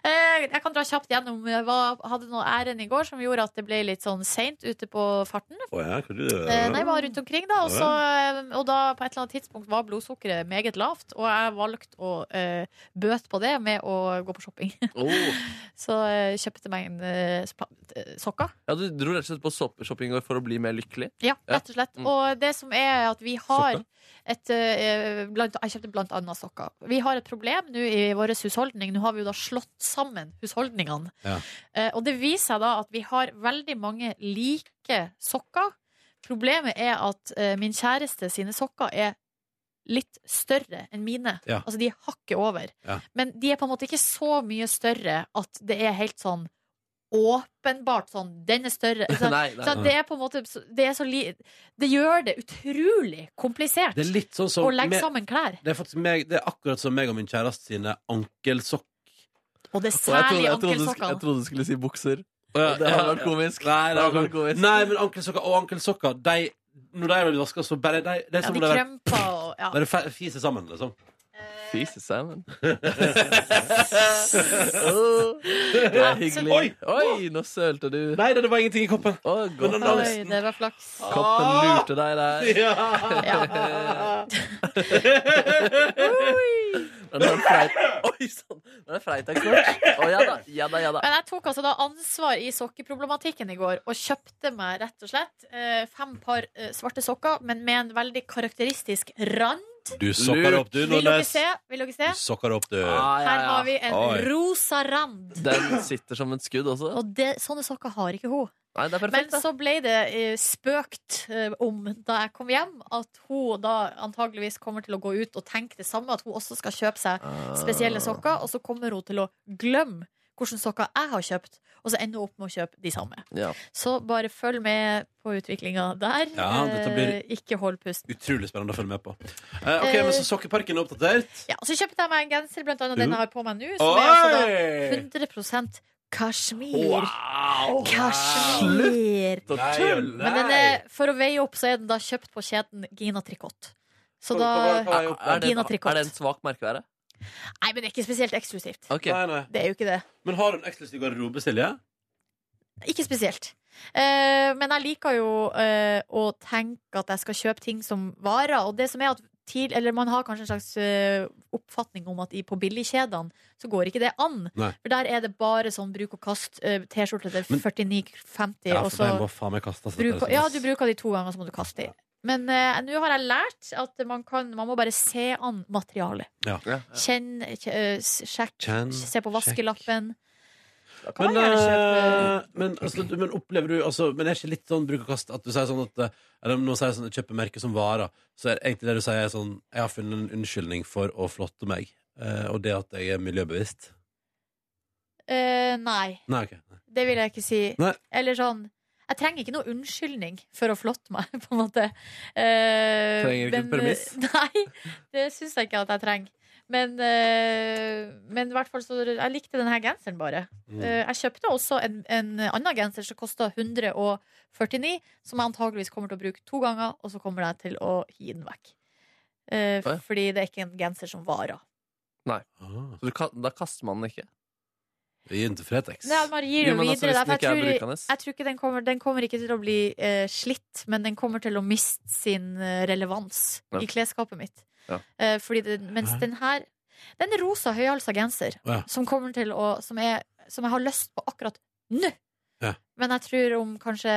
Eh, jeg kan dra kjapt gjennom. Jeg var, hadde noe ærend i går som gjorde at det ble litt sånn seint ute på farten.
Å ja, hva du
Eh, nei, jeg var rundt omkring da og, så, eh, og da på et eller annet tidspunkt var blodsukkeret meget lavt. Og jeg valgte å eh, bøte på det med å gå på shopping.
Oh.
Så eh, kjøpte meg en eh, spa- eh, sokker.
Ja, Du dro rett og slett på sopp- shopping i går for å bli mer lykkelig?
Ja,
Ja.
rett og slett.
Mm.
Og det som er at vi har et eh, blant, Jeg kjøpte blant annet sokker. Vi har et problem nå i vår husholdning. Nå har vi jo da slått sammen husholdningene.
Ja.
Eh, og det viser seg da at vi har veldig mange like sokker. Problemet er at eh, min kjæreste sine sokker er litt større enn mine.
Ja.
Altså de er hakket over.
Ja.
Men de er på en måte ikke så mye større at det er helt sånn åpenbart sånn Den er
*laughs*
større.
Nei,
Så,
nei.
så det er på en måte så- det, er så li, det gjør det utrolig komplisert
Det er litt sånn som
å legge
med-
sammen klær.
Det er faktisk meg, det er akkurat som meg og min kjæreste sine ankelsokk.
Og det
Og
er
jeg
særlig
trodde- jeg trodde du sk- Jeg
ankelsokkene.
trodde du skulle si bukser. Og Det hadde vært komisk. Det
Nei, det hadde
hadde vært
vært-
komisk.
Nei, men ankelsokker og ankelsokker, de Når de blir vaska, så bare de, Det er
Ja,
som
de
om de,
krømper og ja.
de, de fiser sammen, liksom.
Fise sammen. Åh, Det er hyggelig. Oi, nå sølte du.
Nei, det var ingenting i koppen.
Å, godt.
den- Ah.
Oi, det var flaks.
Koppen lurte deg der.
Ja.
Ja.
Men det er freit. Oi sann! Det er freitag snart. Å ja da. Ja da, ja da.
Men jeg tok altså da ansvar i sokkeproblematikken i går og kjøpte meg rett og slett eh, fem par eh, svarte sokker, men med en veldig karakteristisk rand.
Du sokker opp, du,
Vil dere
Nordnes.
se? Vil dere
Du
se?
sokker opp, du.
Ah, ja,
Her
ja.
har vi en
Oi.
rosa rand.
Den sitter som et skudd også.
Og det, sånne sokker har ikke hun.
Nei, det er
Men
perfekt. da.
så ble det eh, spøkt eh, om da jeg kom hjem, at hun da antageligvis kommer til å gå ut og tenke det samme, at hun også skal kjøpe seg
Ah.
spesielle
Ah,
sokker, og så kommer hun til å glemme hvilke sokker jeg har kjøpt, og så ender hun opp med å kjøpe de samme.
Ja.
Så bare følg med på utviklinga der.
Ja, dette blir-
Eh, Ikke hold pusten.
Utrolig spennende å følge med på. Eh, ok, men Så sokkeparken er oppdatert?
Ja, så kjøpte jeg meg en genser, blant annet den jeg har på meg nå, som er altså
Oi!
da 100 kasjmir.
Wow!
Kasjmir!
Så
Nei,
tull.
nei.
Men den er, for å veie opp, så er den da kjøpt på kjeden Gina Tricot. Så da
Hva er
Er det,
Gina Tricot.
er det en svak merkevare?
Nei, men det er ikke spesielt eksklusivt.
Ok.
Nei, nei.
Det er jo ikke det.
Men har du en eksklusiv garderobe, Silje?
Ikke spesielt. Eh, men jeg liker jo eh, å tenke at jeg skal kjøpe ting som varer. Og det som er at tid, eller man har kanskje en slags eh, oppfatning om at i, på billigkjedene så går ikke det an.
Nei.
For der er det bare sånn bruk og kast. eh, T-skjorte til
Men-
49,50,
Ja,
og
for
så
den må faen meg kastes. etter
bruk,
det, sånn
Ja,
synes
du
jeg.
bruker de to ganger, så må du kaste de. Men eh, nå har jeg lært at man, kan, man må bare se an materialet.
Ja.
Ja.
Kjenn, kje- eh, s- sjekk,
Kjenn,
se på vaskelappen. kan man gjerne kjøpe
eh, men, altså, du- men opplever du altså, Men er ikke litt sånn bruk og kast at du sier sånn at eh, Eller når man sier sånn, kjøper merke som varer, så er egentlig det du sier, er sånn Jeg har funnet en unnskyldning for å flotte meg, eh, og det at jeg er miljøbevisst.
Eh, Nei,
Nei, OK. Nei.
det vil jeg ikke si.
Nei.
Eller sånn jeg trenger ikke noe unnskyldning for å flotte meg, *laughs* på en måte. Eh,
Trenger ikke et
men-
premiss.
*laughs* Nei, det syns jeg ikke at jeg trenger. Men, eh, men i hvert fall så Jeg likte denne genseren bare.
Mm.
Eh, jeg kjøpte også en, en annen genser som kosta 149, som jeg antageligvis kommer til å bruke to ganger, og så kommer jeg til å gi den vekk. Eh,
Å ja.
Fordi det er ikke en genser som varer.
Ah,
Så du, ka- da kaster man den ikke.
vi gir den til Fretex.
Nei, man gir
Jo,
jo
men altså, hvis
videre. da,
den
for
ikke er
jeg, tror,
brukende.
jeg tror ikke den kommer, den kommer ikke til å bli eh, slitt, men den kommer til å miste sin eh, relevans
Ja.
i klesskapet mitt.
Ja.
Eh, fordi den, mens
Hæ?
den her Den rosa høyhalsa genser
Å ja.
som kommer til å som, er, som jeg har lyst på akkurat nå.
Ja.
Men jeg tror om kanskje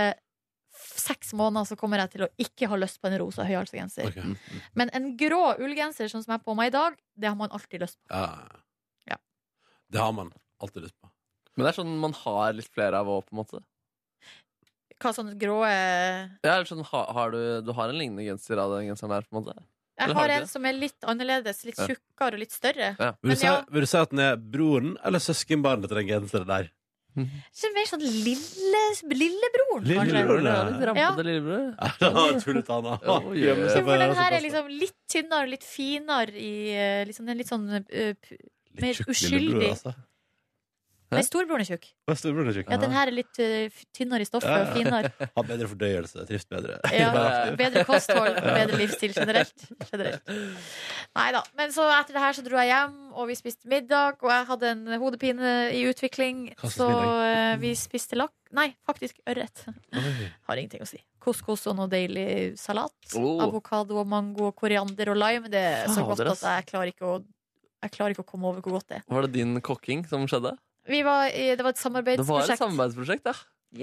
f- seks måneder så kommer jeg til å ikke ha lyst på en rosa høyhalsa genser.
Ok.
Men en grå ullgenser sånn som jeg har på meg i dag, det har man alltid lyst på.
Ja.
Ja.
Det har man alltid lyst på.
Men det er sånn man har litt flere av òg, på en måte.
Hva sånne grå eh,
Ja, eller sånn, ha, har du, du har en lignende genser av den genseren der, på en måte.
Jeg
Eller har
har
du
en
det?
som er litt annerledes, litt
Ja.
tjukkere og litt større.
Vil
Men
du, si,
ja.
vil du si at den er broren eller søskenbarnet til den genseren der? *laughs*
Så mer sånn lille, lillebroren, kanskje.
Lillebroren, ja.
Litt rampete lillebror.
Ja, det *laughs* var tullet han da.
Å, jø.
Gjemmer seg
For
for-
den her er liksom litt tynnere, litt finere i eh, liksom, Den er litt sånn eh, pu-
Litt
mer
tjukk
uskyldig.
lillebror, altså.
Hæ?
Nei, storebroren er tjukk.
Hva er storebroren er tjukk?
Ja, den her er litt eh, f- tynnere i stoffet
Ja.
og
*laughs*
finere.
Har bedre fordøyelse, trives bedre.
*laughs* Ja, bedre kosthold, bedre livsstil generelt. generelt. Nei da. Men så etter det her så dro jeg hjem, og vi spiste middag, og jeg hadde en hodepine i utvikling,
slags
så
middag?
eh, vi spiste lakk Nei, faktisk ørret.
Oi.
Har ingenting å si. Couscous og noe deilig salat.
Oh.
Avokado og mango og koriander og lime. Det er så
Fader,
godt
ass.
at jeg klarer ikke å jeg klarer ikke å komme over hvor godt det er.
Var det din kokking som skjedde?
Vi var, i- det var
Det var
et
et
samarbeidsprosjekt.
samarbeidsprosjekt, ja.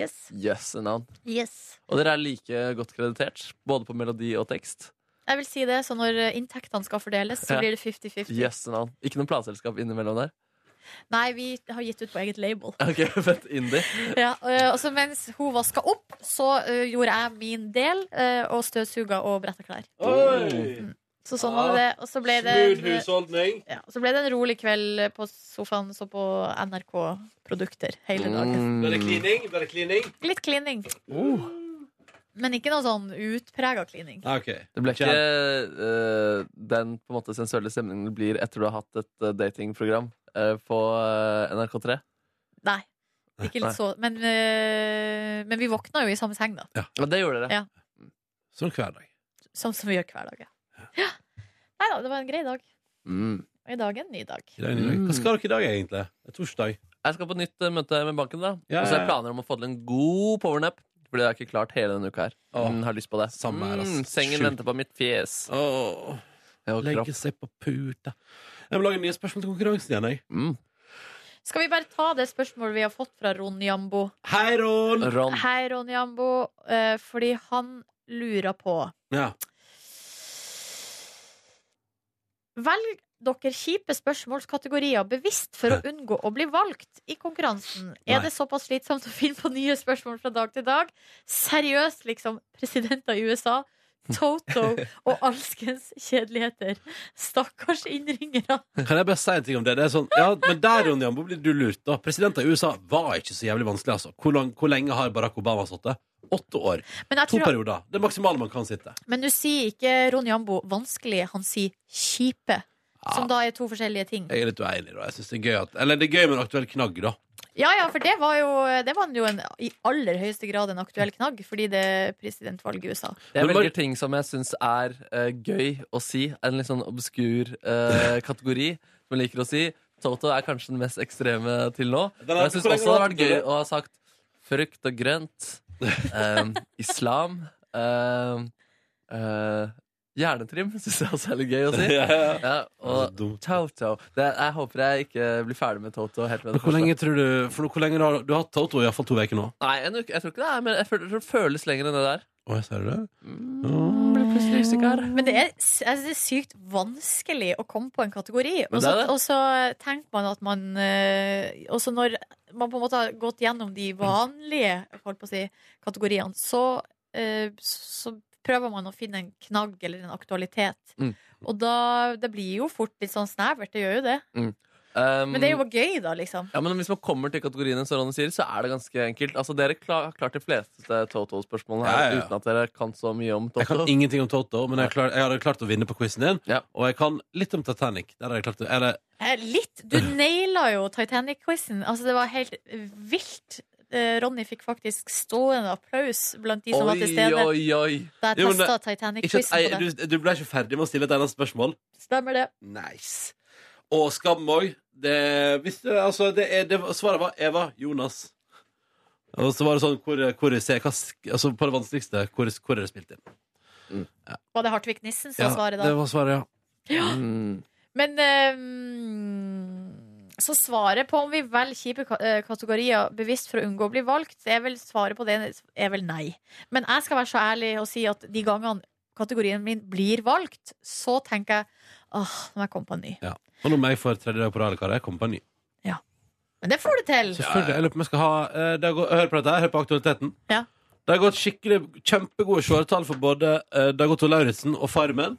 yes.
Jøss, yes, navn.
yes.
Og dere er like godt kreditert, både på melodi og tekst.
Jeg vil si det, så når eh, inntektene skal fordeles, så
Ja.
blir det 50-50.
Jøss, yes, navn. Ikke noe plateselskap innimellom der? *laughs*
Nei, vi har gitt ut på eget label. *laughs*
Ok, fett indie.
Ja, eh, og så mens hun vaska opp, så eh, gjorde jeg min del eh, og støvsuga og bretta klær.
Oi!
Så sånn
Ah,
var det. Og så ble det, en,
husholdning.
ja, så ble det en rolig kveld eh, på sofaen, så på NRK-produkter
Mm.
hele dagen.
klining? Ble det klining?
Litt klining. Men ikke noe sånn utprega klining.
Ah, OK.
Det ble ikke eh, den på en måte sensuelle stemningen det blir etter du har hatt et eh, datingprogram eh, på eh, NRK3.
Nei. Ikke
Nei.
litt så Men, eh, men vi våkna jo i samme seng, da.
Og det gjorde dere.
Ja.
Sånn hver dag.
Sånn som vi gjør hver dag. Ja. Nei da, det var en grei dag.
Mm.
Og i dag er en ny dag.
I dag er det dag. Hva skal dere i dag, egentlig? Det er torsdag.
Jeg skal på nytt eh, møte med banken, da.
Ja,
Og så har
ja,
jeg
ja.
planer om å få til en god powernap. Fordi jeg har ikke klart hele denne uka her.
Åh.
Mm, har lyst på det.
Samme her, ass.
Mm, sengen
Sjukt.
venter på mitt fjes.
Åh,
Og kropp.
legge seg på puta. Jeg må lage nye spørsmål til konkurransen igjen. jeg
Mm.
Skal vi bare ta det spørsmålet vi har fått fra Ron Jambo?
Hei, Ron!
Ron.
Hei, Ron Jambo. Eh, fordi han lurer på
Ja.
Velg dere kjipe spørsmålskategorier bevisst for å unngå å bli valgt i konkurransen. Er
Nei.
det såpass slitsomt å finne på nye spørsmål fra dag til dag? Seriøst, liksom. Presidenter i USA. Toto
*laughs*
og alskens kjedeligheter. Stakkars innringere.
Kan jeg bare si en ting om det? det er sånn, ja, men der, Ron Jambo, blir du lurt. da Presidenter i USA var ikke så jævlig vanskelig, altså. Hvor, lang, hvor lenge har Barack Obama sittet? Åtte år.
Men jeg
To
tror
perioder. Det er maksimale man kan sitte.
Men du sier ikke Ron Jambo vanskelig, han sier kjipe. Som da er to forskjellige ting.
Jeg er litt uenig, da. Jeg synes det er gøy at, Eller det er gøy med en aktuell knagg, da.
Ja ja, for det var jo, det var jo en, i aller høyeste grad en aktuell knagg, fordi det er presidentvalg i USA.
Jeg
Men bare-
velger ting som jeg syns er eh, gøy å si. En litt sånn obskur
*laughs*
eh, kategori som jeg liker å si. Toto er kanskje den mest ekstreme til nå.
Den er-
Men jeg syns
hvor lenge
også det
har
hadde vært
du
gøy
hatt det?
å ha sagt frukt og grønt, eh,
*laughs*
islam eh, eh, Hjernetrim syns jeg også er litt gøy å
*laughs*
si. Ja,
Så
og
dumt.
Toto. Det, jeg håper jeg ikke blir ferdig med Toto. Helt med
Men
det
hvor
første.
lenge tror du for Hvor lenge har du har hatt Toto? Iallfall to uker nå.
Nei, en uke, jeg tror ikke det er Men jeg føler, jeg tror det føles lenger enn det der.
Å, jeg ser det.
Mm.
Åh.
Dysleksiker.
Men det er, s- altså, det er sykt vanskelig å komme på en kategori.
Men
Og
det
så,
er det.
og så tenker man at man eh, Og så når man på en måte har gått gjennom de vanlige holdt på å si, kategoriene, så, eh, så prøver man å finne en knagg eller en aktualitet.
Mm.
Og da, det blir jo fort litt sånn snevert. Det gjør jo det.
Um,
Men det er jo bare gøy, da, liksom.
ja, men Hvis man kommer til kategoriene, som Ronny sier, så er det ganske enkelt. Altså, Dere klar, har klart de fleste Toto-spørsmålene her
Ja, ja, ja.
uten at dere kan så mye om
Jeg
Toto.
kan ingenting om Toto, men jeg, har klart, jeg hadde klart å vinne på quizen din.
Ja.
Og jeg kan litt om Titanic. Der har jeg klart å, eller,
Eh, Litt.
*laughs*
Du naila jo Titanic-quizen. Altså, det var helt vilt. Eh, Ronny fikk faktisk stående applaus blant de som var til
Oi,
stede.
oi, oi!
Da jeg
Jo,
testa
men det- ikke at
Titanic-quizen
jeg,
på det.
du, du ble ikke ferdig med å stille et eneste spørsmål?
Stemmer det.
Nice. Og Skam òg. Det, hvis du- altså, det, er- det var- svaret var Eva Jonas. Og så var det sånn hvor, hvor jeg ser, hva, sk- altså På det vanskeligste, hvor, hvor er det spilt inn?
Var det Hartvig Nissen som svaret da?
det var svaret, ja.
Mm.
Men eh, så svaret på om vi velger kjipe ka- eh, kategorier bevisst for å unngå å bli valgt, er vel svaret på det er vel nei. Men jeg skal være så ærlig og si at de gangene kategorien min blir valgt, så tenker jeg åh, nå må jeg komme på en ny.
Og nå må jeg for tredje dag på rad, karer. Jeg kommer på en ny.
Men det får du til!
Selvfølgelig. Jeg lurer på om jeg skal ha eh, det har gått- Hør på dette, her, hør på aktualiteten.
Ja.
Det har gått skikkelig kjempegode seertall for både eh, Dag Otto Lauritzen og Farmen.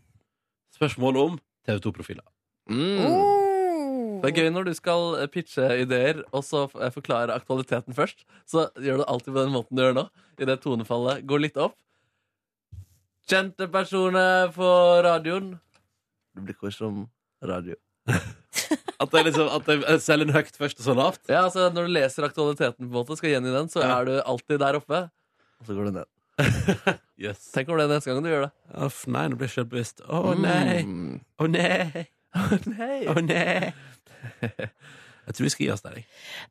Spørsmål om TV2-profiler.
Mm.
Oh.
Det er gøy når du skal eh, pitche ideer, og så f- eh, forklare aktualiteten først. Så gjør du det alltid på den måten du gjør nå. I det tonefallet. Går litt opp. Kjente personer på radioen. Du blir kors som radio.
At jeg, liksom, at jeg selger den høyt først og så lavt.
Ja, altså Når du leser aktualiteten, på en måte skal gjengi den, så
Ja.
er du alltid der oppe. Og så går du ned. *laughs*
Yes.
Tenk over det neste gang du gjør det.
Uff, nei, nå blir jeg selvbevisst. Å nei. Å
Mm.
nei.
*laughs* Nei. *laughs*
Å nei. Jeg tror vi skal gi oss der, jeg.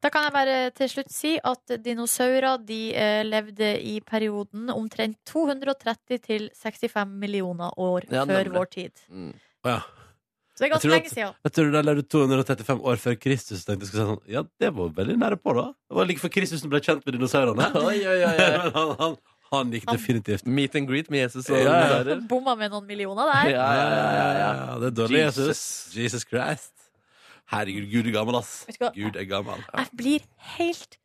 Da kan jeg bare til slutt si at dinosaurer de eh, levde i perioden omtrent 230 til 65 millioner år
Ja,
før
nemlig.
vår tid.
Mm.
Å, ja.
Så det er ganske
tror at-
lenge siden.
Jeg tror du der levde 235 år før Kristus. Tenkte jeg skulle si sånn Ja, det var veldig nære på, da. Det var like før Kristus ble kjent med dinosaurene.
*laughs* Oi, oi, oi, oi.
*laughs* Men han, han, han gikk
Han-
definitivt.
Meet and greet med Jesus og
Ja, ja.
dinosarer.
Bomma med noen millioner
Ja,
der.
ja, ja, ja, ja.
Det er dårlig,
Jesus.
Jesus. Jesus Christ. Herregud, Gud er gammel, ass.
Vet du hva?
Gud er gammel.
Jeg blir helt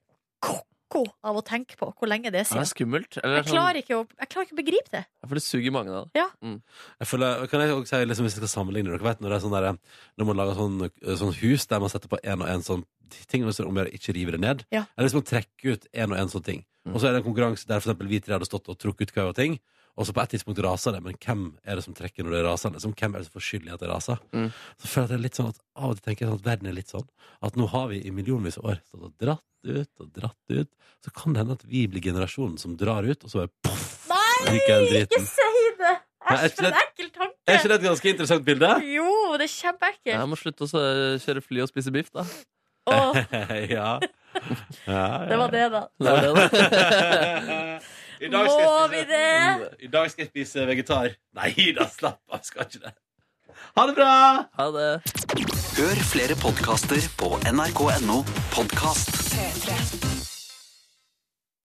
ko-ko av å tenke på hvor lenge det er
Det er
siden.
skummelt. Eller
Jeg klarer ikke å, jeg klarer ikke å begripe det.
For det suger mange av det.
Jeg føler, kan jeg også si, liksom, hvis jeg skal sammenligne Dere vet når det er sånn der Når man lager sånn, sånn hus der man setter på en og en sånn ting Og så er det om å gjøre å ikke rive det ned
Ja.
Eller liksom trekke ut en og en sånn ting
Mm.
Og så er det en konkurranse der for eksempel vi tre hadde stått og trukket ut hver og ting Og så på et tidspunkt raser det Men hvem er det som trekker når det raser? Liksom, hvem er det som får skyld i at det raser?
Mm.
Så føler jeg at det er litt sånn at Av og til tenker jeg sånn at verden er litt sånn At nå har vi i millionvis av år stått og dratt ut og dratt ut Så kan det hende at vi blir generasjonen som drar ut Og så bare poff
Nei,
ryker den driten.
ikke si det!
Nei,
Æsj,
er ikke
for en
det-
ekkel
Er ikke
tanke.
det et ganske interessant bilde?
Jo, det er kjempeekkelt.
Jeg må slutte å så- kjøre fly og spise biff, da.
Åh,
*laughs* ja. ja,
det var det, da.
Det er det, da.
*laughs*
*laughs*
I dag skal
Må vi
jeg spise,
det?
I dag skal jeg spise vegetar. Nei da, slapp av. Skal ikke det. Ha det bra!
Ha det.
Hør flere podkaster på nrk.no podkast.